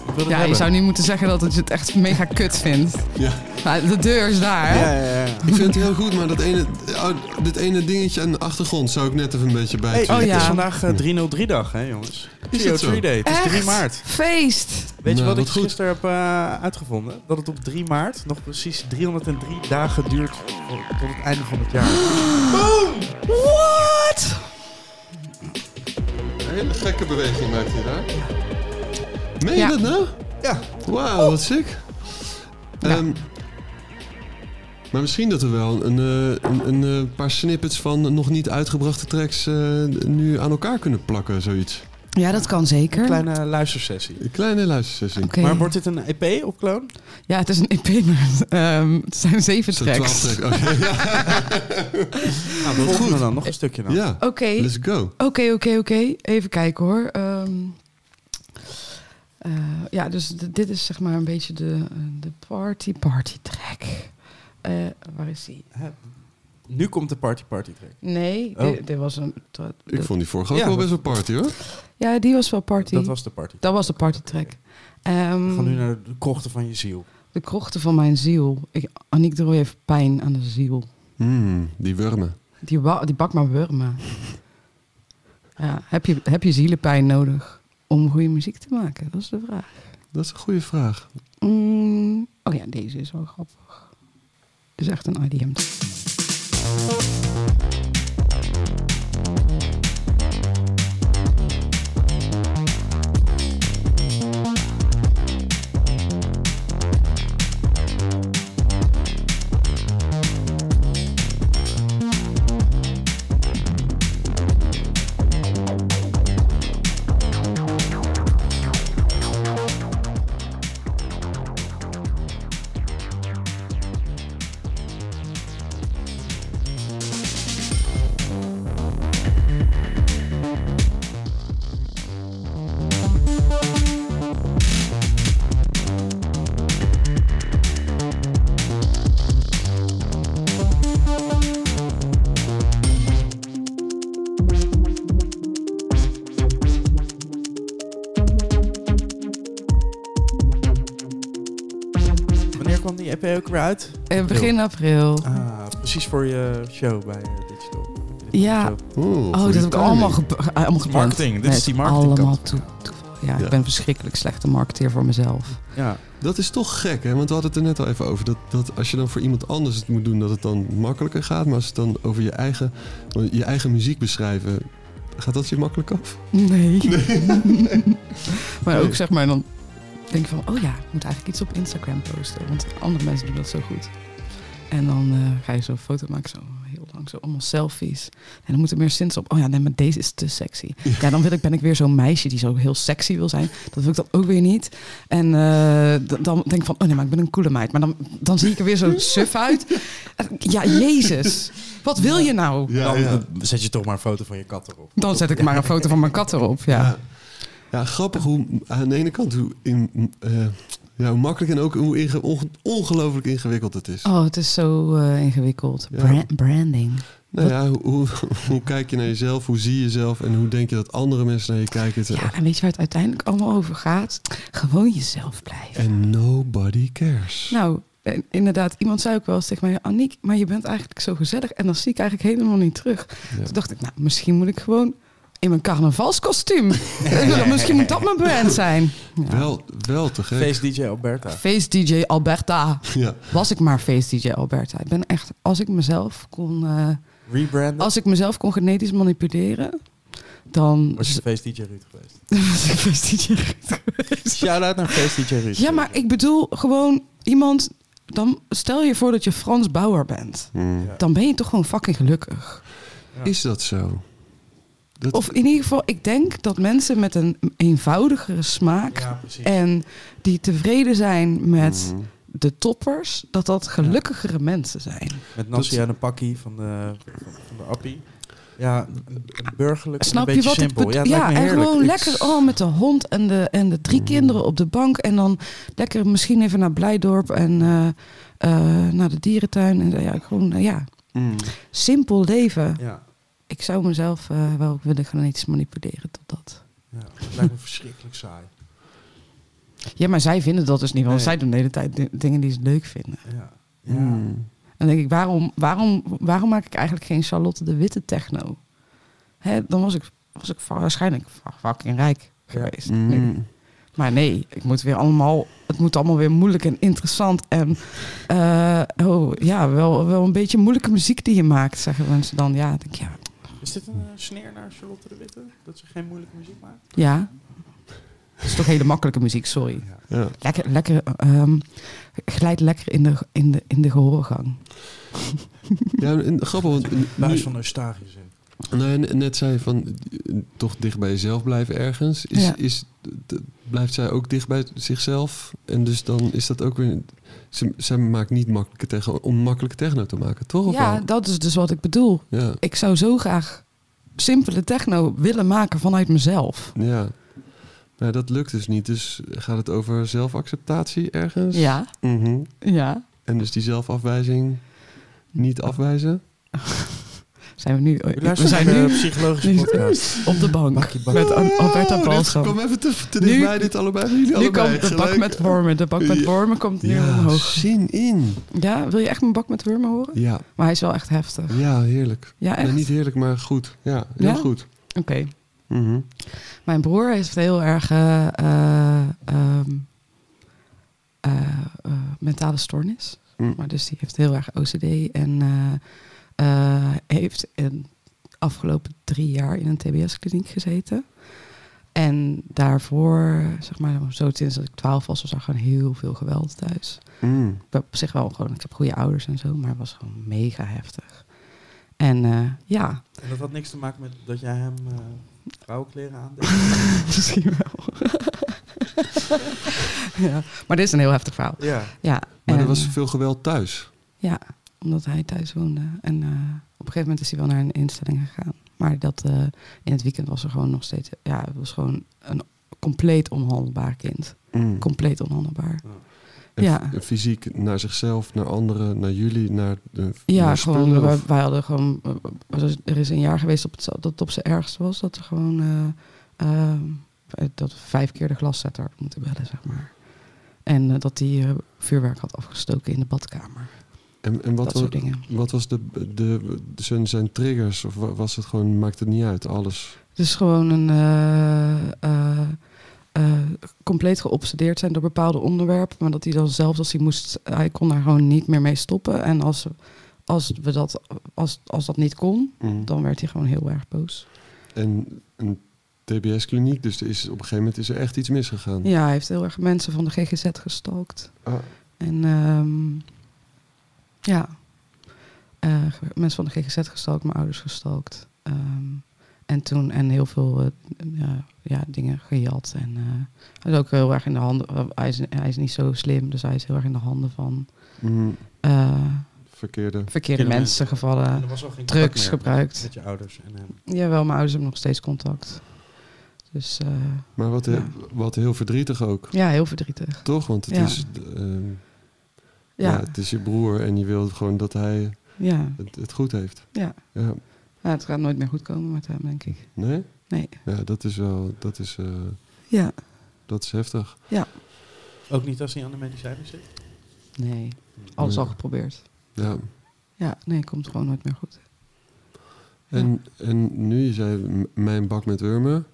S1: Ik wil het
S4: Ja, je
S1: hebben.
S4: zou niet moeten zeggen dat het je het echt mega kut vindt.
S2: Ja.
S4: Maar de deur is daar. hè?
S1: Ja, ja, ja.
S2: Ik vind het heel goed, maar dat ene, oh, dit ene dingetje aan de achtergrond zou ik net even een beetje bij.
S1: Hey,
S4: oh
S1: Het is
S4: ja.
S1: vandaag eh, 303-dag, hè, jongens.
S2: dat
S1: Geo
S2: zo?
S1: 3 Day. Het is 3
S4: Echt?
S1: maart.
S4: Feest.
S1: Weet
S2: Nou,
S1: je wat
S2: wat
S1: ik
S2: goed.
S1: gisteren heb eh, uitgevonden? Dat het op 3 maart nog precies 303 dagen duurt voor- tot het einde van het jaar.
S4: What?
S2: Een hele gekke beweging maakt hij daar. Meen je
S4: Ja.
S2: dat nou?
S1: Ja.
S2: Wauw, wat sick.
S4: Ja.
S2: Ehm, maar misschien dat er wel een, eh, een, een eh, paar snippets van nog niet uitgebrachte tracks eh, nu aan elkaar kunnen plakken, zoiets.
S4: Ja, dat kan zeker.
S1: Een kleine luistersessie.
S2: Een kleine luistersessie.
S4: Oké.
S1: Maar wordt dit een E EP op kloon?
S4: Ja, het is een [LAUGHS] EP, maar ehm, het zijn zeven
S2: Zo'n
S4: tracks.
S2: 12 track. Oké, ja.
S1: Nou, dat goed. dan nog een stukje dan.
S2: Ja.
S4: Oké, oké,
S2: Let's go.
S4: oké, oké. Even kijken hoor. Ehm, eh, ja, dus d- dit is zeg maar een beetje de, eh, de party, party track. Eh, waar is die?
S1: Nu komt de party party track.
S4: Nee,
S1: Oh.
S4: dit, dit was een... tra-
S2: Ik vond die vorige ook
S1: Ja.
S2: wel best wel party hoor.
S4: Ja, die was wel party.
S1: Dat was de party.
S4: Dat was de party track.
S1: We
S4: Ehm,
S1: gaan nu naar de krochten van je ziel.
S4: De krochten van mijn ziel. Ik, Aniek de Rooij heeft pijn aan de ziel.
S2: Hmm, die wurmen.
S4: Die, wa- die bak maar wurmen. Ja, heb, je, heb je zielenpijn nodig om goede muziek te maken? Dat is de vraag.
S2: Dat is een goede vraag.
S4: Mm, oh ja, deze is wel grappig. Dit is echt een IDM.
S1: Wanneer kwam die EP ook weer uit?
S4: Eh, begin april.
S1: Ah, precies voor je show bij eh, Digital.
S4: Ja.
S2: Oeh,
S4: Oh, dat heb ik allemaal, ge- eh, allemaal gepland.
S3: Marketing, dit
S4: Nee,
S3: is die marketing.
S4: Allemaal toe. toe- Ja,
S2: Ja.
S4: ik ben verschrikkelijk slechte marketeer voor mezelf.
S1: Ja.
S2: Dat is toch gek, hè? Want we hadden het er net al even over. Dat, dat als je dan voor iemand anders het moet doen, dat het dan makkelijker gaat. Maar als het dan over je eigen, je eigen muziek beschrijven, gaat dat je makkelijk af?
S4: [LAUGHS] Nee. maar
S2: Nee.
S4: ook zeg maar dan denk ik van, oh ja, ik moet eigenlijk iets op Instagram posten, want andere mensen doen dat zo goed. En dan eh, ga je zo'n foto maken, zo heel lang, zo allemaal selfies. En dan moeten meer zins op. Oh ja, nee, maar deze is te sexy. Ja, dan wil ik, ben ik weer zo'n meisje die zo heel sexy wil zijn. Dat wil ik dan ook weer niet. En eh, d- dan denk ik van, oh nee, maar ik ben een coole meid. Maar dan, dan zie ik er weer [LAUGHS] zo suf uit. Ja, jezus. Wat wil je nou?
S2: Ja,
S1: dan
S2: ja.
S1: eh, zet je toch maar een foto van je kat erop.
S4: Dan zet ik maar een foto van mijn kat erop, ja.
S2: Ja, grappig hoe aan de ene kant hoe, in, eh, ja, hoe makkelijk en ook hoe inge- onge- ongelooflijk ingewikkeld het is.
S4: Oh, het is zo eh, ingewikkeld.
S2: Ja.
S4: Bra- branding.
S2: Nou ja, hoe, hoe, hoe kijk je naar jezelf? Hoe zie je jezelf? En hoe denk je dat andere mensen naar je kijken? Het is
S4: Ja,
S2: echt-
S4: en weet je waar het uiteindelijk allemaal over gaat? Gewoon jezelf blijven.
S2: En nobody cares.
S4: Nou, en inderdaad, iemand zei ook wel eens tegen mij... Aniek, maar je bent eigenlijk zo gezellig. En dan zie ik eigenlijk helemaal niet terug.
S2: Ja.
S4: Toen dacht ik, nou, misschien moet ik gewoon in mijn carnavalskostuum. [LAUGHS] misschien moet dat mijn brand zijn. Ja.
S2: Wel, wel te gek.
S1: Face DJ Alberta.
S4: Face DJ Alberta.
S2: Ja.
S4: Was ik maar Face DJ Alberta. Ik ben echt, als ik mezelf kon... eh,
S1: Rebranden.
S4: als ik mezelf kon genetisch manipuleren... Dan
S1: Was je Face DJ Ruud geweest?
S4: [LAUGHS] was ik Face DJ geweest.
S1: Shout-out naar Face DJ Ruud.
S4: Ja, maar ik bedoel gewoon iemand. Dan stel je voor dat je Frans Bauer bent.
S2: Hmm.
S4: Dan ben je toch gewoon fucking gelukkig.
S2: Is dat zo? Dat,
S4: Of in ieder geval, ik denk dat mensen met een eenvoudigere smaak.
S1: Ja, precies.
S4: en die tevreden zijn met
S2: Mhm.
S4: de toppers. dat dat gelukkigere mensen zijn.
S1: Met Nassia en een pakkie van de, van, van de appie. Ja, een- een burgerlijk en
S4: Snap
S1: een
S4: je
S1: beetje
S4: wat ik
S1: simpel.
S4: bedoel?
S1: ja, het
S4: Ja,
S1: Mm. lijkt me
S4: en
S1: heerlijk.
S4: gewoon
S1: Ik-
S4: lekker oh, met de hond en de, en de drie kinderen op de bank. En dan lekker misschien even naar Blijdorp en eh, eh, naar de dierentuin. En ja, gewoon, eh, ja,
S2: Mm.
S4: simpel leven.
S1: Ja,
S4: Ik zou mezelf eh, wel willen genetisch manipuleren tot dat.
S1: ja, het lijkt me verschrikkelijk saai.
S4: Ja, maar zij vinden dat dus niet, want
S1: Nee.
S4: zij doen de hele tijd di- dingen die ze leuk vinden.
S1: Ja. Ja.
S4: Hmm.
S2: Mm.
S4: En dan denk ik, waarom, waarom, waarom maak ik eigenlijk geen Charlotte de Witte techno? Hè, dan was ik, was ik va- waarschijnlijk va- fucking rijk geweest. Nu.
S2: Mm.
S4: Maar nee, ik moet weer allemaal, het moet allemaal weer moeilijk en interessant. En eh, oh, ja, wel, wel een beetje moeilijke muziek die je maakt, zeggen mensen dan. Ja, ik denk ja,
S1: Is dit een eh, sneer naar Charlotte de Witte? Dat ze geen moeilijke muziek maakt?
S4: ja. Dat is toch hele makkelijke muziek, sorry.
S2: Ja.
S4: Lekker, lekker, ehm glijd lekker in de, in de, in de gehoorgang.
S2: ja, en grappig, want nu-
S1: Buis van Eustarius in.
S2: Nou, ja, net zei je van eh, toch dicht bij jezelf blijven ergens. Is,
S4: Ja.
S2: is, d- blijft zij ook dicht bij zichzelf? En dus dan is dat ook weer. Ze, zij maakt niet makkelijke tegen, om makkelijke techno te maken, toch? Of
S4: Ja,
S2: wel?
S4: dat is dus wat ik bedoel.
S2: ja.
S4: Ik zou zo graag simpele techno willen maken vanuit mezelf.
S2: Ja. Maar dat lukt dus niet. Dus gaat het over zelfacceptatie ergens?
S4: Ja,
S2: Mhm.
S4: ja.
S2: En dus die zelfafwijzing niet afwijzen?
S4: Zijn we nu,
S1: We
S4: we
S1: luisteren
S4: zijn
S1: naar de
S4: nu [LAUGHS]
S1: psychologische
S4: nu-
S1: podcast.
S4: op de bank
S1: Bakkie, bakkie.
S4: met An- Alberta
S2: Oh, dit
S4: Balsam.
S2: kwam even te, te
S4: Nu-
S2: dichtbij, dit allebei. Jullie
S4: Nu
S2: allebei
S4: komt de
S2: gelijk.
S4: bak met wormen. De bak met
S2: Ja.
S4: wormen komt nu
S2: ja,
S4: omhoog.
S2: zin in.
S4: Ja, wil je echt mijn bak met wormen horen?
S2: Ja,
S4: Maar hij is wel echt heftig.
S2: ja heerlijk.
S4: Ja,
S2: Nee,
S4: echt?
S2: niet heerlijk, maar goed. Ja, heel
S4: Ja?
S2: goed.
S4: Oké.
S2: Mhm.
S4: Mijn broer heeft heel erg eh, eh, ehm, eh, eh, mentale stoornis.
S2: Mm.
S4: Maar dus die heeft heel erg OCD en eh, eh, heeft in de afgelopen drie jaar in een TBS-kliniek gezeten. En daarvoor, zeg maar, zo sinds dat ik twaalf was, was er gewoon heel veel geweld thuis.
S2: Mm.
S4: Ik ben op zich wel gewoon, ik heb goede ouders en zo, maar het was gewoon mega heftig. En eh, ja, [LAUGHS]
S1: En dat had niks te maken met dat jij hem eh vrouwenkleren aandeed.
S4: misschien wel. [LAUGHS] ja, maar dit is een heel heftig verhaal.
S1: [LAUGHS] Ja.
S4: Ja,
S2: Maar
S4: en-
S2: er was veel geweld thuis.
S4: Ja, omdat hij thuis woonde. En eh, op een gegeven moment is hij wel naar een instelling gegaan. Maar dat, eh, in het weekend was er gewoon nog steeds, ja, het was gewoon een compleet onhandelbaar kind.
S2: Mm.
S4: Compleet onhandelbaar.
S2: En
S4: ja.
S2: f- Fysiek naar zichzelf, naar anderen, naar jullie, naar de
S4: Ja,
S2: naar spullen,
S4: gewoon, wij,
S2: of-
S4: wij hadden gewoon. er is- Er is een jaar geweest op het, dat het op zijn ergste was dat er gewoon. eh, eh, dat we vijf keer de glaszetter had moeten bellen, zeg maar. En eh, dat hij eh, vuurwerk had afgestoken in de badkamer.
S2: En, en
S4: dat
S2: wat,
S4: soort
S2: wa-
S4: dingen.
S2: wat was de, de, de zijn, zijn triggers? Of wa- was het gewoon, maakt het niet uit, alles?
S4: Dus gewoon een. eh, eh, eh, compleet geobsedeerd zijn door bepaalde onderwerpen. Maar dat hij dan zelfs als hij moest. Hij kon daar gewoon niet meer mee stoppen. En als, als, we dat, als, als dat niet kon, dan werd hij gewoon heel erg boos.
S2: Mm. En een TBS-kliniek, dus er is, op een gegeven moment is er echt iets misgegaan.
S4: Ja, hij heeft heel erg mensen van de GGZ gestalkt.
S2: Ah.
S4: En ehm, ja, Eh, ge- mensen van de GGZ gestalkt, mijn ouders gestalkt. Ehm, en toen en heel veel eh, eh, ja, dingen gejat. En eh, hij is ook heel erg in de handen. eh, hij, is, hij is niet zo slim, dus hij is heel erg in de handen van
S2: Mm,
S4: eh,
S2: verkeerde.
S4: verkeerde mensen,
S1: mensen.
S4: gevallen.
S1: En er was al geen contact
S4: Drugs
S1: meer
S4: gebruikt.
S1: Met je ouders en hem.
S4: Jawel, mijn ouders hebben nog steeds contact. Dus eh,
S2: Maar wat, he-
S4: Ja.
S2: wat heel verdrietig ook,
S4: ja, heel verdrietig.
S2: toch? Want het,
S4: Ja.
S2: is, ehm, ja.
S4: Ja,
S2: het is je broer en je wil gewoon dat hij
S4: ja.
S2: het, het goed heeft.
S4: Ja.
S2: ja.
S4: Ja, Nou, het gaat nooit meer goed komen met hem, denk ik.
S2: Nee?
S4: Nee.
S2: Ja, dat is wel, dat is, eh,
S4: Ja.
S2: dat is heftig.
S1: Ook niet als hij aan de medicijnen zit?
S4: Nee. Alles
S2: Ja.
S4: al geprobeerd.
S2: Ja.
S4: Ja, nee, komt gewoon nooit meer goed.
S2: En, en nu je zei m- mijn bak met
S4: [LAUGHS]
S2: wormen.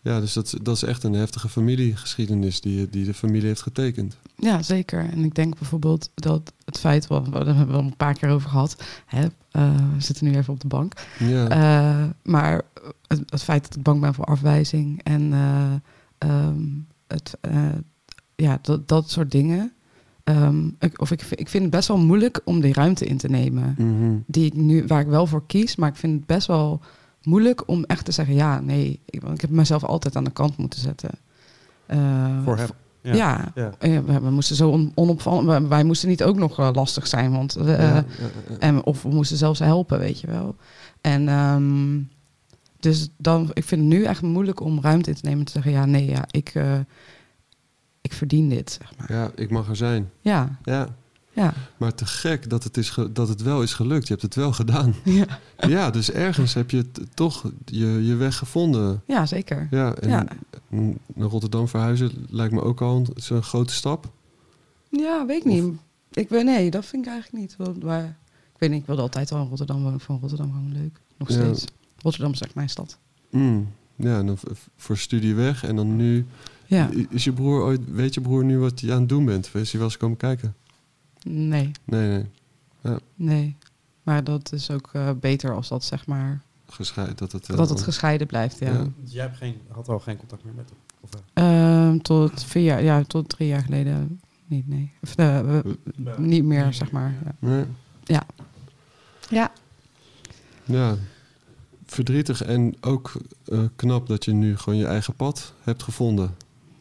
S2: ja, dus dat, is- dat is echt een heftige familiegeschiedenis die, die de familie heeft getekend.
S4: Ja, zeker. En ik denk bijvoorbeeld dat het feit, wat we hebben we al een paar keer over gehad. Hè, eh, we zitten nu even op de bank.
S2: Ja,
S4: Eh, maar het, het feit dat ik bang ben voor afwijzing en eh, ehm, het, eh, ja, dat, dat soort dingen. Ehm, ik, of ik, vind- ik vind het best wel moeilijk om die ruimte in te nemen.
S2: Mhm.
S4: die ik nu, waar ik wel voor kies. Maar ik vind het best wel moeilijk om echt te zeggen: ja, nee. Ik, want ik heb mezelf altijd aan de kant moeten zetten. Eh,
S1: Voor hem.
S4: Ja.
S1: ja. Ja.
S4: Eh, we, we moesten zo on, onopvallend. we- Wij moesten niet ook nog eh, lastig zijn. Want, eh,
S2: Ja, ja, ja.
S4: en, of we moesten zelfs helpen, weet je wel. En ehm, dus dan, ik vind het nu echt moeilijk om ruimte in te nemen. en Te zeggen: ja, nee, ja, ik, eh, ik verdien dit. Zeg maar.
S2: ja, ik mag er zijn.
S4: Ja,
S2: Ja.
S4: ja,
S2: Maar te gek dat het, is ge- dat het wel is gelukt. Je hebt het wel gedaan.
S4: [LAUGHS] ja,
S2: Ja, dus ergens heb je t- toch je, je weg gevonden.
S4: ja, zeker.
S2: Ja, en
S4: Ja.
S2: n- naar Rotterdam verhuizen lijkt me ook al een, zo'n grote stap.
S4: Ja, weet ik
S2: Of-
S4: niet. Ik ben, nee, dat vind ik eigenlijk niet. Wel- Maar, ik weet niet, ik wilde altijd al in Rotterdam wonen. Ik vond Rotterdam gewoon leuk. Nog
S2: Ja.
S4: steeds. Rotterdam is echt mijn stad.
S2: Mm. Ja, en dan v- voor studie weg. En dan nu,
S4: Ja,
S2: I- is je broer ooit, weet je broer nu wat je aan het doen bent? Of Is hij wel eens komen kijken?
S4: nee,
S2: Nee, nee.
S4: nee. Maar dat is ook eh, beter als dat, zeg maar,
S2: Gescheiden. Dat het, eh,
S4: dat het gescheiden blijft, ja.
S2: Ja.
S1: Jij hebt geen, had al geen contact meer met hem? Of, eh,
S4: Ehm, tot vier jaar, ja, tot drie jaar geleden niet, nee. Of, eh, we- niet meer, zeg maar. Ja.
S2: Nee.
S4: Ja.
S2: Ja. verdrietig en ook eh, knap dat je nu gewoon je eigen pad hebt gevonden.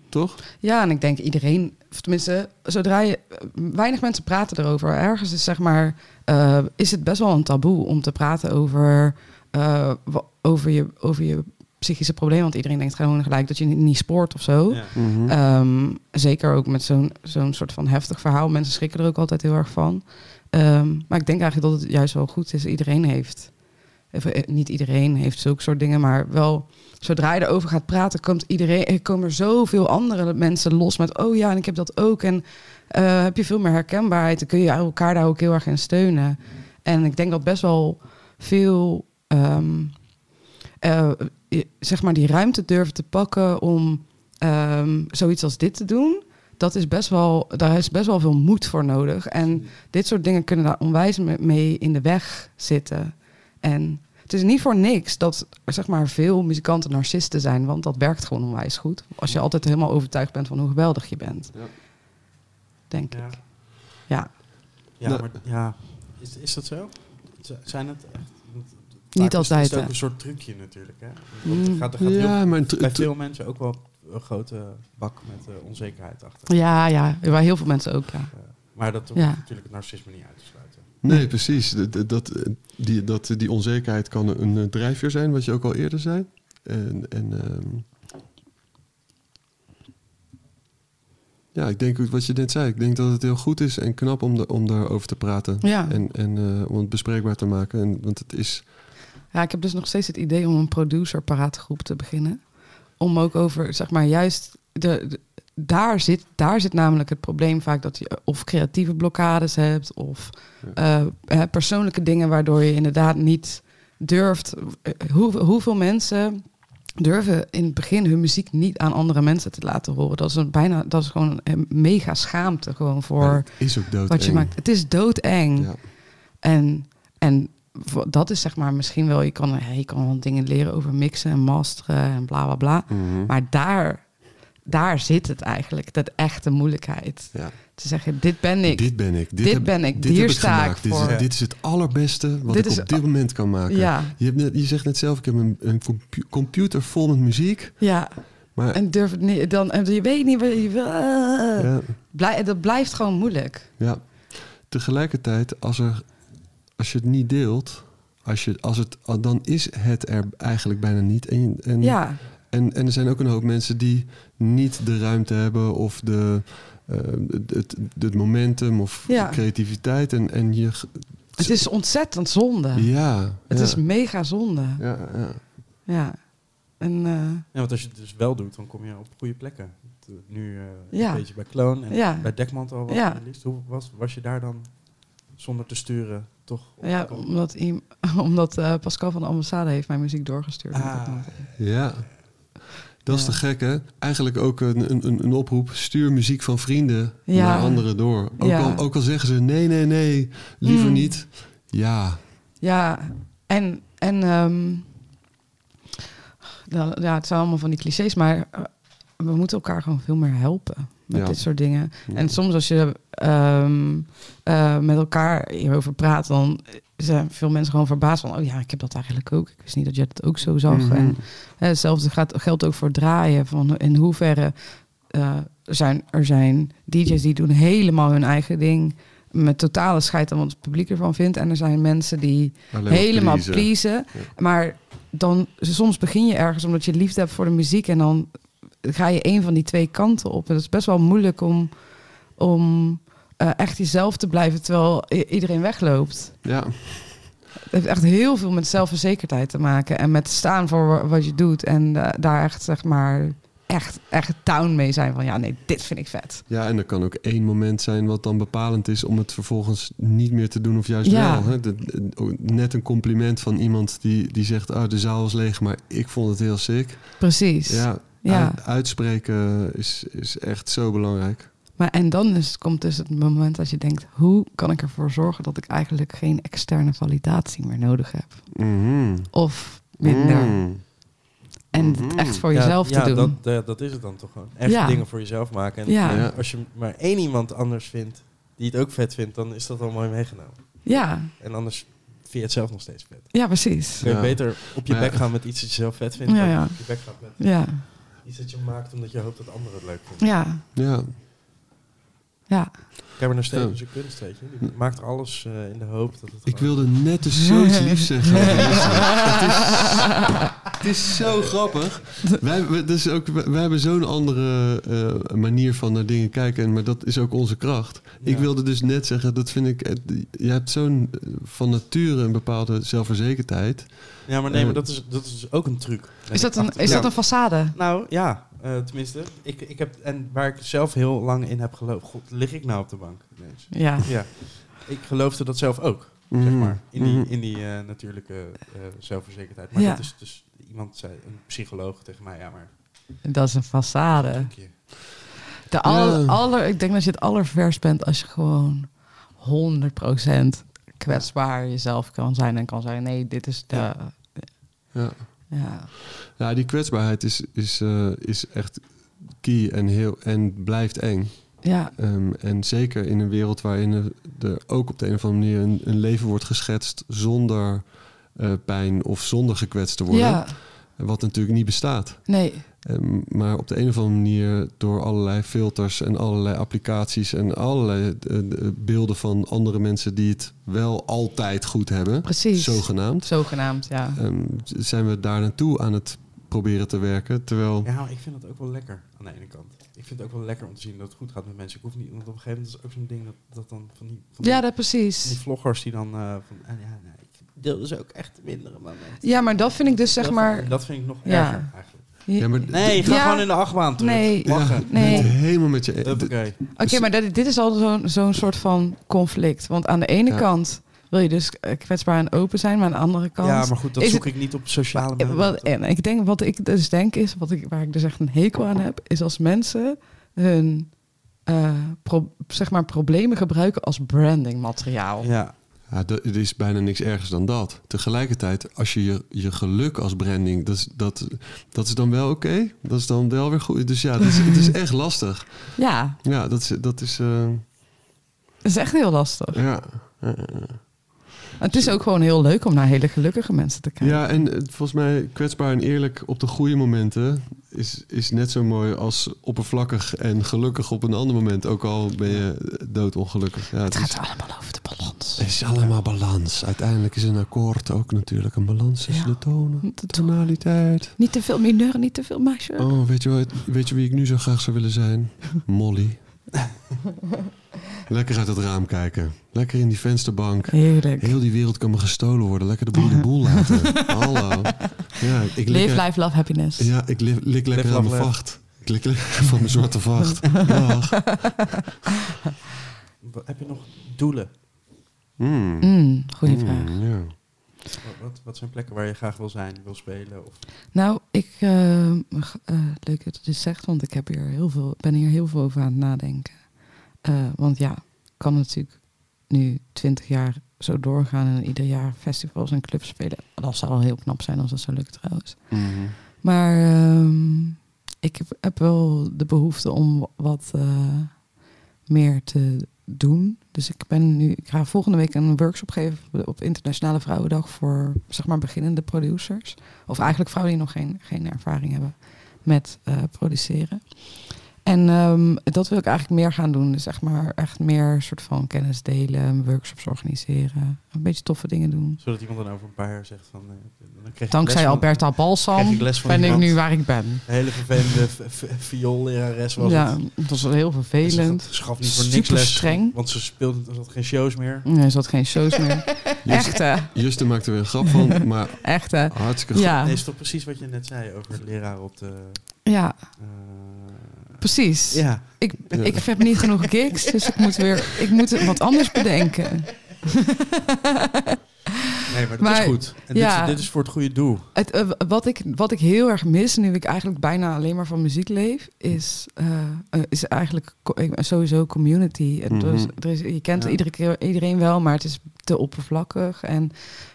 S2: Toch?
S4: Ja, en ik denk iedereen, of tenminste, zodra je. Weinig mensen praten erover. Ergens is zeg maar. eh, is het best wel een taboe om te praten over. eh, wa- over, je, over je psychische probleem. Want iedereen denkt gewoon gelijk dat je niet, niet spoort of zo.
S1: Ja.
S2: Mhm.
S4: Ehm, zeker ook met zo'n zo'n soort van heftig verhaal. Mensen schrikken er ook altijd heel erg van. Ehm, maar ik denk eigenlijk dat het juist wel goed is. Iedereen heeft, of, eh, niet iedereen heeft zulke soort dingen, maar wel zodra je erover gaat praten, komt iedereen, er komen er zoveel andere mensen los met, oh ja, en ik heb dat ook. En eh, heb je veel meer herkenbaarheid. Dan kun je elkaar daar ook heel erg in steunen. En ik denk dat best wel veel, ehm, eh, je- zeg maar, die ruimte durven te pakken om ehm, zoiets als dit te doen. Dat is best wel, daar is best wel veel moed voor nodig.
S1: Mm.
S4: En dit soort dingen kunnen daar onwijs me- mee in de weg zitten. En het is niet voor niks dat er, zeg maar, veel muzikanten narcisten zijn, want dat werkt gewoon onwijs goed. Als je altijd helemaal overtuigd bent van hoe geweldig je bent.
S1: Ja.
S4: Denk ik.
S1: Ja,
S4: Ja.
S1: ja
S2: Nou.
S1: maar ja. Is, is dat zo? Z- Zijn het echt... want vaak
S4: Niet altijd,
S1: Is het ook
S4: hè?
S1: een soort trucje natuurlijk, hè? Want
S4: Mm.
S1: er gaat, er gaat heel,
S2: Ja, maar het-
S1: bij
S2: het-
S1: veel mensen ook wel een grote bak met eh, onzekerheid achter.
S4: Ja, ja, bij heel veel mensen ook. Ja.
S1: Eh, maar dat hoeft
S4: Ja.
S1: natuurlijk het narcisme niet uit te sluiten.
S2: nee, precies. Dat, dat- dat, eh, die, dat, die onzekerheid kan een eh, drijfveer zijn, wat je ook al eerder zei. En, en ehm, ja, ik denk ook wat je net zei. Ik denk dat het heel goed is en knap om, de, om daarover te praten.
S4: Ja.
S2: En, en eh, om het bespreekbaar te maken. En, want het is.
S4: ja, ik heb dus nog steeds het idee om een producer-paraatgroep te beginnen. Om ook over, zeg maar, juist de, de- daar, zit, daar zit namelijk het probleem vaak dat je of creatieve blokkades hebt of eh, eh, persoonlijke dingen waardoor je inderdaad niet durft. Eh, Hoe, hoeveel mensen durven in het begin hun muziek niet aan andere mensen te laten horen? Dat is een bijna, dat is gewoon een mega schaamte gewoon voor.
S2: het is ook dood.
S4: Wat je maakt. Het is doodeng.
S2: Ja.
S4: En, en vo- dat is zeg maar misschien wel, je kan, hè, je kan wel dingen leren over mixen en masteren en bla bla bla.
S2: Mhm.
S4: Maar daar, daar zit het eigenlijk, dat echte moeilijkheid.
S2: Ja.
S4: Te zeggen, dit ben ik.
S2: dit ben ik. Dit,
S4: dit
S2: heb-
S4: ben ik.
S2: Dit
S4: Hier
S2: heb
S4: sta ik
S2: gemaakt. Dit is-
S4: voor.
S2: Dit, is, het allerbeste wat
S4: Dit
S2: ik
S4: is-
S2: op dit moment kan maken.
S4: Ja.
S2: Je, hebt net, je zegt net zelf, ik heb een, een compu- computer vol met muziek.
S4: ja,
S2: Maar
S4: en eh, durf het niet, dan, en je weet niet wat je wil.
S2: ja,
S4: Blij- dat blijft gewoon moeilijk.
S2: ja. tegelijkertijd, als, er, als je het niet deelt, als je, als het, dan is het er eigenlijk bijna niet. En, en,
S4: Ja,
S2: en, en er zijn ook een hoop mensen die niet de ruimte hebben of de, eh, het, het, het momentum of
S4: Ja.
S2: creativiteit. En, en je, ge-
S4: het is ontzettend zonde.
S2: ja,
S4: Het
S2: ja,
S4: is mega zonde. Ja.
S2: ja, ja.
S4: En, eh,
S1: Ja, want als je het dus wel doet, dan kom je op goede plekken. Het, eh, Nu eh,
S4: Ja.
S1: een beetje bij Kloon en
S4: Ja.
S1: bij Dekmantel was
S4: Ja.
S1: ja. liefst. Hoe was, was je daar dan zonder te sturen toch? op
S4: Ja,
S1: gekomen?
S4: omdat, i- [LAUGHS] omdat eh, Pascal van de ambassade heeft mijn muziek doorgestuurd.
S1: Ah.
S2: Ja. Dat is
S4: Ja.
S2: te gek, hè? Eigenlijk ook een, een, een- een oproep. Stuur muziek van vrienden
S4: Ja.
S2: naar anderen door. Ook,
S4: Ja.
S2: al, ook al zeggen ze nee, nee, nee, liever
S4: Mm.
S2: niet. Ja,
S4: Ja, en, en ehm, nou, ja, het zijn allemaal van die clichés, maar eh, we moeten elkaar gewoon veel meer helpen met
S2: Ja.
S4: dit soort dingen.
S2: Ja.
S4: En soms als je ehm, eh, met elkaar hierover praat, dan zijn veel mensen gewoon verbaasd van, oh ja, ik heb dat eigenlijk ook. Ik wist niet dat jij dat ook zo zag.
S2: Mhm.
S4: En hè, hetzelfde gaat, geldt ook voor draaien. Van in hoeverre eh, er zijn, er zijn DJ's die doen helemaal hun eigen ding met totale scheid aan wat het publiek ervan vindt. En er zijn mensen die
S2: Alleen maar
S4: helemaal pleasen.
S2: pleasen.
S4: Maar dan, soms begin je ergens omdat je liefde hebt voor de muziek. En dan ga je een van die twee kanten op. En dat is best wel moeilijk om, om eh, echt jezelf te blijven terwijl i- iedereen wegloopt.
S2: ja.
S4: Het heeft echt heel veel met zelfverzekerdheid te maken. En met staan voor wa- wat je doet. En eh, daar echt, zeg maar, echt, echt down mee zijn. Van ja, nee, dit vind ik vet.
S2: ja, en er kan ook één moment zijn wat dan bepalend is om het vervolgens niet meer te doen of juist
S4: Ja.
S2: wel. Hè? De- de- ook net een compliment van iemand die, die zegt, ah, de zaal is leeg, maar ik vond het heel sick.
S4: Precies.
S2: Ja,
S4: Ja.
S2: uit- uitspreken is, is echt zo belangrijk.
S4: Maar en dan is, komt dus het moment dat je denkt: hoe kan ik ervoor zorgen dat ik eigenlijk geen externe validatie meer nodig heb?
S2: Mhm.
S4: Of minder.
S2: Mm.
S4: En het
S2: Mhm.
S4: echt voor
S1: Ja,
S4: jezelf
S1: ja,
S4: te doen.
S1: Dat, eh, dat is het dan toch gewoon. Echt
S4: Ja.
S1: dingen voor jezelf maken. En
S4: Ja.
S2: Ja.
S1: als je maar één iemand anders vindt die het ook vet vindt, dan is dat al mooi meegenomen.
S4: Ja,
S1: En anders vind je het zelf nog steeds vet.
S4: Ja, precies.
S1: Kun je
S2: Ja.
S1: beter op je
S2: Maar ja.
S1: bek gaan met iets dat je zelf vet vindt,
S4: Ja,
S1: dan
S4: ja.
S1: op je bek gaat met
S4: Ja,
S1: iets dat je maakt omdat je hoopt dat anderen het leuk vinden.
S4: ja,
S2: Ja,
S4: ja.
S1: Cameron Stevens
S2: Ja.
S1: is een kunst, weet je. Die maakt alles eh, in de hoop dat het
S2: ik
S1: gewoon-
S2: wilde net dus
S1: [LAUGHS]
S2: zoiets liefs zeggen. over Disney. het, is, het is zo grappig. Wij, we, dus ook, wij, wij hebben zo'n andere eh, manier van naar dingen kijken, en- maar dat is ook onze kracht. Ik
S1: Ja.
S2: wilde dus net zeggen, dat vind ik. eh, Je hebt zo'n eh, van nature een bepaalde zelfverzekerdheid.
S1: Ja, maar nee, maar
S2: Eh.
S1: dat is, dat is ook een truc.
S4: Is dat een, is
S1: Ja.
S4: dat een façade?
S1: Nou ja, eh, tenminste. Ik, ik heb, en waar ik zelf heel lang in heb geloofd. God, lig ik nou op de bank? ineens?
S4: [LAUGHS] Ja. Mm-hmm.
S1: Ja. Ik geloofde dat zelf ook, zeg
S2: Mhm.
S1: maar. In die,
S2: Mhm.
S1: in die eh, natuurlijke eh, zelfverzekerdheid. Maar
S4: Ja.
S1: dat is dus... Iemand zei, een psycholoog tegen mij, ja maar...
S4: Dat is een façade.
S1: dank je.
S4: De aller,
S2: Ja.
S4: aller, ik denk dat je het allerverst bent als je gewoon 100% kwetsbaar jezelf kan zijn en kan zeggen: nee, dit is de. Ja.
S1: Ja.
S2: Ja.
S4: Ja.
S2: Ja, die kwetsbaarheid is, is, eh, is echt key en, heel, en blijft eng.
S4: Ja.
S2: Ehm, en zeker in een wereld waarin er, er ook op de een of andere manier een, een leven wordt geschetst zonder eh, pijn of zonder gekwetst te worden. Wat natuurlijk niet bestaat.
S4: nee.
S2: Ehm, maar op de een of andere manier door allerlei filters en allerlei applicaties en allerlei eh, eh, beelden van andere mensen die het wel altijd goed hebben,
S4: Precies.
S2: zogenaamd,
S4: Zogenaamd, ja.
S2: ehm, zijn we daar naartoe aan het proberen te werken. Terwijl
S1: Ja, maar ik vind dat ook wel lekker aan de ene kant. Ik vind het ook wel lekker om te zien dat het goed gaat met mensen. Ik hoef niet, want op een gegeven moment is ook zo'n ding dat, dat dan van die, van die,
S4: Ja, dat
S1: van die
S4: precies.
S1: vloggers die dan eh, van, ah, ja, nee, ik deel dus ook echt mindere momenten.
S4: Ja, maar dat vind ik dus zeg
S1: Dat-
S4: maar.
S1: Dat vind ik nog
S4: Ja.
S1: erger eigenlijk.
S2: Ja, maar
S1: Nee, ga
S4: Ja.
S1: gewoon in de achtbaan terug.
S4: Nee.
S1: Lachen.
S2: Ja,
S4: Nee.
S2: ik ben het helemaal met je. e-
S1: Oké.
S2: d-
S4: Oké, maar dat, dit is al zo'n zo'n soort van conflict. Want aan de ene
S2: Ja.
S4: kant wil je dus eh, kwetsbaar en open zijn, maar aan de andere kant.
S1: Ja, maar goed, dat
S4: Is eh,
S1: zoek ik niet op sociale media.
S4: Wat, en ik denk, wat ik dus denk is, wat ik, waar ik dus echt een hekel aan heb, is als mensen hun eh, pro- zeg maar problemen gebruiken als brandingmateriaal.
S1: Ja,
S2: Ja, dat- er is bijna niks ergers dan dat. Tegelijkertijd, als je je, je geluk als branding, dat is, dat, dat is dan wel oké. Dat is dan wel weer goed. Dus ja, dat is, het is
S4: [LAUGHS]
S2: echt lastig.
S4: Ja,
S2: Ja, dat is. Dat is eh,
S4: dat is echt heel lastig.
S2: ja. Eh, eh, eh.
S4: Het is ook gewoon heel leuk om naar hele gelukkige mensen te kijken.
S2: ja, en eh, volgens mij kwetsbaar en eerlijk op de goede momenten is, is net zo mooi als oppervlakkig en gelukkig op een ander moment. Ook al ben je eh, doodongelukkig. Ja,
S4: Het
S2: het is-
S4: gaat allemaal over de balans.
S2: Het is allemaal balans. Uiteindelijk is een akkoord ook natuurlijk een balans tussen
S4: Ja.
S2: de tonen,
S4: De tonen.
S2: tonaliteit.
S4: Niet te veel mineur, niet te veel majeur.
S2: Oh, weet je, wat, weet je wie ik nu zo graag zou willen zijn? Molly. Lekker uit het raam kijken. Lekker in die vensterbank.
S4: Heerlijk.
S2: Heel die wereld kan me gestolen worden. Lekker de boel de boel laten. Hallo. Ja, ik lik,
S4: Live, life, love, happiness.
S2: ja, ik li- lik lekker
S1: Live,
S2: aan
S1: love,
S2: mijn
S1: laugh.
S2: vacht. Ik lik lekker [LAUGHS] van mijn zwarte vacht. Dag.
S1: Wat- heb je nog doelen?
S2: Mm.
S4: Mm, goeie vraag.
S2: Mm, ja.
S1: Wat, wat, wat zijn plekken waar je graag wil zijn, wil spelen? Of,
S4: Nou, ik, eh, g- eh, leuk dat je dit zegt, want ik heb hier heel veel, ben hier heel veel over aan het nadenken. Eh, want ja, ik kan natuurlijk nu twintig jaar zo doorgaan en ieder jaar festivals en clubs spelen. Dat zou wel heel knap zijn als dat zou lukken trouwens.
S2: Mhm.
S4: Maar ehm, ik heb, heb wel de behoefte om wat eh, meer te doen. Dus ik ben nu, ik ga volgende week een workshop geven op Internationale Vrouwendag voor zeg maar beginnende producers. Of eigenlijk vrouwen die nog geen, geen ervaring hebben met eh, produceren. En ehm, dat wil ik eigenlijk meer gaan doen. Dus zeg maar echt meer soort van kennis delen, workshops organiseren. Een beetje toffe dingen doen.
S1: zodat iemand dan over een paar jaar zegt van... eh, dan kreeg ik les
S4: Dankzij
S1: van-
S4: Alberta Balsam
S1: kreeg ik les van
S4: ben ik
S1: iemand.
S4: nu waar ik ben.
S1: Een hele vervelende v- v- vioollerares was
S4: ja,
S1: het.
S4: het was
S1: En
S4: heel
S1: ze
S4: vervelend.
S1: gaf- Ze gaf niet voor niks
S4: Super
S1: les,
S4: streng.
S1: want ze speelde er zat geen shows meer.
S4: Nee, er zat geen shows
S1: [LAUGHS]
S4: meer. Echt, hè?
S2: Juste maakt er weer een grap van, maar
S4: Echt, hè?
S2: hartstikke goed.
S4: Ja,
S1: Nee, is toch precies wat je net zei over de leraar op de...
S4: ja
S1: eh,
S4: precies.
S1: ja,
S4: Ik,
S2: Ja.
S4: ik heb niet genoeg gigs, dus ik moet weer ik moet wat anders
S1: [LAUGHS]
S4: bedenken.
S1: nee, maar dat
S4: Maar-
S1: is goed. En
S4: ja.
S1: dit, dit is voor het goede doel.
S4: Het, eh, wat, ik, wat ik heel erg mis, nu ik eigenlijk bijna alleen maar van muziek leef, is, eh, eh, is eigenlijk co- ik ben sowieso community. Het
S2: Mhm.
S4: was- er is, je kent
S1: Ja.
S4: iedere keer, iedereen wel, maar het is te oppervlakkig. En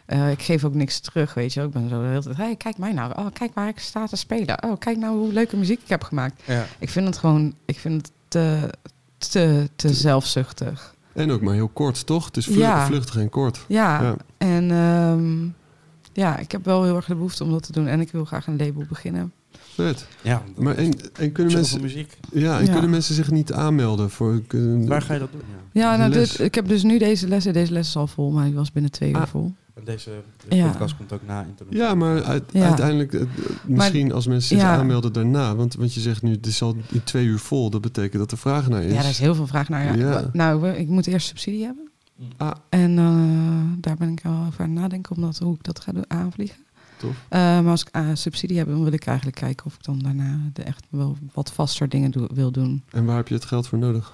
S4: eh, ik geef ook niks terug, weet je. wel. Ik ben zo de hele tijd, hey, kijk mij nou. Oh, kijk waar ik sta te spelen. Oh, kijk nou hoe leuke muziek ik heb gemaakt.
S1: Ja.
S4: Ik vind het gewoon, ik vind het te, te, te zelfzuchtig.
S2: En ook maar heel kort, toch? Het is vlu-
S4: Ja.
S2: vluchtig en kort.
S4: Ja,
S2: Ja.
S4: en ehm, ja, ik heb wel heel erg de behoefte om dat te doen. En ik wil graag een label beginnen.
S2: Vet.
S3: Ja,
S2: Maar en, en, kunnen,
S4: Dus-
S1: Zoveel
S2: mensen,
S1: muziek.
S2: ja, en
S4: Ja.
S2: kunnen mensen zich niet aanmelden? Voor, kunnen-
S1: Waar ga je dat doen? Ja.
S4: Ja,
S2: De
S4: nou,
S2: les.
S4: dit, ik heb dus nu deze les. en Deze les is al vol, maar die was binnen twee uur
S2: Ah.
S4: vol.
S1: En deze de
S4: Ja.
S1: podcast komt ook na internet.
S2: Ja, maar uit-
S4: Ja.
S2: uiteindelijk, eh, eh, misschien als mensen zich
S4: ja.
S2: aanmelden daarna. Want, want je zegt nu, het is al in twee uur vol. Dat betekent dat er vraag naar is.
S4: Ja, daar is heel veel vraag naar. Ja.
S2: Ja.
S4: Nou, we- ik moet eerst subsidie hebben.
S2: Ah.
S4: En eh, daar ben ik wel over aan het nadenken om dat, hoe ik dat ga doen, aanvliegen.
S2: Tof.
S4: Eh, maar als ik eh, subsidie heb, dan wil ik eigenlijk kijken of ik dan daarna de echt wel wat vaster dingen doe- wil doen.
S2: En waar heb je het geld voor nodig?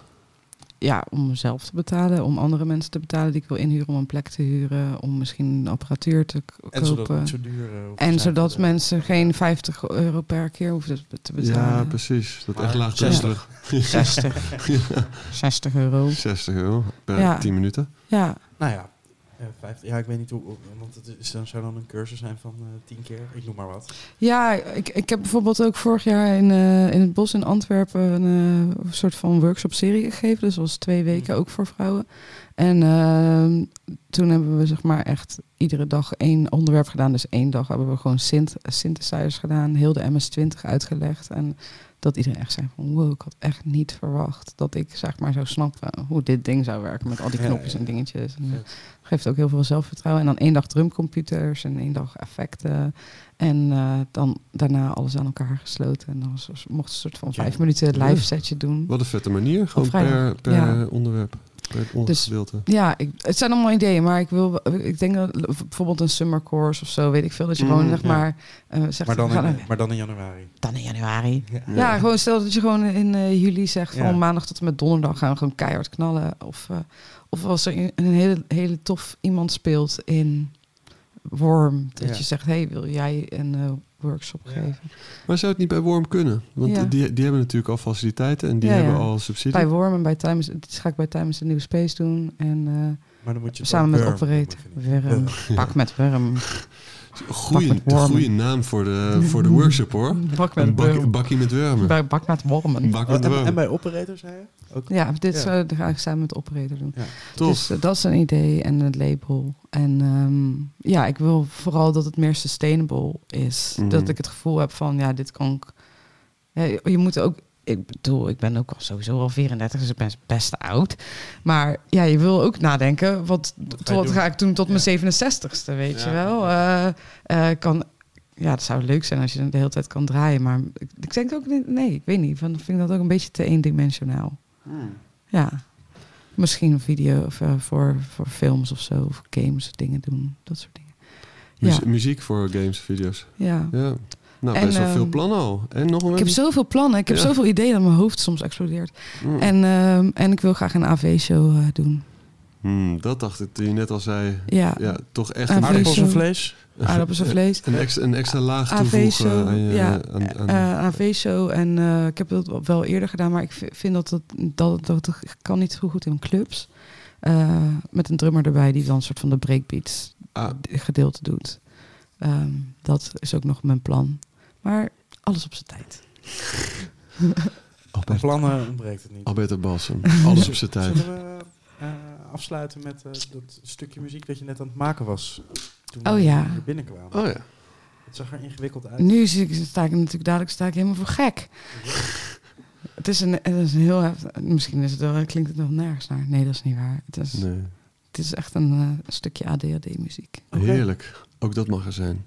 S4: Ja, om mezelf te betalen, om andere mensen te betalen die ik wil inhuren, om een plek te huren, om misschien apparatuur te k-
S1: En zodat het
S4: kopen.
S1: niet zo duur eh, hoeft te
S4: en
S1: zijn.
S4: zodat mensen geen 50 euro per keer hoeven te- te
S2: Ja,
S4: betalen.
S2: precies. Dat
S1: Maar
S2: echt laagdrempelig. [LAUGHS]
S4: 60. 60 euro.
S2: 60 euro per
S4: Ja.
S2: 10 minuten.
S4: Ja,
S1: Nou ja, eh, 50. Ja, ik weet niet hoe. Want het is, dan zou dan een cursus zijn van eh, tien keer. Ik noem maar wat.
S4: Ja, ik, ik heb bijvoorbeeld ook vorig jaar in, eh, in het bos in Antwerpen een eh, soort van workshop-serie gegeven. Dus dat was twee weken ook voor vrouwen. En ehm, toen hebben we zeg maar echt iedere dag één onderwerp gedaan. Dus één dag hebben we gewoon synth synthesizers gedaan, heel de MS-20 uitgelegd. En dat iedereen echt zei van wow, ik had echt niet verwacht dat ik zeg maar zou snappen hoe dit ding zou werken met al die
S1: Ja,
S4: knopjes
S1: ja.
S4: en dingetjes. En,
S1: Vet.
S4: dat geeft ook heel veel zelfvertrouwen. En dan één dag drumcomputers en één dag effecten. En eh, dan daarna alles aan elkaar gesloten. En dan zo- mocht een soort van
S1: Ja.
S4: vijf minuten
S2: Ja.
S4: live setje doen.
S2: Wat een vette manier. Gewoon per,
S4: vrijdag.
S2: per
S4: Ja. Dus-
S2: onderwerp. Per ondergedeelte.
S4: Ja, ik, het zijn allemaal ideeën, maar ik wil, ik denk dat bijvoorbeeld een summer course of zo, weet ik veel, dat je
S1: Mm,
S4: gewoon zeg
S1: ja.
S4: maar eh, zegt,
S1: Maar dan,
S4: we gaan
S1: in,
S4: naar-
S1: maar dan in januari.
S4: dan in januari.
S1: Ja.
S4: Ja. gewoon stel dat je gewoon in eh, juli zegt van
S1: Ja.
S4: maandag tot en met donderdag gaan we gewoon keihard knallen. Of, eh, of als er een een hele, hele tof iemand speelt in Worm, dat
S1: Ja.
S4: je zegt, hey, wil jij een eh, workshop
S1: Ja.
S4: geven?
S2: Maar zou het niet bij Worm kunnen? Want
S4: Ja.
S2: die, die hebben natuurlijk al faciliteiten en die
S4: Ja, ja.
S2: hebben al subsidie.
S4: Bij Worm en bij Times, dit ga ik bij Times de Nieuwe Space doen. En eh,
S1: Maar dan moet je het
S4: samen
S1: dan
S4: met
S1: Burn
S4: Operate.
S1: noemen, vind ik.
S4: Worm. Pak
S1: [LAUGHS]
S4: met Worm.
S2: Goeie,
S4: Pak met wormen.
S2: goede naam voor de, voor
S4: [LAUGHS]
S2: de workshop hoor.
S4: Pak
S2: Een
S4: met
S2: bak-
S4: Worm.
S2: bakkie met wormen.
S4: Bij Bak met Wormen.
S2: Een bak met
S1: Oh, en, en
S2: wormen.
S1: bij Operator zei je? Ook
S4: Ja, dit
S1: Ja.
S4: zou- dat ga ik samen met de operator doen.
S2: Tof.
S4: Dus eh, dat is een idee en het label. En ehm, ja, ik wil vooral dat het meer sustainable is.
S2: Mhm.
S4: Dat ik het gevoel heb van, ja, dit kan ik... Ja, je- je moet ook... Ik bedoel, ik ben ook al sowieso al 34, dus ik ben best oud. Maar ja, je wil ook nadenken, wat,
S1: Wat
S4: wat,
S1: ga je doen?
S4: ga ik doen tot mijn 67ste, weet
S2: Ja.
S4: je wel? Eh, eh, kan, ja, het zou leuk zijn als je de hele tijd kan draaien. Maar ik, ik denk ook, niet- nee, ik weet niet. Van, vind ik dat ook een beetje te eendimensionaal. Hm. Ja. Misschien een video of, eh, voor, voor films of zo, of games, dingen doen, dat soort dingen.
S2: Muzie-
S4: Ja.
S2: Muziek voor games, video's.
S4: Ja.
S2: Ja. Nou,
S4: En,
S2: best wel
S4: ehm,
S2: veel plannen al. En nog een
S4: Ik heb zoveel plannen, ik heb
S2: Ja.
S4: zoveel ideeën dat mijn hoofd soms explodeert.
S2: Mm.
S4: En, ehm, en ik wil graag een AV-show doen.
S2: Hmm, dat dacht ik toen je net al zei.
S4: Ja,
S2: Ja, toch echt
S4: Ah,
S2: een,
S4: precies.
S1: Aardappels en
S4: Zo.
S1: vlees.
S4: aardappels en
S2: [LAUGHS]
S4: vlees.
S2: een, extra, een extra laag toevoegen
S4: AV-show,
S2: aan je...
S4: ja,
S2: aan, aan-
S4: eh, AV-show. En eh, ik heb dat wel eerder gedaan, maar ik v- vind dat dat, dat, dat, dat kan niet zo goed in clubs. Eh, met een drummer erbij die dan een soort van de breakbeats
S2: Ah.
S4: gedeelte doet. Ehm, dat is ook nog mijn plan. Maar alles op zijn tijd.
S2: Albert,
S4: [LAUGHS]
S1: Plannen ontbreekt het niet.
S2: Alberto Balsem. Alles op zijn tijd.
S1: Zullen we eh, afsluiten met eh, dat stukje muziek dat je net aan het maken was? Toen
S4: Oh
S1: we
S4: ja.
S1: hier binnenkwamen.
S2: Oh ja.
S1: Het zag er ingewikkeld uit.
S4: Nu zie ik- sta ik natuurlijk dadelijk sta ik helemaal voor
S2: [LAUGHS]
S4: gek. Het is een, het is een heel heft- Misschien is het wel, klinkt het nog nergens naar. Nee, dat is niet waar. Het is,
S2: Nee.
S4: het is echt een eh, stukje ADHD-muziek.
S2: Heerlijk. Ook dat mag er zijn.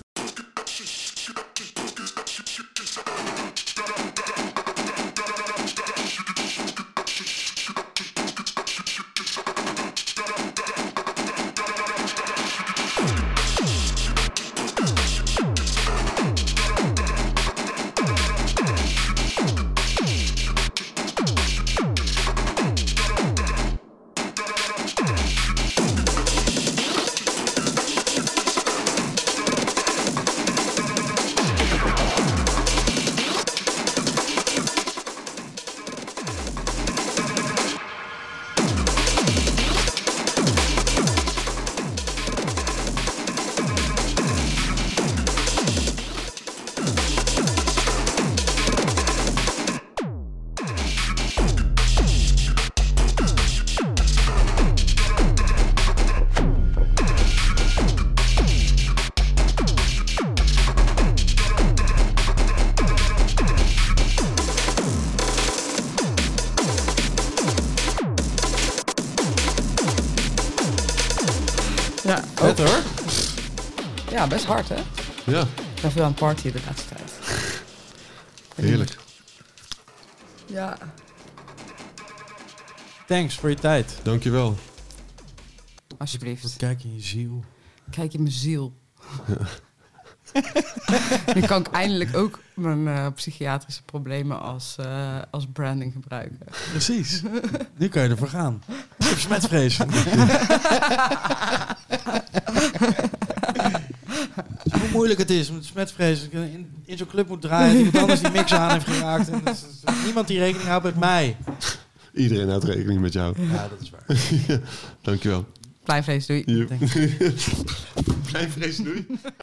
S2: Oh.
S4: Ja, best hard hè.
S2: Ja,
S4: Ik ben veel aan het partyen de laatste tijd.
S2: heerlijk.
S4: Ja.
S1: Thanks voor je tijd.
S2: Dankjewel.
S4: Alsjeblieft.
S1: Kijk in je ziel.
S4: Kijk in mijn ziel. nu kan ik eindelijk ook mijn eh, psychiatrische problemen als, eh, als branding gebruiken.
S1: Precies. nu kan je ervoor gaan. Ik heb smetvrees. Hoe moeilijk het is met smetvrees. Ik in, in zo'n club moet draaien. Iemand anders die mix aan heeft geraakt. En dat is- dat is niemand die rekening houdt met mij.
S2: Iedereen houdt rekening met jou. [LAUGHS]
S1: Ja, dat is waar.
S2: Dankjewel.
S4: Blijf lezen, doei.
S2: Blijf vrees, doei.